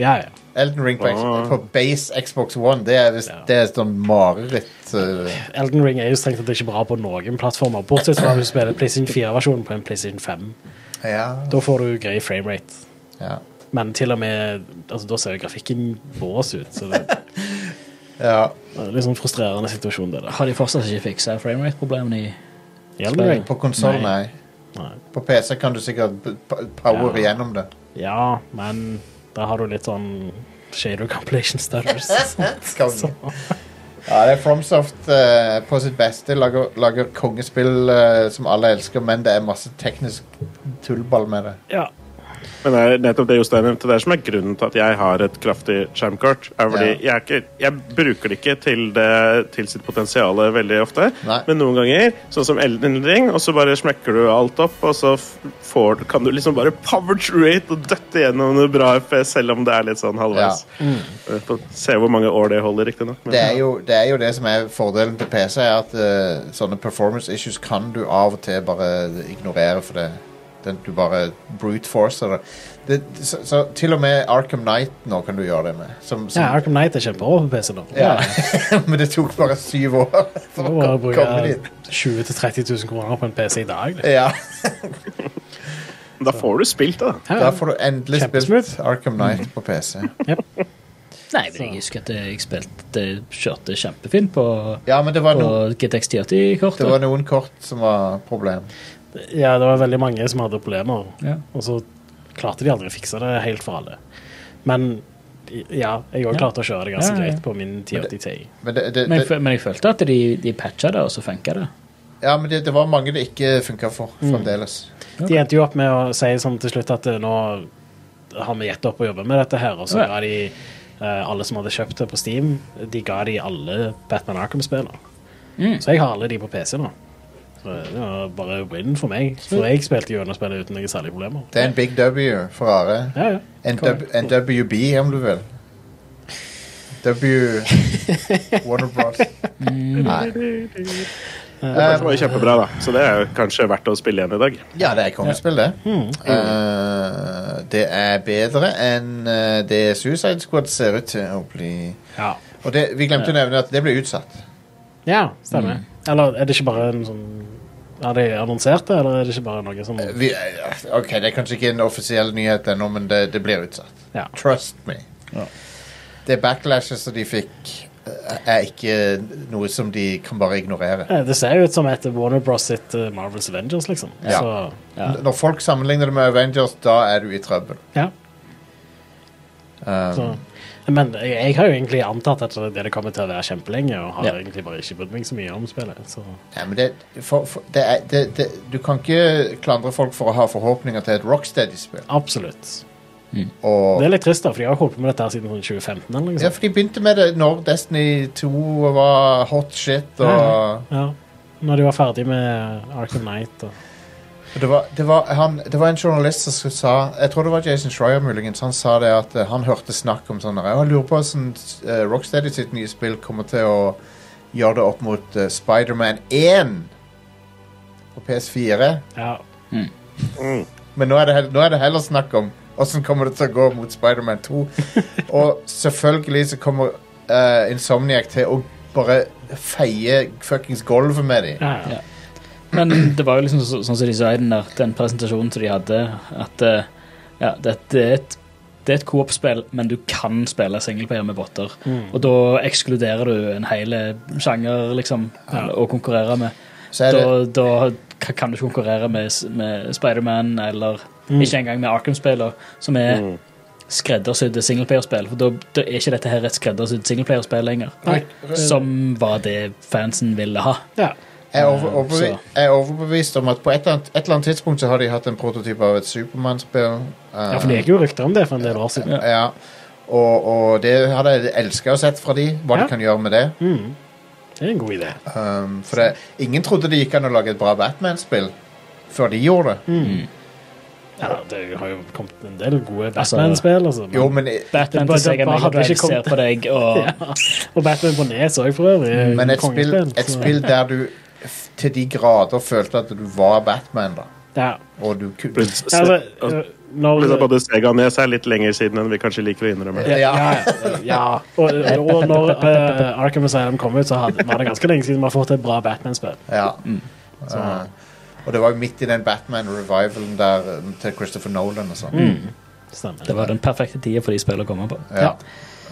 S3: Ja, ja.
S2: Elden Ring på, X-
S5: Ah.
S2: på base Xbox One. Det er, visst-
S3: Ja.
S2: det er sånn mareritt. eh,
S3: Elden Ring er jo strengt tatt ikke bra på noen plattformer, bortsett fra hvis du spiller PlayStation 4-versjonen på en PlayStation 5.
S2: Ja.
S3: Da får du grei framerate.
S2: ja.
S3: Men til og med altså, Da ser jo grafikken bås ut, så det
S2: (laughs) ja.
S3: det er litt sånn frustrerende situasjon, det der.
S4: Har de fortsatt ikke fiksa framerate-problemene i
S3: Elden Ring?
S2: På konsoll, nei.
S4: Nei.
S3: Nei.
S2: På PC kan du sikkert p- p- power
S3: Ja.
S2: gjennom det.
S3: Ja, men da har du litt sånn shader compilation stutters.
S2: Skal du- Ja, det er FromSoft eh, på sitt beste. Lager, lager kongespill eh, som alle elsker, men det er masse teknisk tullball med det.
S3: ja.
S5: Men det er nettopp det Jostein nevnte der som er grunnen til at jeg har et kraftig skjermkort. er fordi jeg, er ikke, jeg bruker det ikke til, det, til sitt potensial veldig ofte,
S2: Nei.
S5: men noen ganger, sånn som Elden Ring, og så bare smekker du alt opp, og så f- får, kan du liksom bare power through it og døtte gjennom noe bra FPS, selv om det er litt sånn halvveis. Vi får Se hvor mange år det holder, riktignok.
S2: Mm. Det er, jo, det er jo det som er fordelen til PC, er at eh, sånne performance issues kan du av og til bare ignorere, for det, den, du bare brute forcer det. det så, så til og med Arkham Knight nå kan du gjøre det med. Som, som,
S3: ja, Arkham Knight er kjempebra på PC nå.
S2: Ja. (laughs) Men det tok bare syv år for
S3: Nå
S2: å
S3: bare
S2: kom- komme
S3: bruker
S2: dit.
S3: 20 000-30 000 kroner på en PC i dag. liksom.
S2: Ja,
S5: Da får du spilt det, da.
S3: Ja,
S2: Da får du endelig spilt
S3: Kjempesmooth. Mm.
S2: Arkham Knight på PC.
S4: Nei, men jeg husker at jeg spilte kjørte kjempefint på,
S2: Ja, men det var,
S4: på
S2: no,
S4: GTX
S2: det
S4: 1080-kortet.
S2: var noen kort som var problem.
S3: ja, det var veldig mange som hadde problemer,
S4: Ja.
S3: og så klarte de aldri å fikse det helt for alle. Men ja, jeg òg
S4: Ja.
S3: klarte å kjøre det ganske
S4: Ja, ja, ja.
S3: greit på min 1080 Ti.
S2: Men det, det,
S4: Men, jeg
S2: det,
S4: føl- men jeg følte at de, de patcha det, og så funka det.
S2: ja, men det, det var mange det ikke funka for
S3: Mm.
S2: fremdeles.
S3: De endte jo opp med å si sånn til slutt at eh, nå har vi gitt opp å jobbe med dette her, og så
S4: Ja.
S3: ga de eh, alle som hadde kjøpt det på Steam, de ga de alle Batman Arkham-spillene.
S4: Mm.
S3: Så jeg har alle de på PC nå. Så det var bare win for meg. For jeg spilte gjennom spillet uten noen særlige problemer.
S2: Det er en big W for Are.
S3: Ja, ja.
S2: En, w, en WB, om du vil. W
S3: (laughs)
S2: Warner Bros.
S3: Mm.
S2: Nei. Eh,
S5: Det var jo kjempebra, da. Så det er jo kanskje verdt å spille igjen i dag.
S2: Ja, det er kongespill, det.
S3: Mm.
S2: Eh, det er bedre enn eh, det Suicide Squad ser ut til å bli.
S3: Ja,
S2: Og det, vi glemte å nevne at det ble utsatt.
S3: ja
S4: Mm.
S3: stemmer. Eller er det ikke bare en sånn Har de annonsert det, eller er det ikke bare noe som
S2: Vi, eh, ok, Det er kanskje ikke en offisiell nyhet ennå, men det, det blir utsatt.
S3: Ja.
S2: Trust me. Det backlashet som de fikk, eh, er ikke noe som de kan bare ignorere.
S3: Eh, Det ser jo ut som et Warner Bros. sitt eh, Marvels Avengers, liksom.
S2: Ja.
S3: Så,
S4: Ja.
S2: N- Når folk sammenligner det med Avengers, da er du i trøbbel.
S3: ja.
S2: Um,
S3: Så. Men jeg, jeg har jo egentlig antatt at det det kommer til å være kjempelenge, og har
S2: Ja.
S3: egentlig bare ikke brydd meg så mye om spillet. Så.
S2: ja, men det, for, for, det er, det, det, du kan ikke klandre folk for å ha forhåpninger til et Rocksteady-spill.
S3: Absolutt.
S2: Og
S3: Det er litt trist, da, for de har jo holdt på med dette her siden sånn 2015. eller noe
S2: Ja,
S3: sånt.
S2: for de begynte med det når Destiny 2 var hot shit, og
S3: Ja. Når de var ferdig med Arkham Knight. Og...
S2: Og Det var, det, var, han, det var en journalist som sk- sa Jeg tror det var Jason Schreier muligens. Han sa det at eh, han hørte snakk om sånne Jeg lurer på hvordan eh, Rocksteady sitt nye spill kommer til å gjøre det opp mot eh, Spider-Man 1 på PS4.
S3: Ja.
S5: Mm.
S2: Men nå er det, hell- nå er det heller snakk om åssen kommer det til å gå mot Spider-Man 2. Og selvfølgelig så kommer eh, Insomniac til å bare feie fuckings gulvet med dem.
S3: Ja, ja.
S4: Ja. Men det var jo liksom så, sånn som de sa i den, der, den presentasjonen som de hadde, at eh, ja, det, det er et det er et coop-spill, men du kan spille singleplayer med botter. Og da ekskluderer du en hel sjanger liksom, å konkurrere med.
S2: Så er det,
S4: Da, da ka- kan du ikke konkurrere med, s- med Spiderman eller ikke engang med Arkham-spillene, som er
S2: Mm.
S4: skreddersydde singleplayerspill. For da, da er ikke dette her et skreddersydd singleplayerspill lenger,
S3: Nei.
S4: som var det fansen ville ha.
S3: ja.
S2: Jeg er, over,
S3: Eh,
S2: overbe
S4: så-
S2: jeg er overbevist om at på et eller, annet, et eller annet tidspunkt så har de hatt en prototyp av et Supermann-spill. Eh,
S3: ja, for det gikk jo rykter om det for en del år siden.
S2: ja. Og, og det hadde jeg elska å sett fra de, hva
S3: Ja. Mm.
S2: de kan gjøre med det.
S3: Det er en god idé.
S2: Um, for
S3: Mm.
S2: det, ingen trodde det gikk an å lage et bra Batman-spill før de gjorde det.
S3: Ja, det har jo kommet en del gode Batman-spill. Altså, men-
S2: Jo, men, i-
S3: Det
S4: Batman
S3: bare-
S4: til Sega
S3: det bare
S4: Mega
S3: hadde
S4: Drive
S3: ikke kommet.
S4: ser på deg, (laughs) og
S3: ja. Og Batman på Nes òg, for øvrig. er jo
S2: men et, spill,
S3: kongespill,
S2: et
S3: så-
S2: spill der du f- til de grader følte at du var Batman, da.
S3: Ja.
S2: Og du ku-
S5: Blizzard-
S3: Altså,
S5: og-
S3: øh, når
S5: Blizzard både Sega og Nes er litt lenger siden enn vi kanskje liker å innrømme.
S3: Ja, ja, ja. Og, og når eh, Arkham Asylum kom ut, så hadde, var det ganske lenge siden vi har fått et bra Batman-spill.
S2: Ja.
S3: Mm.
S2: Eh,
S3: Sånn.
S2: og det var jo midt i den Batman-revivalen der eh, til Christopher Nolan og sånn.
S3: Mm. Stemmer.
S4: det var den perfekte tida for de spillene å komme på.
S2: Ja.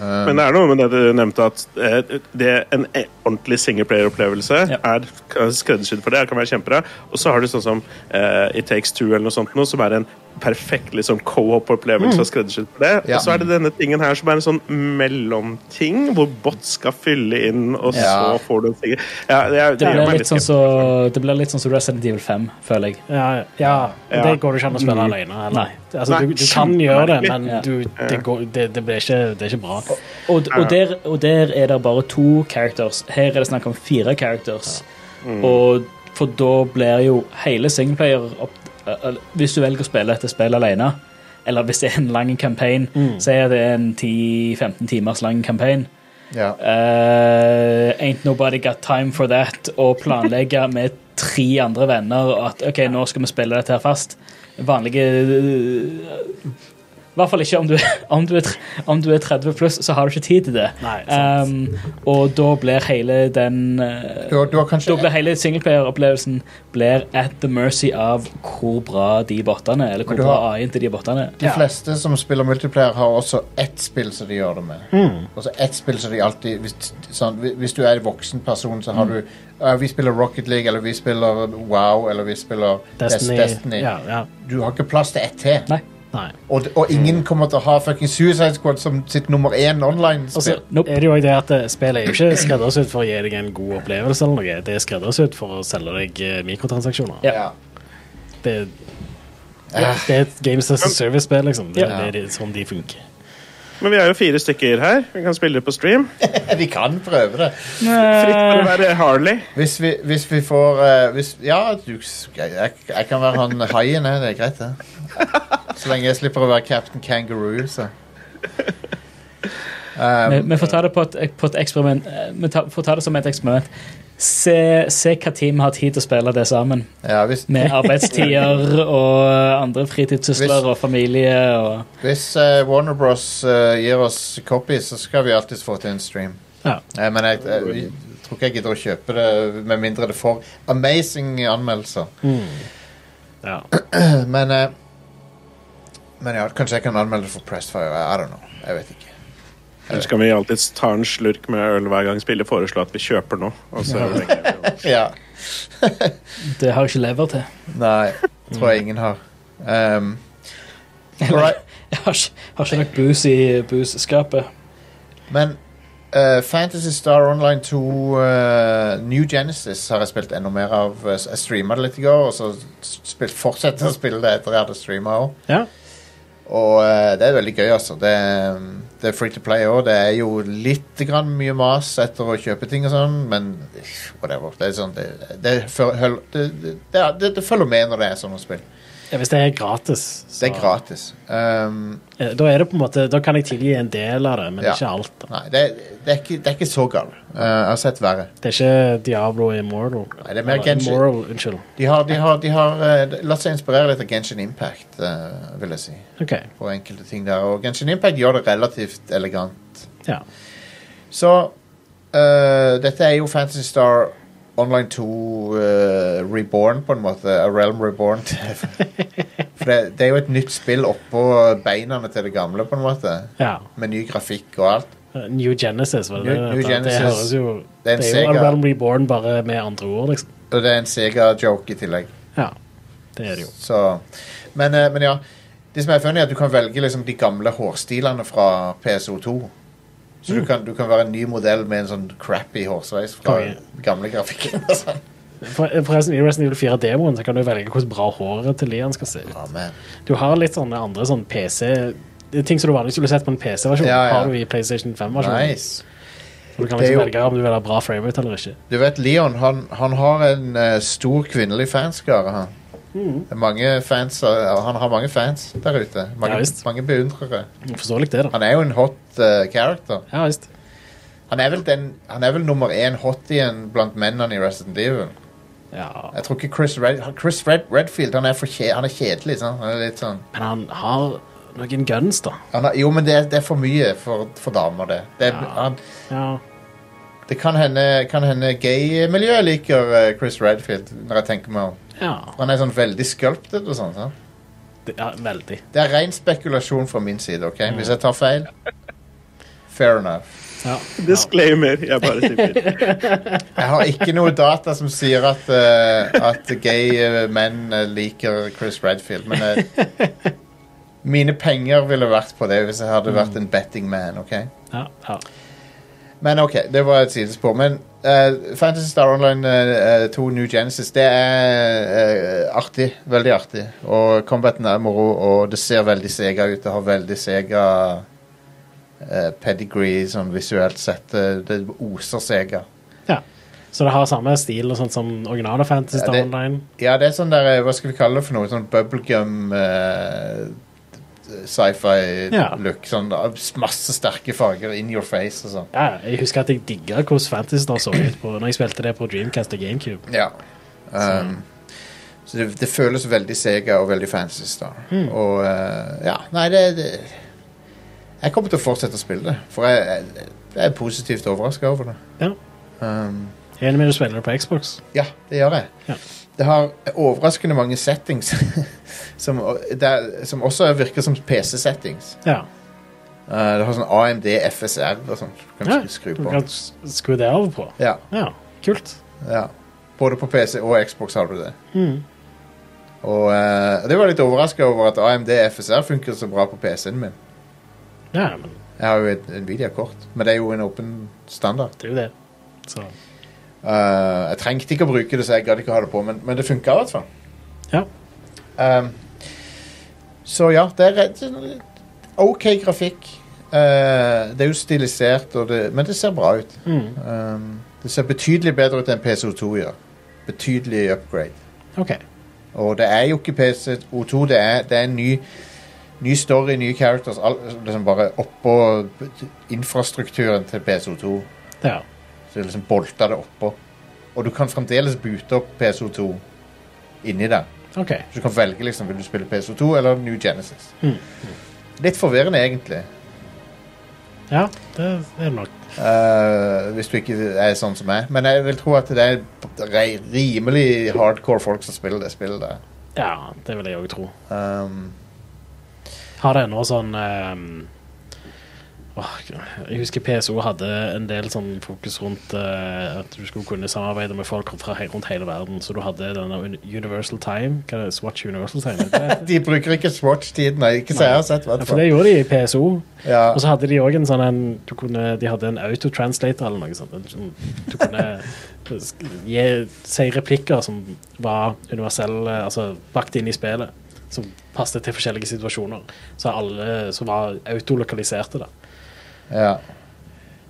S5: Men det er noe med det du nevnte, at eh, det en e- ordentlig singleplayer-opplevelse
S4: Ja.
S5: er k- skreddersydd for det. Det kan være kjempebra. Og så har du sånn som eh, It Takes Two eller noe sånt, noe, som er en perfekt liksom, co-op-opplevelse. og skreddersydd for det.
S2: Ja.
S5: Og så er det denne tingen her som er en sånn mellomting, hvor bot skal fylle inn, og
S2: Ja.
S5: så får du en ting. Ja, det, er- det,
S4: Det
S5: gjør
S4: blir
S5: meg
S4: litt sånn
S5: skeptisk.
S4: så, det blir litt sånn som Resident Evil 5, føler jeg.
S3: Ja, ja.
S5: Ja.
S3: Det går det ikke an å spille alene. Eller?
S4: Mm. Nei.
S3: Altså,
S5: Nei,
S3: du, du kan gjøre det,
S5: kjempemerkelig.
S3: men
S4: Ja.
S3: du, det, går, det, det, blir ikke, det er ikke bra.
S4: Og, og, der, og der er det bare to characters. Her er det snakk om fire characters. Og for da blir jo hele singleplayer opp, eh, eh, Hvis du velger å spille dette spillet alene, eller hvis det er en lang campaign, så er det en 10-15 timers lang campaign.
S2: Ja.
S4: Eh, ain't nobody got time for that. Og planlegge med tre andre venner at OK, nå skal vi spille dette her fast. Vanlige eh, I hvert fall ikke om du, (laughs) om, du er, tr- om du er 30 pluss, så har du ikke tid til det.
S3: Nei, sant.
S4: Um, og da blir hele den eh,
S2: Du, har- du har
S4: Da
S2: kanskje
S4: blir hele singleplayer-opplevelsen blir at the mercy av hvor bra de botene eller hvor
S2: Men du
S4: bra
S2: har-
S4: AI-en til de botene
S2: De fleste som spiller multiplayer, har også ett spill som de gjør det med.
S3: Mm.
S2: Altså ett spill som de alltid Hvis, sånn, hvis- hvis du er en voksen person, så har
S3: Mm.
S2: du «Ja, Vi spiller Rocket League, eller vi spiller WoW, eller vi spiller Destiny.
S3: Destiny.
S2: Destiny.
S3: Ja, ja.
S2: Du har ikke plass til ett til.
S4: Nei.
S3: Nei. Mm.
S2: Og, og ingen kommer til å ha fucking Suicide Squad som sitt nummer én
S3: Og så
S2: online-spill.
S4: Nope.
S3: er det jo også det at eh, spillet er jo ikke skreddersydd for å gi deg en god opplevelse. eller noe. Det er skreddersydd for å selge deg eh, mikrotransaksjoner.
S4: Ja.
S2: Ja.
S3: Det, det er et Games as a Service-spill, liksom. Det,
S2: Ja.
S3: det er det- sånn de funker.
S5: Men vi er jo fire stykker her. Vi kan spille det på stream.
S2: Vi kan prøve det.
S5: Fritt for å være Harley.
S2: Hvis vi, hvis vi får eh, hvis, Ja, du, jeg, jeg kan være han haien, jeg. Det er greit, det. Så lenge jeg slipper å være Captain Kangaroo, så.
S4: Vi, vi får ta det på et, på et eksperiment eh, Vi ta, får ta det som et eksperiment. Se, se hva team har tid til å spille det sammen.
S2: Ja, hvis,
S4: Med arbeidstider og eh, andre fritidssysler
S2: Hvis-
S4: og familie og
S2: Hvis eh, Warner Bros eh, gir oss copy, så skal vi alltid få til en stream.
S3: Ja.
S2: Nei, men jeg, jeg, jeg tror ikke jeg gidder å kjøpe det, med mindre det får amazing anmeldelser.
S3: Ja.
S2: Men eh, Men ja, kanskje jeg kan anmelde det for Pressfire. I don't know. Jeg vet ikke.
S5: Ellers kan vi alltid ta en slurk med øl hver gang spillet foreslår at vi kjøper noe. Og så legger vi det.
S2: Ja.
S4: Det har jeg ikke lever til. (laughs)
S2: Nei, tror jeg ingen har. Um, alright.
S4: Jeg har ikke, har ikke nok booze i booze-skapet.
S2: Men eh, Fantasy Star Online 2 eh, New Genesis har jeg spilt enda mer av. Eh, Jeg streama det litt i går, og så spilt, fortsatte jeg å spille det etter jeg hadde streama òg.
S3: ja.
S2: Og eh, det er veldig gøy, altså. Det, mm, det er free to play òg. Det er jo litt grann mye mas etter å kjøpe ting og sånn, men eh, whatever. Det, er sånn, det, det, fø- høl- det, det, det, er- det, det følger med når det er sånne spill.
S3: Ja, Hvis det er gratis, så
S2: Det er gratis. Um,
S3: eh, Da, er det på en måte, da kan jeg tilgi en del av det, men
S2: Ja.
S3: ikke alt. Da.
S2: nei, det, det, er ikke, det er ikke så galt. Eh, jeg har sett verre.
S3: Det er ikke Diablo Immortal.
S2: Nei, det er mer
S3: Eller
S2: Genji.
S3: Immoral, unnskyld.
S2: De har, de har, de har eh, latt seg inspirere litt av Genshin Impact, eh, vil jeg si.
S3: Ok,
S2: På enkelte ting der. Og Genshin Impact gjør det relativt elegant.
S3: ja.
S2: Så eh, dette er jo Fantasy Star Online 2 eh, Reborn, på en måte. A Realm Reborn. (laughs) For det, det er jo et nytt spill oppå beina til det gamle, på en måte.
S3: ja.
S2: Med ny grafikk og alt.
S3: Eh, New Genesis, var det
S2: New-
S3: det?
S2: New
S3: det?
S2: Genesis.
S3: Det høres jo
S2: Det er
S3: Det
S2: en
S3: er jo
S2: Sega.
S3: A Realm Reborn, bare med andre ord, liksom.
S2: Og det er en Sega-joke i tillegg.
S3: Ja, det er det jo.
S2: Så, men, eh, men ja. Det som er funny, er at du kan velge liksom, de gamle hårstilene fra PSO2. Så
S3: Mm.
S2: du, kan, du kan være en ny modell med en sånn crappy hårsveis fra
S3: Konge.
S2: gamle
S3: (laughs)
S2: grafikken. og sånn.
S3: For- Forresten, i Resident Evil 4-demoen så kan du velge hvordan bra håret til Lian skal se ut.
S2: Ja, man.
S3: Du har litt sånne andre sånn PC det er Ting som du vanligvis ville sett på en PC-versjon,
S2: Ja, ja.
S3: har du i PlayStation 5-versjonen.
S2: Nice.
S3: Du kan
S2: Det er
S3: liksom
S2: jo-
S3: velge om du vil ha bra framerate eller ikke.
S2: Du vet, Leon han, han har en eh, stor kvinnelig fanskare. Han.
S3: Mm.
S2: Det er mange fans, og han har mange fans der ute.
S3: Ja,
S2: Mange,
S3: visst.
S2: mange beundrere.
S3: Forståelig det, da.
S2: Han er jo en hot eh, character.
S3: Ja visst.
S2: Han er vel, den, han er vel nummer én hotien blant mennene i Resident Evil.
S3: Ja.
S2: Jeg tror ikke Chris, Red, Chris Red, Redfield han er, for kje, han er kjedelig. sant? Han er litt sånn
S3: Men han har noen guns, da.
S2: han har, Jo, men det, er- det er for mye for, for damer, det. Det, er-
S3: Ja.
S2: han,
S3: Ja.
S2: det kan hende, kan hende gay-miljøet liker eh, Chris Redfield, når jeg tenker meg om.
S3: ja.
S2: Han er sånn veldig sculpted og sånn. sant?
S3: Det, ja veldig.
S2: Det er ren spekulasjon fra min side, ok? Hvis jeg tar feil. Fair enough.
S3: Ja.
S5: (laughs) Disclaimer. Jeg bare tipper.
S2: Jeg har ikke noe data som sier at, eh, at gay eh, menn eh, liker Chris Redfield, men eh, mine penger ville vært på det hvis jeg hadde vært en betting man, ok?
S3: Ja. ja.
S2: Men ok, det var et sidespor. Men eh, Fantasy Star Online eh, eh, 2 New Genesis, det er eh, artig. Veldig artig. Og combaten er moro, og det ser veldig sega ut. Det har veldig sega eh, pedigree sånn visuelt sett. Det, det oser sega.
S3: ja. Så det har samme stil og sånt som originale Fantasy Star
S2: Ja, det-
S3: Online?
S2: Ja, det er sånn der eh, Hva skal vi kalle det for noe? Sånn bubblegum eh,
S3: Ja.
S2: sci-fi-look. Sånn eh, masse sterke farger in your face og sånn.
S3: Ja, jeg husker at jeg digga hvordan Fantasy Star så ut på, når jeg spilte det på Dreamcast og GameCube.
S2: Ja. Um, så det, det føles veldig Sega og veldig Fancy Star.
S3: Hmm.
S2: Og eh, ja, nei, det, det Jeg kommer til å fortsette å spille det, for jeg, jeg, jeg er positivt overraska over det.
S3: Ja.
S2: Um,
S3: Jeg er enig med du spiller det på Xbox.
S2: ja, det gjør jeg.
S3: Ja.
S2: Det har overraskende mange settings (laughs) som, der, som også virker som PC-settings.
S3: Ja.
S2: Eh, det har sånn AMD, FSR og sånn. Du kan
S3: ja.
S2: skru
S3: Du
S2: på.
S3: kan s- skru det over på.
S2: Ja,
S3: Ja, kult.
S2: ja. Både på PC og Xbox har du det.
S3: Mm.
S2: Og eh, det var litt overraska over at AMD FSR funker så bra på PC-en min.
S3: Ja, men
S2: Jeg har jo et Nvidia-kort, men det er jo en åpen standard.
S3: det er jo det. Så
S2: Eh, jeg trengte ikke å bruke det, så jeg gadd ikke å ha det på, men, men det funka i hvert fall.
S3: ja.
S2: Um, så ja, det er rett- sånn OK grafikk. Eh, det er jo stilisert, og det, men det ser bra ut. Um, det ser betydelig bedre ut enn PCO2 gjør. Betydelig upgrade.
S3: OK.
S2: Og det er jo ikke PCO2, det er, det er en ny, ny story, nye characters, all, liksom bare oppå infrastrukturen til PCO2.
S3: Ja.
S2: Så liksom bolter det oppå. Og du kan fremdeles bute opp PCO2 inni der.
S3: OK.
S2: Så du kan velge liksom, vil du spille PCO2 eller New Genesis.
S3: Mm.
S2: Litt forvirrende, egentlig.
S3: Ja, det er det nok.
S2: eh, hvis du ikke er sånn som meg. Men jeg vil tro at det er re- rimelig hardcore folk som spiller det spillet der.
S3: Ja, det vil jeg òg tro.
S2: Um,
S3: Har det ennå sånn ehm, åh, Jeg husker PSO hadde en del sånn fokus rundt eh, at du skulle kunne samarbeide med folk fra he rundt hele verden, så du hadde denne uni- Universal Time. Hva er det? Swatch Universal Time? er det det?
S2: de bruker ikke Swatch-tiden. nei, Ikke så jeg har sett, i
S3: Ja,
S2: hvert
S3: for
S2: fall.
S3: det gjorde de i PSO.
S2: Ja.
S3: Og så hadde de òg en sånn en, du kunne, De hadde en autotranslator eller noe sånt. en sånn- Du kunne (laughs) sk- gi, si replikker som var universelle, altså bakt inn i spillet. Som passet til forskjellige situasjoner. Så alle som var autolokaliserte, da.
S2: Ja.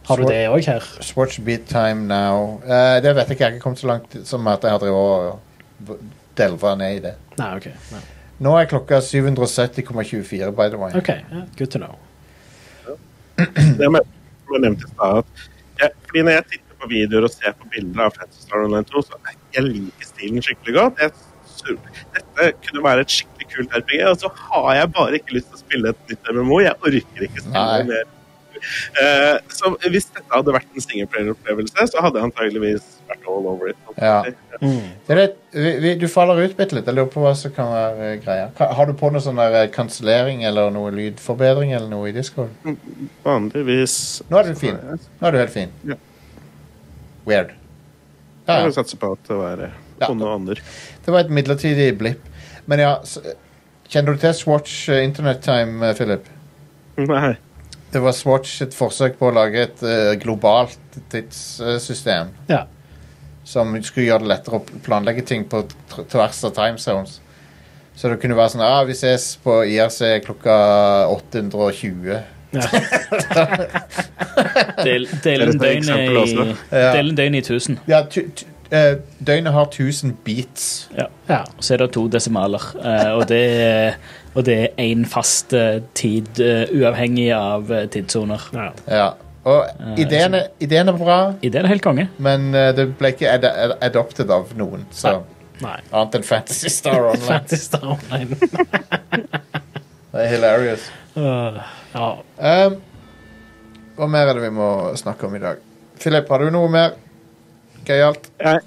S3: Har du
S2: Swat-
S3: det òg her?
S2: Swatch beat time now. Eh, det vet jeg ikke. Jeg har ikke kommet så langt som at jeg har drevet og v- delva ned i det.
S3: Nei, OK. Nei.
S2: Nå er klokka 770,24, by the way.
S3: Ok, ja, Good to know.
S5: Det må jeg- må jeg nevne i stad. at jeg- Fordi når jeg titter på videoer og ser på bilder av Fantasy Star Online 2, så jeg, jeg liker stilen skikkelig godt. Jeg, sur- dette kunne være et skikkelig kult RPG, og så har jeg bare ikke lyst til å spille et nytt MMO. Jeg orker ikke
S2: Nei.
S5: spille mer. Eh, så hvis dette hadde vært en singleplayer-opplevelse, så hadde jeg antageligvis vært all over it.
S2: Ja. Det er litt, vi, vi, du faller ut bitte litt. Jeg lurer på hva som kan være eh, greia. Ka- Har du på noe sånn der eh, kansellering eller noe lydforbedring eller noe i Discord?
S5: Vanligvis
S2: Nå er du fin. Nå er du helt fin.
S5: Ja.
S2: Weird. Ja,
S5: Jeg vil
S2: ja.
S5: satse på at det var eh,
S2: Ja.
S5: onde ånder. (laughs)
S2: Det var et midlertidig blipp. Men ja, s- kjenner du til Swatch eh, Internet Time, eh, Philip?
S5: Nei.
S2: Det var Swatch et forsøk på å lage et eh, globalt tidssystem
S3: Ja.
S2: som skulle gjøre det lettere å planlegge ting på tr- tvers av time zones. Så det kunne være sånn ah, Vi ses på IRC klokka 820.
S3: (laughs) ja.
S4: Del, del
S5: Er det
S4: en
S5: et
S4: døgn
S5: eksempel
S4: i
S5: også?
S2: Ja.
S4: Del en døgn i 1000.
S2: Ja, tu, tu, eh, Døgnet har 1000 beats.
S3: Ja.
S4: Og så er det to desimaler, eh, og det er- og det er én fast eh, tid, eh, uavhengig av eh, tidssoner.
S3: ja.
S2: Ja. Og
S4: Eh,
S2: ideen, er- ideen er bra,
S4: I det er det helt konge.
S2: men eh, det ble ikke ad ad adopted av noen. Så
S3: Nei.
S2: Annet enn Fantasy (laughs) Star Online.
S3: Fantasy Star Online.
S2: Det er hilarious.
S3: Øh, ja.
S2: Um, hva mer er det vi må snakke om i dag? Philip, har du noe mer gøyalt?
S5: Jeg,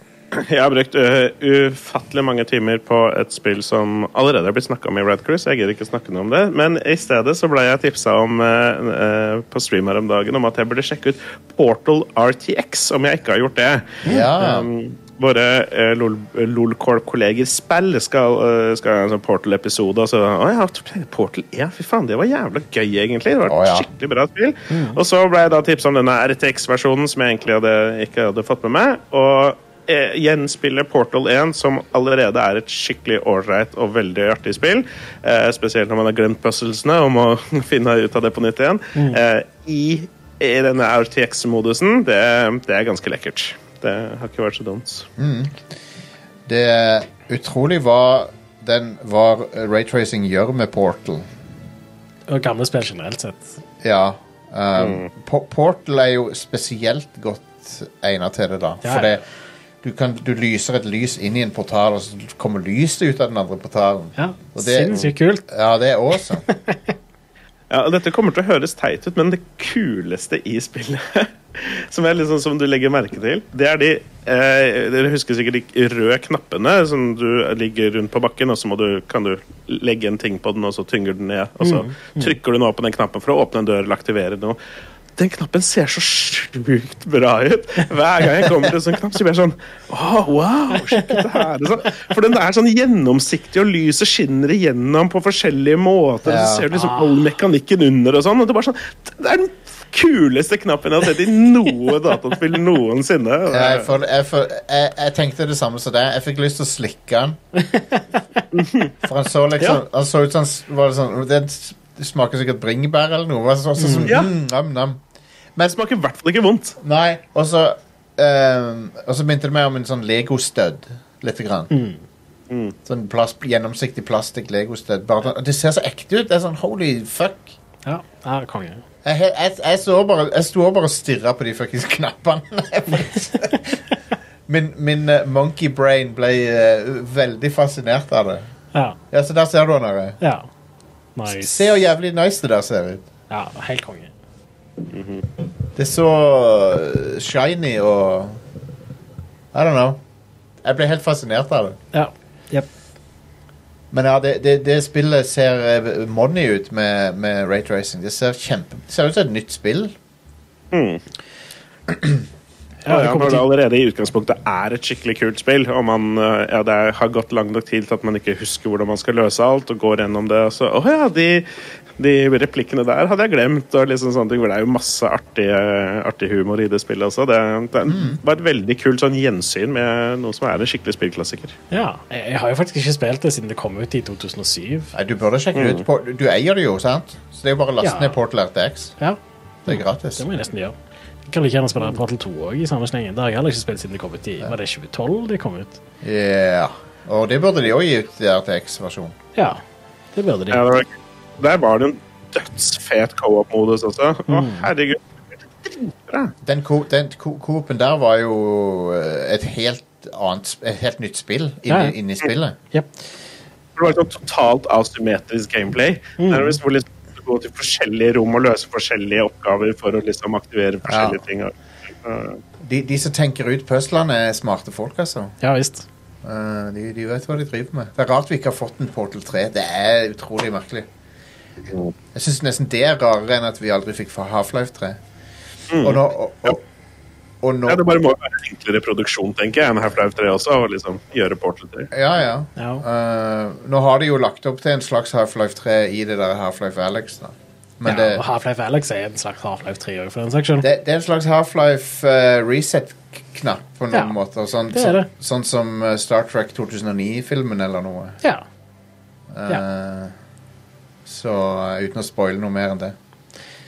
S5: jeg har brukt ø, ufattelig mange timer på et spill som allerede har blitt snakka om i Red Cruise. Jeg gidder ikke snakke noe om det. Men i stedet så ble jeg tipsa om ø, ø, på stream her om dagen om at jeg burde sjekke ut Portal RTX, om jeg ikke har gjort det.
S2: Ja.
S5: Um, våre eh, LOL LOLcorp-kolleger Spell skal, eh, skal ha en sånn Portal-episode. Og så Å ja, Portal 1, fy faen, det var jævla gøy, egentlig. Det var et
S2: Å, ja.
S5: skikkelig bra spill. Og så ble jeg da tipsa om denne RTX-versjonen som jeg egentlig hadde, ikke hadde fått med meg. Og eh, gjenspille Portal 1, som allerede er et skikkelig ålreit og veldig artig spill. Eh, spesielt når man har glemt puzzlesene og må (laughs) finne ut av det på nytt igjen. Eh, i i denne RTX-modusen, det, det er ganske lekkert. Det har ikke vært så dumt.
S2: Det er utrolig hva den hva raytracing gjør med Portal.
S3: Og gamle spill generelt sett.
S2: Ja. Um, Po- Portal er jo spesielt godt egnet til det, da.
S3: Ja,
S2: For
S3: ja.
S2: det, du, kan, du lyser et lys inn i en portal, og så kommer lyset ut av den andre portalen.
S3: Ja,
S2: Og det-
S3: Sinnssykt kult.
S2: Ja, det er awesome.
S5: Ja, og dette kommer til å høres teit ut, men det kuleste i spillet, (laughs) som, er liksom, som du legger merke til, det er de eh, Dere husker sikkert de røde knappene som du ligger rundt på bakken, og så må du, kan du legge en ting på den, og så tynger den ned. Og så trykker du nå på den knappen for å åpne en dør eller aktivere noe. Den knappen ser så sjukt bra ut. Hver gang jeg kommer til en sånn knapp, så blir jeg sånn «Åh, wow, sjekk ut det her. Det er sånn- For den er sånn gjennomsiktig, og lyset skinner igjennom på forskjellige måter. og
S2: Ja.
S5: Så ser du liksom all mekanikken under og sånn. Og det er bare sånn Det er den kuleste knappen jeg har sett i noe dataspill noensinne.
S2: Jeg, får- jeg, får- jeg, jeg tenkte det samme som deg. Jeg fikk lyst til å slikke han.
S3: (laughs)
S2: For han så liksom Han så ut som han s- var det sånn Det s- det smaker sikkert bringebær eller noe. Så, så, sånn,
S5: Ja.
S2: mm, nam, nam.
S5: Det smaker i hvert fall ikke vondt.
S2: Nei, og så ehm, Og så begynte det meg om en sånn Lego-stødd. Lite grann. Sånn plast, gjennomsiktig plastikk Lego-stødd. Bare sånn- Det ser så ekte ut. Det er sånn holy fuck.
S3: Ja, ja konge.
S2: Jeg, he- jeg, jeg, så bare, jeg sto bare og stirra på de fuckings knappene. (laughs) min min eh, monkey brain ble eh, veldig fascinert av det.
S3: Ja.
S2: Ja, Så der ser du han her.
S3: ja.
S2: Se
S3: Nice.
S2: hvor jævlig nice det der ser ut.
S3: Ja, helt konge.
S2: Det er så eh, shiny og I don't know. Jeg ble helt fascinert av det.
S3: Ja. Jep.
S2: Men ja, det, det, det spillet ser eh, money ut med, med raytracing. Det ser kjempe... Det ser ut som et nytt spill.
S5: Ja,
S3: det
S5: ja,
S3: kommer
S5: når det
S3: til-
S5: allerede i utgangspunktet er et skikkelig kult spill, og man, eh, ja, det er- har gått lang nok tid til at man ikke husker hvordan man skal løse alt, og går gjennom det, og så Å ja, de, de replikkene der hadde jeg glemt, og liksom sånne ting. hvor Det er jo masse artig, eh, artig humor i det spillet også. Det, det var et veldig kult sånn gjensyn med noe som er en skikkelig spillklassiker.
S3: Ja. Jeg, jeg har jo faktisk ikke spilt det siden det kom ut i 2007.
S2: Nei, Du burde sjekke det ut. På- Du, du eier det jo, sant? Så det er jo bare å laste
S3: Mm. Ja.
S2: ned Portal RTX.
S3: Ja,
S2: Det er gratis.
S3: det må jeg nesten gjøre. Jeg kan like gjerne spille Portal 2 også i samme slengen. Det har jeg heller ikke spilt siden det kom ut i Var det 2012 det kom ut?
S2: Ja. Og det burde de òg gi ut i RTX-versjonen.
S3: Ja. Det burde de.
S5: Ja, det var, der var det en dødsfet co-op-modus også. Å, herregud. Mm. Dritbra.
S2: Den ko- den ko- coopen der var jo eh, et helt annet sp- Et helt nytt spill inni,
S3: Ja, ja.
S2: inni spillet.
S3: Jep.
S5: Det var sånn totalt asymmetrisk gameplay. Nærmest hvor liksom du går til forskjellige rom og løser forskjellige oppgaver for å liksom aktivere forskjellige
S2: Ja.
S5: ting. og-
S2: De, de som tenker ut puzzlene, er smarte folk, altså.
S3: Ja visst.
S2: Eh, de, de vet hva de driver med. Det er rart vi ikke har fått en Portal 3. Det er utrolig merkelig. Jeg syns nesten det er rarere enn at vi aldri fikk fra Half-Life 3. Og nå, og, og, og nå
S5: Mm. Ja, det bare må være en enklere produksjon, tenker jeg, enn Half-Life 3 også, og liksom gjøre Portal 3.
S2: Ja, ja.
S3: Ja.
S2: Eh, nå har de jo lagt opp til en slags Half-Life 3 i det der Half-Life Alex. Da. Men
S3: ja, og
S2: det,
S3: Half-Life Alex er en slags Half-Life 3 også, for den saks skyld.
S2: det, det er en slags Half-Life eh, reset-knapp på noen
S3: Ja,
S2: måter. Sånn,
S3: det er det.
S2: så- sånn som eh, Star Trek 2009-filmen eller noe.
S3: Ja.
S2: Eh, Så eh, uten å spoile noe mer enn det.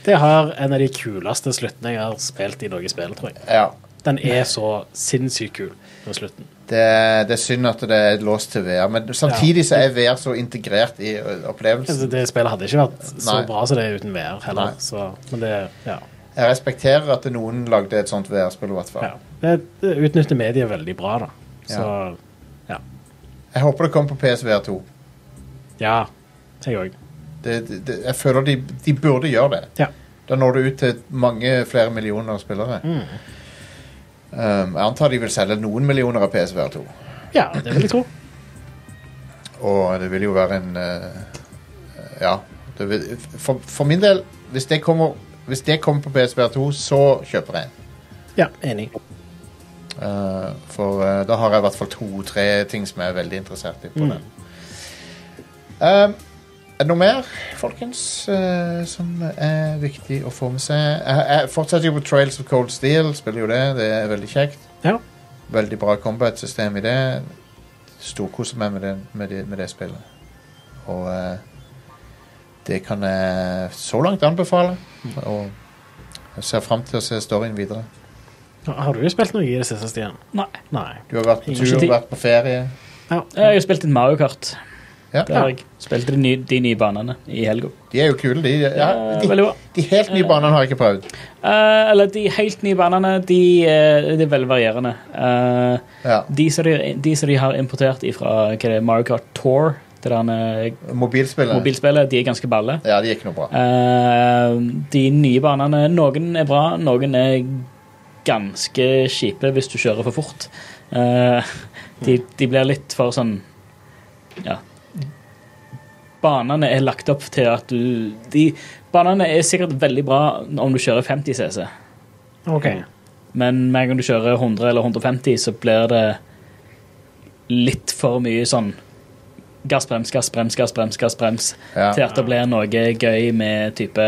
S3: Det har en av de kuleste sluttene jeg har spilt i noe spill, tror jeg.
S2: Ja.
S3: Den er så sinnssykt kul på slutten.
S2: Det, er- det er synd at det er låst til VR, men samtidig så er VR så integrert i ø,
S3: Altså,
S2: opplevelsen.
S3: det spillet hadde ikke vært så
S2: Nei.
S3: bra som det er uten VR
S2: Nei.
S3: heller. Så, men det, ja,
S2: Jeg respekterer at noen lagde et sånt VR-spill, i hvert fall.
S3: ja. det, det utnytter mediet veldig bra, da. Så ja.
S2: Jeg håper det kommer på PSVR2.
S3: Ja, jeg òg.
S2: Det, det, det, jeg føler de, de burde gjøre det.
S3: Ja.
S2: Da når du ut til mange flere millioner spillere.
S3: Mm.
S2: Um, jeg antar de vil selge noen millioner av PSVR2.
S3: ja, det vil jeg tro.
S2: Og det vil jo være en eh, Ja. Det vil, for, for min del, hvis det kommer, hvis det kommer på PSVR2, så kjøper jeg en.
S3: Ja, enig.
S2: Eh, for eh, da har jeg i hvert fall to-tre ting som jeg er veldig interessert i på den. Um, er det noe mer, folkens, eh, som er viktig å få med seg? Jeg, jeg fortsetter jo på Trails of Cold Steel, spiller jo det. Det er veldig kjekt.
S3: Ja.
S2: Veldig bra combat-system i det. Storkoser meg med det, med, det, med det spillet. Og eh, det kan jeg så langt anbefale. Og jeg ser fram til å se storyen videre.
S3: Har du spilt noe i det siste, Stian?
S4: Nei.
S3: Nei.
S2: Du har vært på
S4: Ingen
S2: tur,
S4: tid.
S2: vært på ferie.
S3: Ja.
S4: Jeg har spilt inn Mario Kart.
S2: Ja.
S4: Der har jeg spilte de nye, de nye banene i helga.
S2: De er jo kule, de. Ja,
S4: Eh,
S2: de,
S4: veldig bra.
S2: de helt nye banene har jeg ikke prøvd.
S4: Eh, eller de helt nye banene, de, eh, de er veldig varierende. Eh,
S2: Ja.
S4: de, som de, de som de har importert fra Mario Kart Tour, det der eh,
S2: Mobilspillet
S4: mobilspillet, de er ganske balle.
S2: Ja, de er ikke noe bra.
S4: Eh, de nye banene, noen er bra, noen er ganske kjipe hvis du kjører for fort. Eh, de, de blir litt for sånn Ja. Banene er lagt opp til at du de, Banene er sikkert veldig bra om du kjører 50 CC,
S3: OK.
S4: men med en gang du kjører 100 eller 150, så blir det litt for mye sånn gassbrems, gassbrems, gassbrems, gassbrems
S2: Ja.
S4: til at det blir noe gøy med type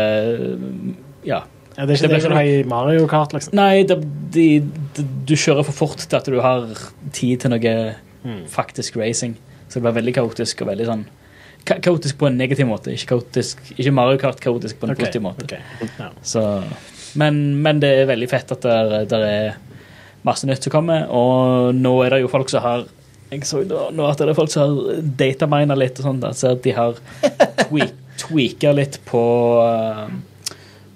S4: Ja.
S3: Ja, det er ikke
S4: Det
S3: det
S4: blir
S3: du
S4: sånn-
S3: har i Mario Kart, liksom.
S4: Nei, det, de, de, du kjører for fort til at du har tid til noe
S3: Hmm.
S4: faktisk racing. Så det blir veldig kaotisk og veldig sånn ka Kaotisk på en negativ måte, ikke, kaotisk, ikke Mario Kart kaotisk på en
S3: Ok,
S4: Mm, positiv måte.
S3: ok. Ja.
S4: Så, men, men det er veldig fett at det er- det er masse nytt som kommer, og nå er det jo folk som har jeg så da- nå at det er folk som har datamina litt og sånn, da, så at de har tweak, tweaka litt på eh,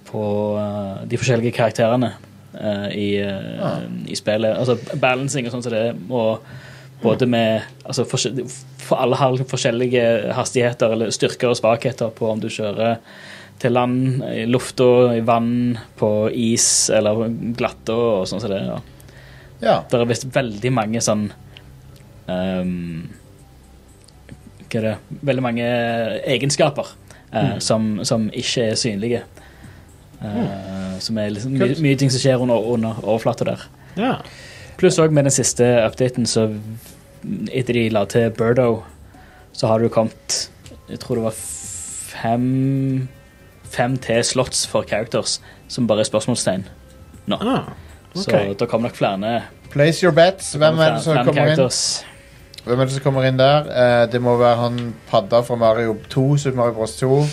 S4: på eh, de forskjellige karakterene eh, i, eh, i spillet. Altså balancing og sånn som det er, og både med altså forskjell- for Alle har forskjellige hastigheter eller styrker og svakheter på om du kjører til land, i lufta, i vann, på is eller glatta og sånn som det er. Ja.
S2: Ja.
S4: Det er visst veldig mange sånn ehm, Hva er det Veldig mange egenskaper eh, som, som ikke er synlige. Eh, Som er liksom my,
S2: Kult.
S4: mye ting som skjer under, under overflata der.
S3: ja.
S4: Pluss òg med den siste updaten, så etter de la til Birdo, så har det jo kommet Jeg tror det var fem Fem til slots for characters som bare er spørsmålstegn.
S3: Ah,
S4: Så
S3: ok.
S4: det kommer nok flere.
S2: Place your bets. Hvem er, det som
S4: flere
S2: kommer inn?
S4: characters.
S2: Hvem er det som kommer inn der? Eh, det må være han padda fra Mario 2, Super Mario Bros. 2.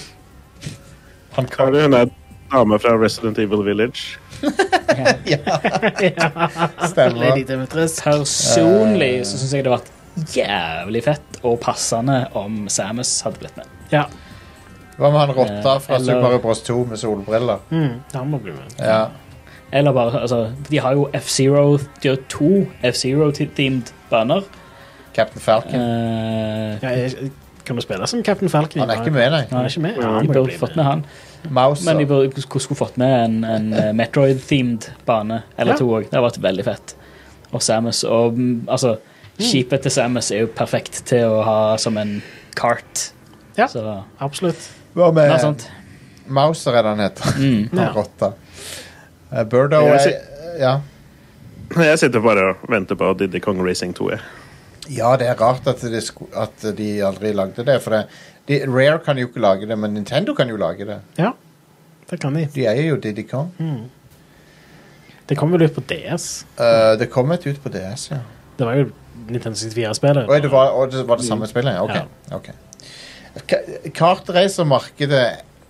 S2: Han
S5: Har du hun der dame fra Resident Evil Village?
S2: stemmer. Eh.
S4: Personlig så syns jeg det hadde vært jævlig fett og passende om Samus hadde blitt med.
S3: Ja.
S2: Hva med han rotta
S4: Eh,
S2: fra
S4: eller-
S2: Super Mario Bros. 2 med solbriller?
S3: Mm, han må bli med.
S2: Ja.
S4: Eller bare, altså, De har jo F-Zero De har to F-Zero-teamed baner.
S2: Captain Falcon.
S4: Eh,
S3: Ja, jeg, kan du spille som Captain Falcon?
S2: Han er ikke med, nei.
S3: Han er ikke med. Ja, han
S4: de
S3: må jo bli
S4: burde fått med han.
S2: Mouse.
S4: Men de burde hvordan skulle fått med en, en eh, Metroid-themed bane eller
S3: Ja.
S4: to òg. Det hadde vært veldig fett. Og Samus og mm, Altså, skipet til Samus er jo perfekt til å ha som en kart.
S3: Ja.
S4: Så,
S3: Absolutt.
S2: Hva
S4: det er
S2: med
S4: sant.
S2: Mouser, er det han heter?
S4: Mm.
S2: (laughs) Han
S3: Ja.
S2: rotta. Eh, Birdo
S5: Jeg
S2: er Ja.
S5: Jeg sitter bare og venter på Diddy Kong Racing 2. Jeg.
S2: Ja, det er rart at de, sku- at de aldri lagde det. For det, de, Rare kan jo ikke lage det, men Nintendo kan jo lage det.
S3: Ja, det kan de.
S2: De eier jo Diddy Kong.
S3: Det kom vel ut på DS.
S2: Eh, det kom et ut på DS, ja.
S3: Det var jo Nintendo 64-spillet.
S2: Oi, det var, og det var det samme spillet? ja, Ok. ok. Ka- Kartreisemarkedet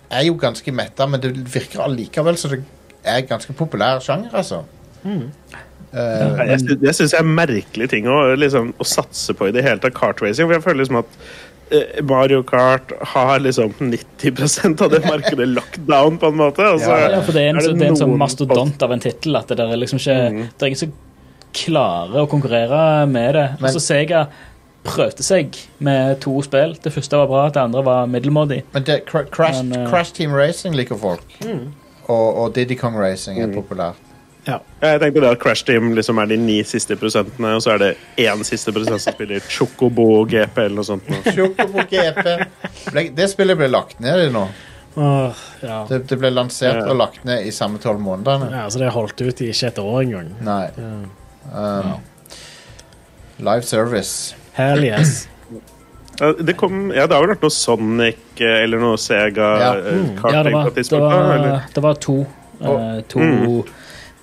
S2: er jo ganske metta, men det virker allikevel som det er ganske populær sjanger, altså. Eh,
S5: Nei, Jeg sy- det syns jeg er merkelig ting å, liksom, å satse på i det hele tatt. Kartracing. For jeg føler liksom at eh, Mario Kart har liksom 90
S4: (laughs)
S5: av det markedet locked down, på en måte. Og så
S2: Ja,
S4: Ja, for det er en,
S5: Eh, er det
S4: så- det er en sånn
S5: noen-
S4: mastodont av en tittel at det der er liksom ikke Det er ingen som klarer å konkurrere med det.
S2: Men-
S4: Og så Sega prøvde seg med to spill. Det første var bra, det andre var middelmådig.
S2: Men det, cra crash,
S4: Men, eh,
S2: crash Team Racing liker folk. Og, og Diddy Kong Racing er populært.
S5: Ja, Jeg tenkte da at Crash Team liksom er de ni siste prosentene, og så er det én siste prosent som spiller Chocobo GP eller noe sånt. nå.
S2: Chocobo GP. Ble- Det spillet ble lagt ned i nå.
S3: Åh, ja.
S2: Det, det ble lansert
S5: Ja.
S2: og lagt ned i samme tolv månedene.
S3: ja, så det holdt ut i ikke et år engang.
S2: Nei. Um, live service.
S3: Hell yes.
S4: (coughs)
S5: Ja, Det, kom, ja, det har vel vært noe Sonic eh, eller noe Sega
S2: Ja.
S5: eh,
S4: Ja, det
S5: karting
S4: var,
S5: på et
S4: det
S5: tidspunkt? da,
S4: var,
S5: eller?
S4: det var to. eh, to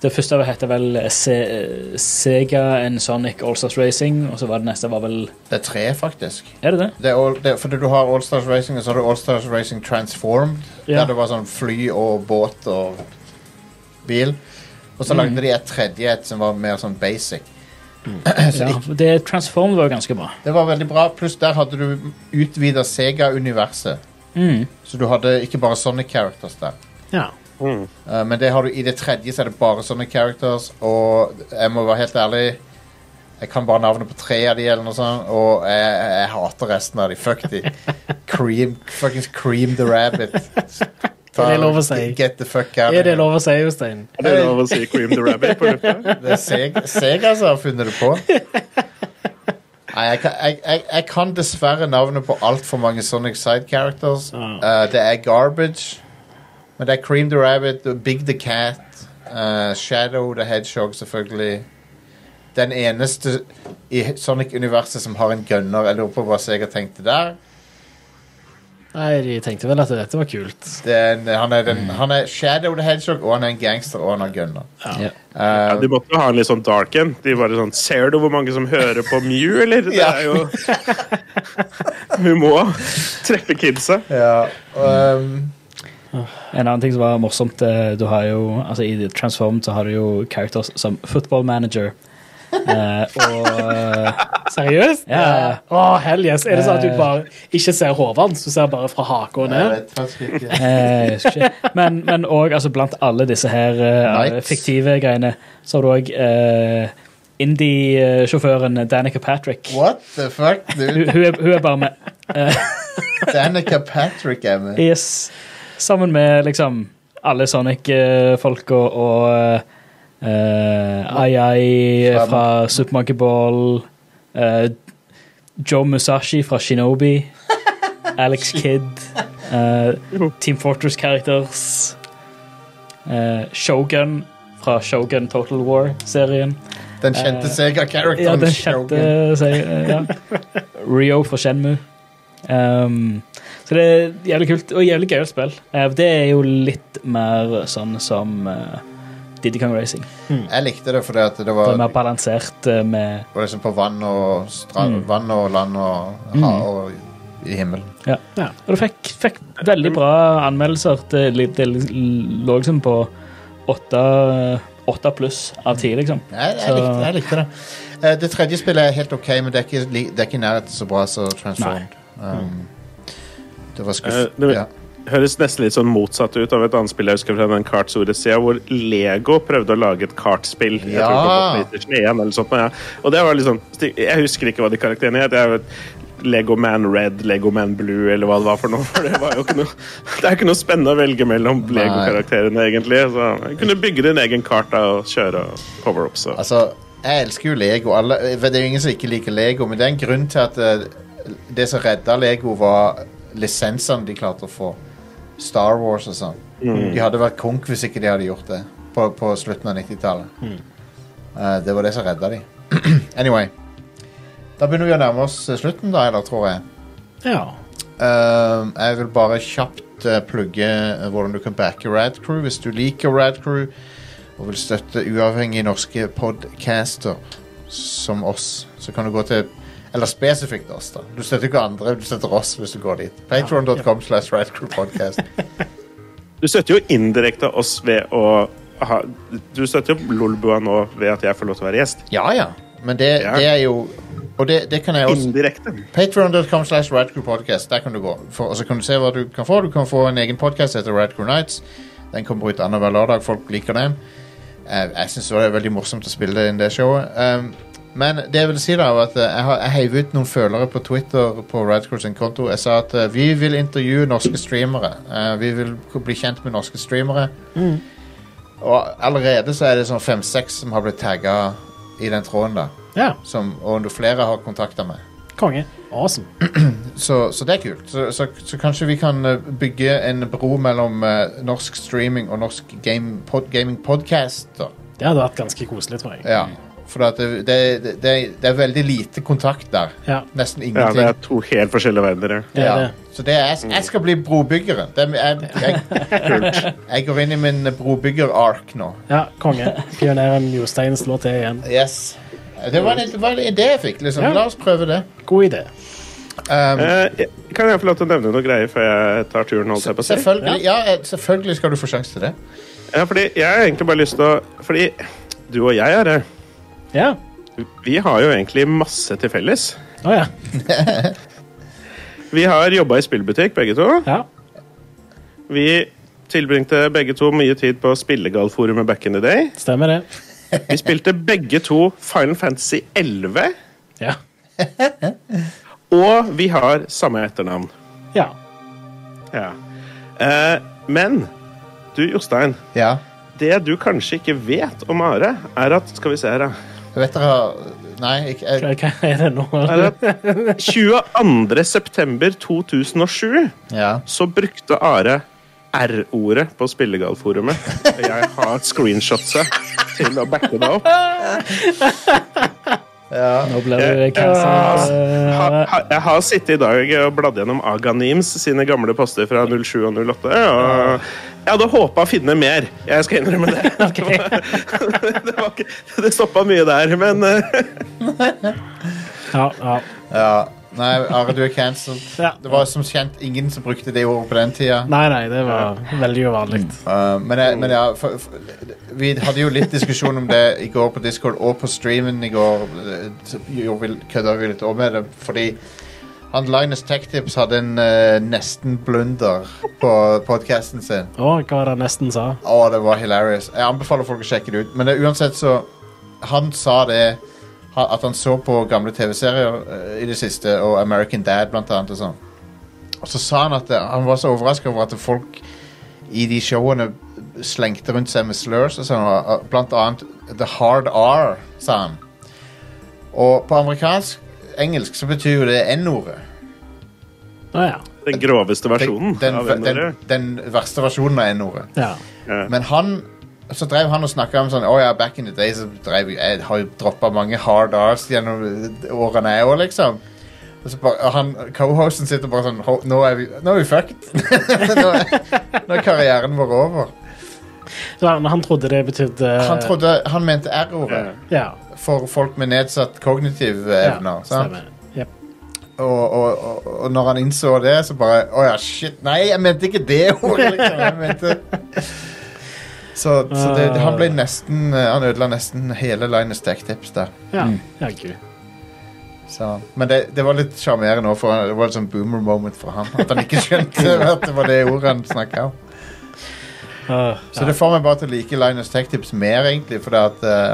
S4: Det første heter vel Se Sega and Sonic Allstars Racing, og så var det neste var vel
S2: Det er tre, faktisk.
S4: Er det det?
S2: Det er all, det, er- fordi du har Allstars Racing, og så har du Allstars Racing Transformed.
S4: Ja.
S2: Der det var sånn fly og båt og bil. Og
S4: Mm.
S2: så lagde de et tredje et som var mer sånn basic. så
S4: Ja, det Transform var jo ganske bra.
S2: Det var veldig bra. Pluss der hadde du utvida Sega-universet.
S4: Mm.
S2: Så du hadde ikke bare Sonic characters der.
S3: Ja.
S2: Eh, men det har du i det tredje så er det bare sånne characters, og jeg må være helt ærlig Jeg kan bare navnet på tre av de eller noe sånt, og jeg, jeg hater resten av de. Fuck de. Cream, fuckings cream the rabbit. Ta-
S3: Er (laughs) det lov å si?
S2: Get the fuck out.
S3: Er det lov å si, Jostein?
S5: Er det lov å si Cream the Rabbit på lufta?
S2: Det er Seg- Sega som har funnet det på. Nei, jeg kan, jeg, jeg, jeg kan dessverre navnet på altfor mange Sonic side characters.
S3: Ah.
S2: Eh, det er Garbage, men det er Cream the Rabbit, og Big the Cat, eh, Shadow the Hedgehog, selvfølgelig. Den eneste i Sonic-universet som har en gunner. Jeg lurer på hva Sega tenkte der.
S3: Nei, de tenkte vel at dette var kult.
S2: Det er en, han, er den, han er Shadow the Hedgehog, og han er en gangster, og han har gunner.
S4: Ja.
S5: Ja,
S2: Eh,
S5: de måtte jo ha en litt sånn dark en. De bare sånn Ser du hvor mange som hører på Mew, eller? Det
S2: Ja.
S5: er jo
S2: (laughs)
S5: Vi må treffe kidsa.
S2: ja, um,
S4: En annen ting som var morsomt, eh, du har jo, altså i Transformed så har du jo characters som football manager. Eh, og eh,
S3: Seriøst?
S4: Ja, ja, Eh. ja.
S3: Åh, hell yes. Er det sånn at du bare ikke ser hodet hans, du ser bare fra haka og
S2: jeg
S3: ned?
S2: vet faktisk ikke.
S4: eh, jeg husker ikke. Men, men også, altså, blant alle disse her eh,
S2: Knights.
S4: fiktive greiene, så har du òg indie-sjåføren Danica Patrick.
S2: What the fuck, dude?
S4: Hun, hun, er, hun er bare med.
S2: Danica Patrick er med.
S4: Yes. Sammen med liksom alle Sonic-folka og eh, Ai-Ai
S2: Fra-
S4: fra Super Monkey Ball. eh, Joe Musashi fra Shinobi. (laughs) Alex Kidd. eh, Team Fortress Characters. eh, Shogun fra Shogun Total War-serien.
S2: Den kjente
S4: Eh,
S2: Sega-characteren.
S4: Ja, den
S2: Shogun.
S4: kjente seieren. Ja. Rio for Shenmu. Um, så det er jævlig kult og jævlig gøyalt spill. Eh, det er jo litt mer sånn som uh, Diddy Kong Racing.
S2: Jeg likte det fordi at det
S4: Det
S2: var,
S4: er mer balansert eh, med
S2: var liksom på vann og
S4: Mm.
S2: strand, vann og land og hav og i himmelen.
S3: Ja.
S4: Og det fikk, fikk veldig bra anmeldelser. Det, li- det li- lå liksom på åtte åtte pluss av ti, liksom.
S2: Jeg, jeg,
S4: Så-
S2: likte, jeg likte det. Eh, Det tredje spillet er helt OK, men det er ikke, li- det er ikke i nærheten så bra som Transformed. Um, det var skuff.
S5: Eh, det-
S2: ja.
S5: Høres nesten litt sånn motsatt ut av et annet spill jeg husker fra den kartsoresida, hvor Lego prøvde å lage et kartspill. Jeg tror det
S2: Ja.
S5: var på PlayStation 1 eller sånt, men ja. Og det var liksom Jeg husker ikke hva de karakterene het. Jeg vet, Lego Man Red, Lego Man Blue eller hva det var for noe. (laughs) For det var jo ikke noe Det er ikke noe spennende å velge mellom Lego-karakterene, egentlig. Så du kunne bygge din egen kart da, og kjøre og power-ups og
S2: Altså, jeg elsker jo Lego. Alle, det er jo ingen som ikke liker Lego, men det er en grunn til at eh, det som redda Lego, var lisensene de klarte å få. Star Wars og sånn. De hadde vært konk hvis ikke de hadde gjort det på, på slutten av 90-tallet. Eh, det var det som redda de. (clears throat) anyway. Da begynner vi å nærme oss eh, slutten, da, eller tror jeg.
S3: ja.
S2: Ehm, jeg vil bare kjapt eh, plugge eh, hvordan du kan backe Rad Crew hvis du liker Rad Crew og vil støtte uavhengige norske podcaster som oss. Så kan du gå til Eller spesifikt oss, da. Du støtter ikke andre, du støtter oss hvis du går dit. Patron.com slash radcrewpodcast.
S5: Du støtter jo indirekte oss ved å ha, Du støtter jo Lolbua nå ved at jeg får lov til å være gjest.
S2: (laughs) Ja, ja. Men det,
S5: Ja.
S2: det er jo Og det, det kan jeg også
S5: Indirekte.
S2: Patreon.com slash Radcrew Podcast. Der kan du gå. For, og så kan du se hva du kan få. Du kan få en egen podkast som heter Radcrew Nights. Den kommer ut annenhver lørdag. Folk liker den. Eh, jeg syns det er veldig morsomt å spille det inn det showet. Um, men det jeg vil si, da, er at eh, jeg, har, jeg heiv ut noen følere på Twitter på Radcrew sin konto. Jeg sa at eh, vi vil intervjue norske streamere. Eh, vi vil k- bli kjent med norske streamere. Og allerede så er det sånn fem-seks som har blitt tagga i den tråden, da.
S3: Ja,
S2: Som, og flere har kontakta meg.
S3: konge. Awesome.
S2: Så, så det er kult. Så, så, så kanskje vi kan eh, bygge en bro mellom eh, norsk streaming og norsk game, pod, gaming podcast. Da.
S3: Det hadde vært ganske koselig, tror jeg.
S2: Ja.
S5: Mm.
S2: For at det, det, det, det det er veldig lite kontakt der.
S3: Ja,
S2: Nesten
S5: Ja, det
S2: ingenting.
S5: er to helt forskjellige verdener. ja.
S3: det er det.
S2: Så det er, jeg skal bli brobyggeren. Det, er- jeg, jeg, jeg, går inn i min brobygger-ark nå.
S3: Ja,
S4: (laughs)
S3: konge. Pioneren Jostein slår til igjen.
S2: Yes. Det var en, det var en idé jeg fikk. liksom.
S3: Ja.
S2: La oss prøve det.
S3: God idé.
S2: Um,
S5: Eh, kan jeg få lov til å nevne noe greier før jeg tar turen? holdt jeg på å si?
S2: selvfølgelig, ja, eh, selvfølgelig skal du få sjanse til det.
S5: Ja, fordi jeg har egentlig bare lyst til å Fordi du og jeg, Are,
S3: Ja.
S5: vi har jo egentlig masse til felles.
S3: Å ja.
S5: Vi har jobba i spillbutikk, begge to.
S3: ja.
S5: Vi tilbringte begge to mye tid på spillegallforumet back in the day.
S3: Stemmer det.
S5: Vi spilte begge to Final Fantasy 11,
S3: Ja.
S5: og vi har samme etternavn.
S3: ja.
S5: Ja. Eh, men du, Jostein,
S2: Ja.
S5: det du kanskje ikke vet om Are, er at Skal vi se her, da.
S2: Jeg vet dere har Nei, ikke, jeg,
S3: Hva hva er det nå?
S5: Er at 22. september 2007
S2: ja.
S5: så brukte Are R-ordet på Spillegallforumet. Og Jeg har screenshotset til å backe deg opp.
S4: Nå ble du cancelled.
S5: Ha, ha, jeg har sittet i dag og bladd gjennom Aganims sine gamle poster fra 07 og 08. Og jeg hadde håpa å finne mer. Jeg skal innrømme det. Det, var, det, var ikke, det stoppa mye der, men eh,
S3: Ja, ja.
S2: Ja. Nei, Are, du er cancelled.
S3: Ja.
S2: Det var som kjent ingen som brukte det ordet på den tida.
S3: Nei, nei, det var veldig uvanlig.
S2: Uh, men, jeg, men ja, for, for, vi hadde jo litt diskusjon om det i går på Discord og på streamen i går. Eh, Så gjorde vi- Kødda vi litt om med det fordi han Linus Techtips hadde en eh, nesten-blunder på podkasten sin.
S3: Å, hva var det nesten sa?
S2: Å, det var hilarious. Jeg anbefaler folk å sjekke det ut. Men det, uansett så Han sa det ha- at han så på gamle TV-serier eh, i det siste, og American Dad blant annet. Og, sånn. og så sa han at det, han var så overraska over at folk i de showene slengte rundt seg med slurs og sånn. og- og Blant annet The Hard R, sa han. Og på amerikansk engelsk så betyr jo det N-ordet.
S3: Å ja.
S5: den groveste versjonen
S2: Den,
S5: av
S2: den, den,
S5: N-ordet.
S2: den verste versjonen av N-ordet.
S3: ja.
S2: Men han så drev han og snakka om sånn Å ja, back in the day så drev jeg, jeg har jo droppa mange hard R's gjennom eh, årene, jeg òg, liksom. Og så bare, og han, Co-hosten sitter bare sånn «Ho- Nå er vi, nå er vi fucked. (laughs) nå, er, nå er karrieren vår over.
S3: Så han, han trodde det betydde
S2: Han trodde han mente R-ordet
S3: Ja.
S2: for folk med nedsatt kognitive evner. sant?
S3: stemmer. Jep.
S2: og, og, og, og når han innså det, så bare Å ja, shit. Nei, jeg mente ikke det (laughs) ordet, liksom. Jeg mente Så, så det, han ble nesten eh, Han ødela nesten hele Linus Tech Tips der.
S3: Ja. ja, gud.
S2: Så. Men det, det var litt sjarmerende òg, for han- det var et sånn boomer moment for han. At han ikke skjønte (laughs) at det var det ordet han snakka om.
S3: Åh,
S2: Så det får meg bare til å like Linus Tech Tips mer, egentlig, fordi at eh,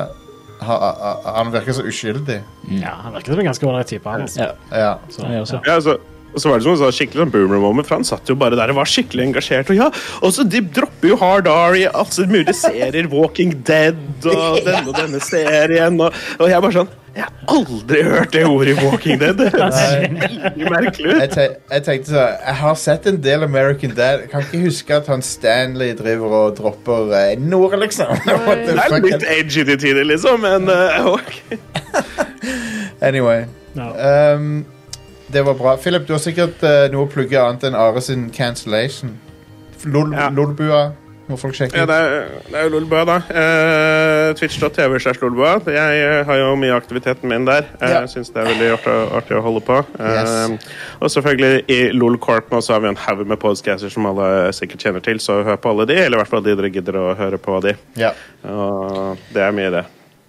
S2: ha, ha, han virker så uskyldig.
S3: ja, han virker som en ganske ålreit type. Han, altså.
S4: Ja,
S2: Ja.
S3: Så,
S4: jeg også.
S5: Ja, altså, og så var det som hun sa, skikkelig sånn boomer moment, for han satt jo bare der og var skikkelig engasjert. Og ja, og så de dropper jo Hard R i alle mulige serier, Walking Dead og denne og denne serien. Og, og jeg bare sånn Jeg har aldri hørt det ordet i Walking Dead. Det høres veldig merkelig
S2: jeg,
S5: ut.
S2: te jeg tenkte så Jeg har sett en del American Dad. Jeg kan ikke huske at han Stanley driver og dropper eh, N-ordet, liksom. (laughs) What the
S5: Det er
S2: fuck?
S5: litt edgy til tider, liksom, men eh, ok.
S2: Anyway.
S3: ja.
S2: ehm, det var bra. Philip, du har sikkert eh, noe å plugge annet enn Are sin cancellation. Lol
S5: Ja.
S2: Lolbua må folk sjekke
S5: ja,
S2: ut.
S5: det, er, det er jo Lolbø, da. Eh, eh, twitch.tv slash lolbua. Jeg eh, har jo mye aktiviteten min der. Jeg
S2: Ja.
S5: syns det er veldig artig, artig å holde på. Eh,
S2: Yes.
S5: og selvfølgelig i LOL Corp nå så har vi en haug med podcaster som alle sikkert kjenner til, så hør på alle de, eller i hvert fall de dere gidder å høre på de.
S2: Ja.
S5: Og det er mye, det.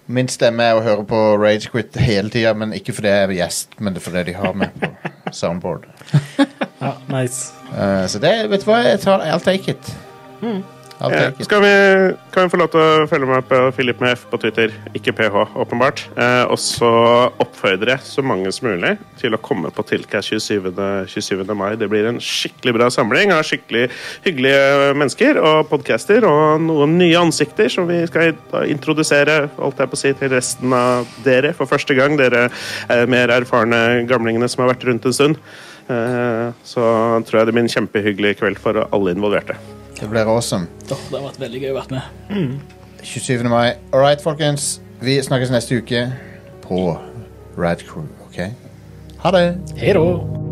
S2: Min stemme er å høre på Ragequit hele tida, men ikke fordi jeg er gjest, men det er fordi de har meg
S5: (laughs)
S2: på soundboard.
S3: Ja, nice.
S2: Eh, så det, vet du hva, jeg tar, I'll take it. I'll
S5: Ja,
S2: take it.
S5: Eh, skal vi, kan vi få lov til å følge med på Philip med F på Twitter, ikke PH, åpenbart. Eh, og så oppfordre så mange som mulig til å komme på Tilka 27. 27. mai. Det blir en skikkelig bra samling av skikkelig hyggelige mennesker og podcaster og noen nye ansikter som vi skal da introdusere holdt jeg på å si, til resten av dere for første gang. Dere eh, mer erfarne gamlingene som har vært rundt en stund. Eh, så tror jeg det blir en kjempehyggelig kveld for alle involverte.
S2: Det blir awesome.
S4: Åh, det har vært veldig gøy å være med.
S2: 27. mai. All right, folkens. Vi snakkes neste uke på Rad Crew, OK? Ha det.
S3: Hei da.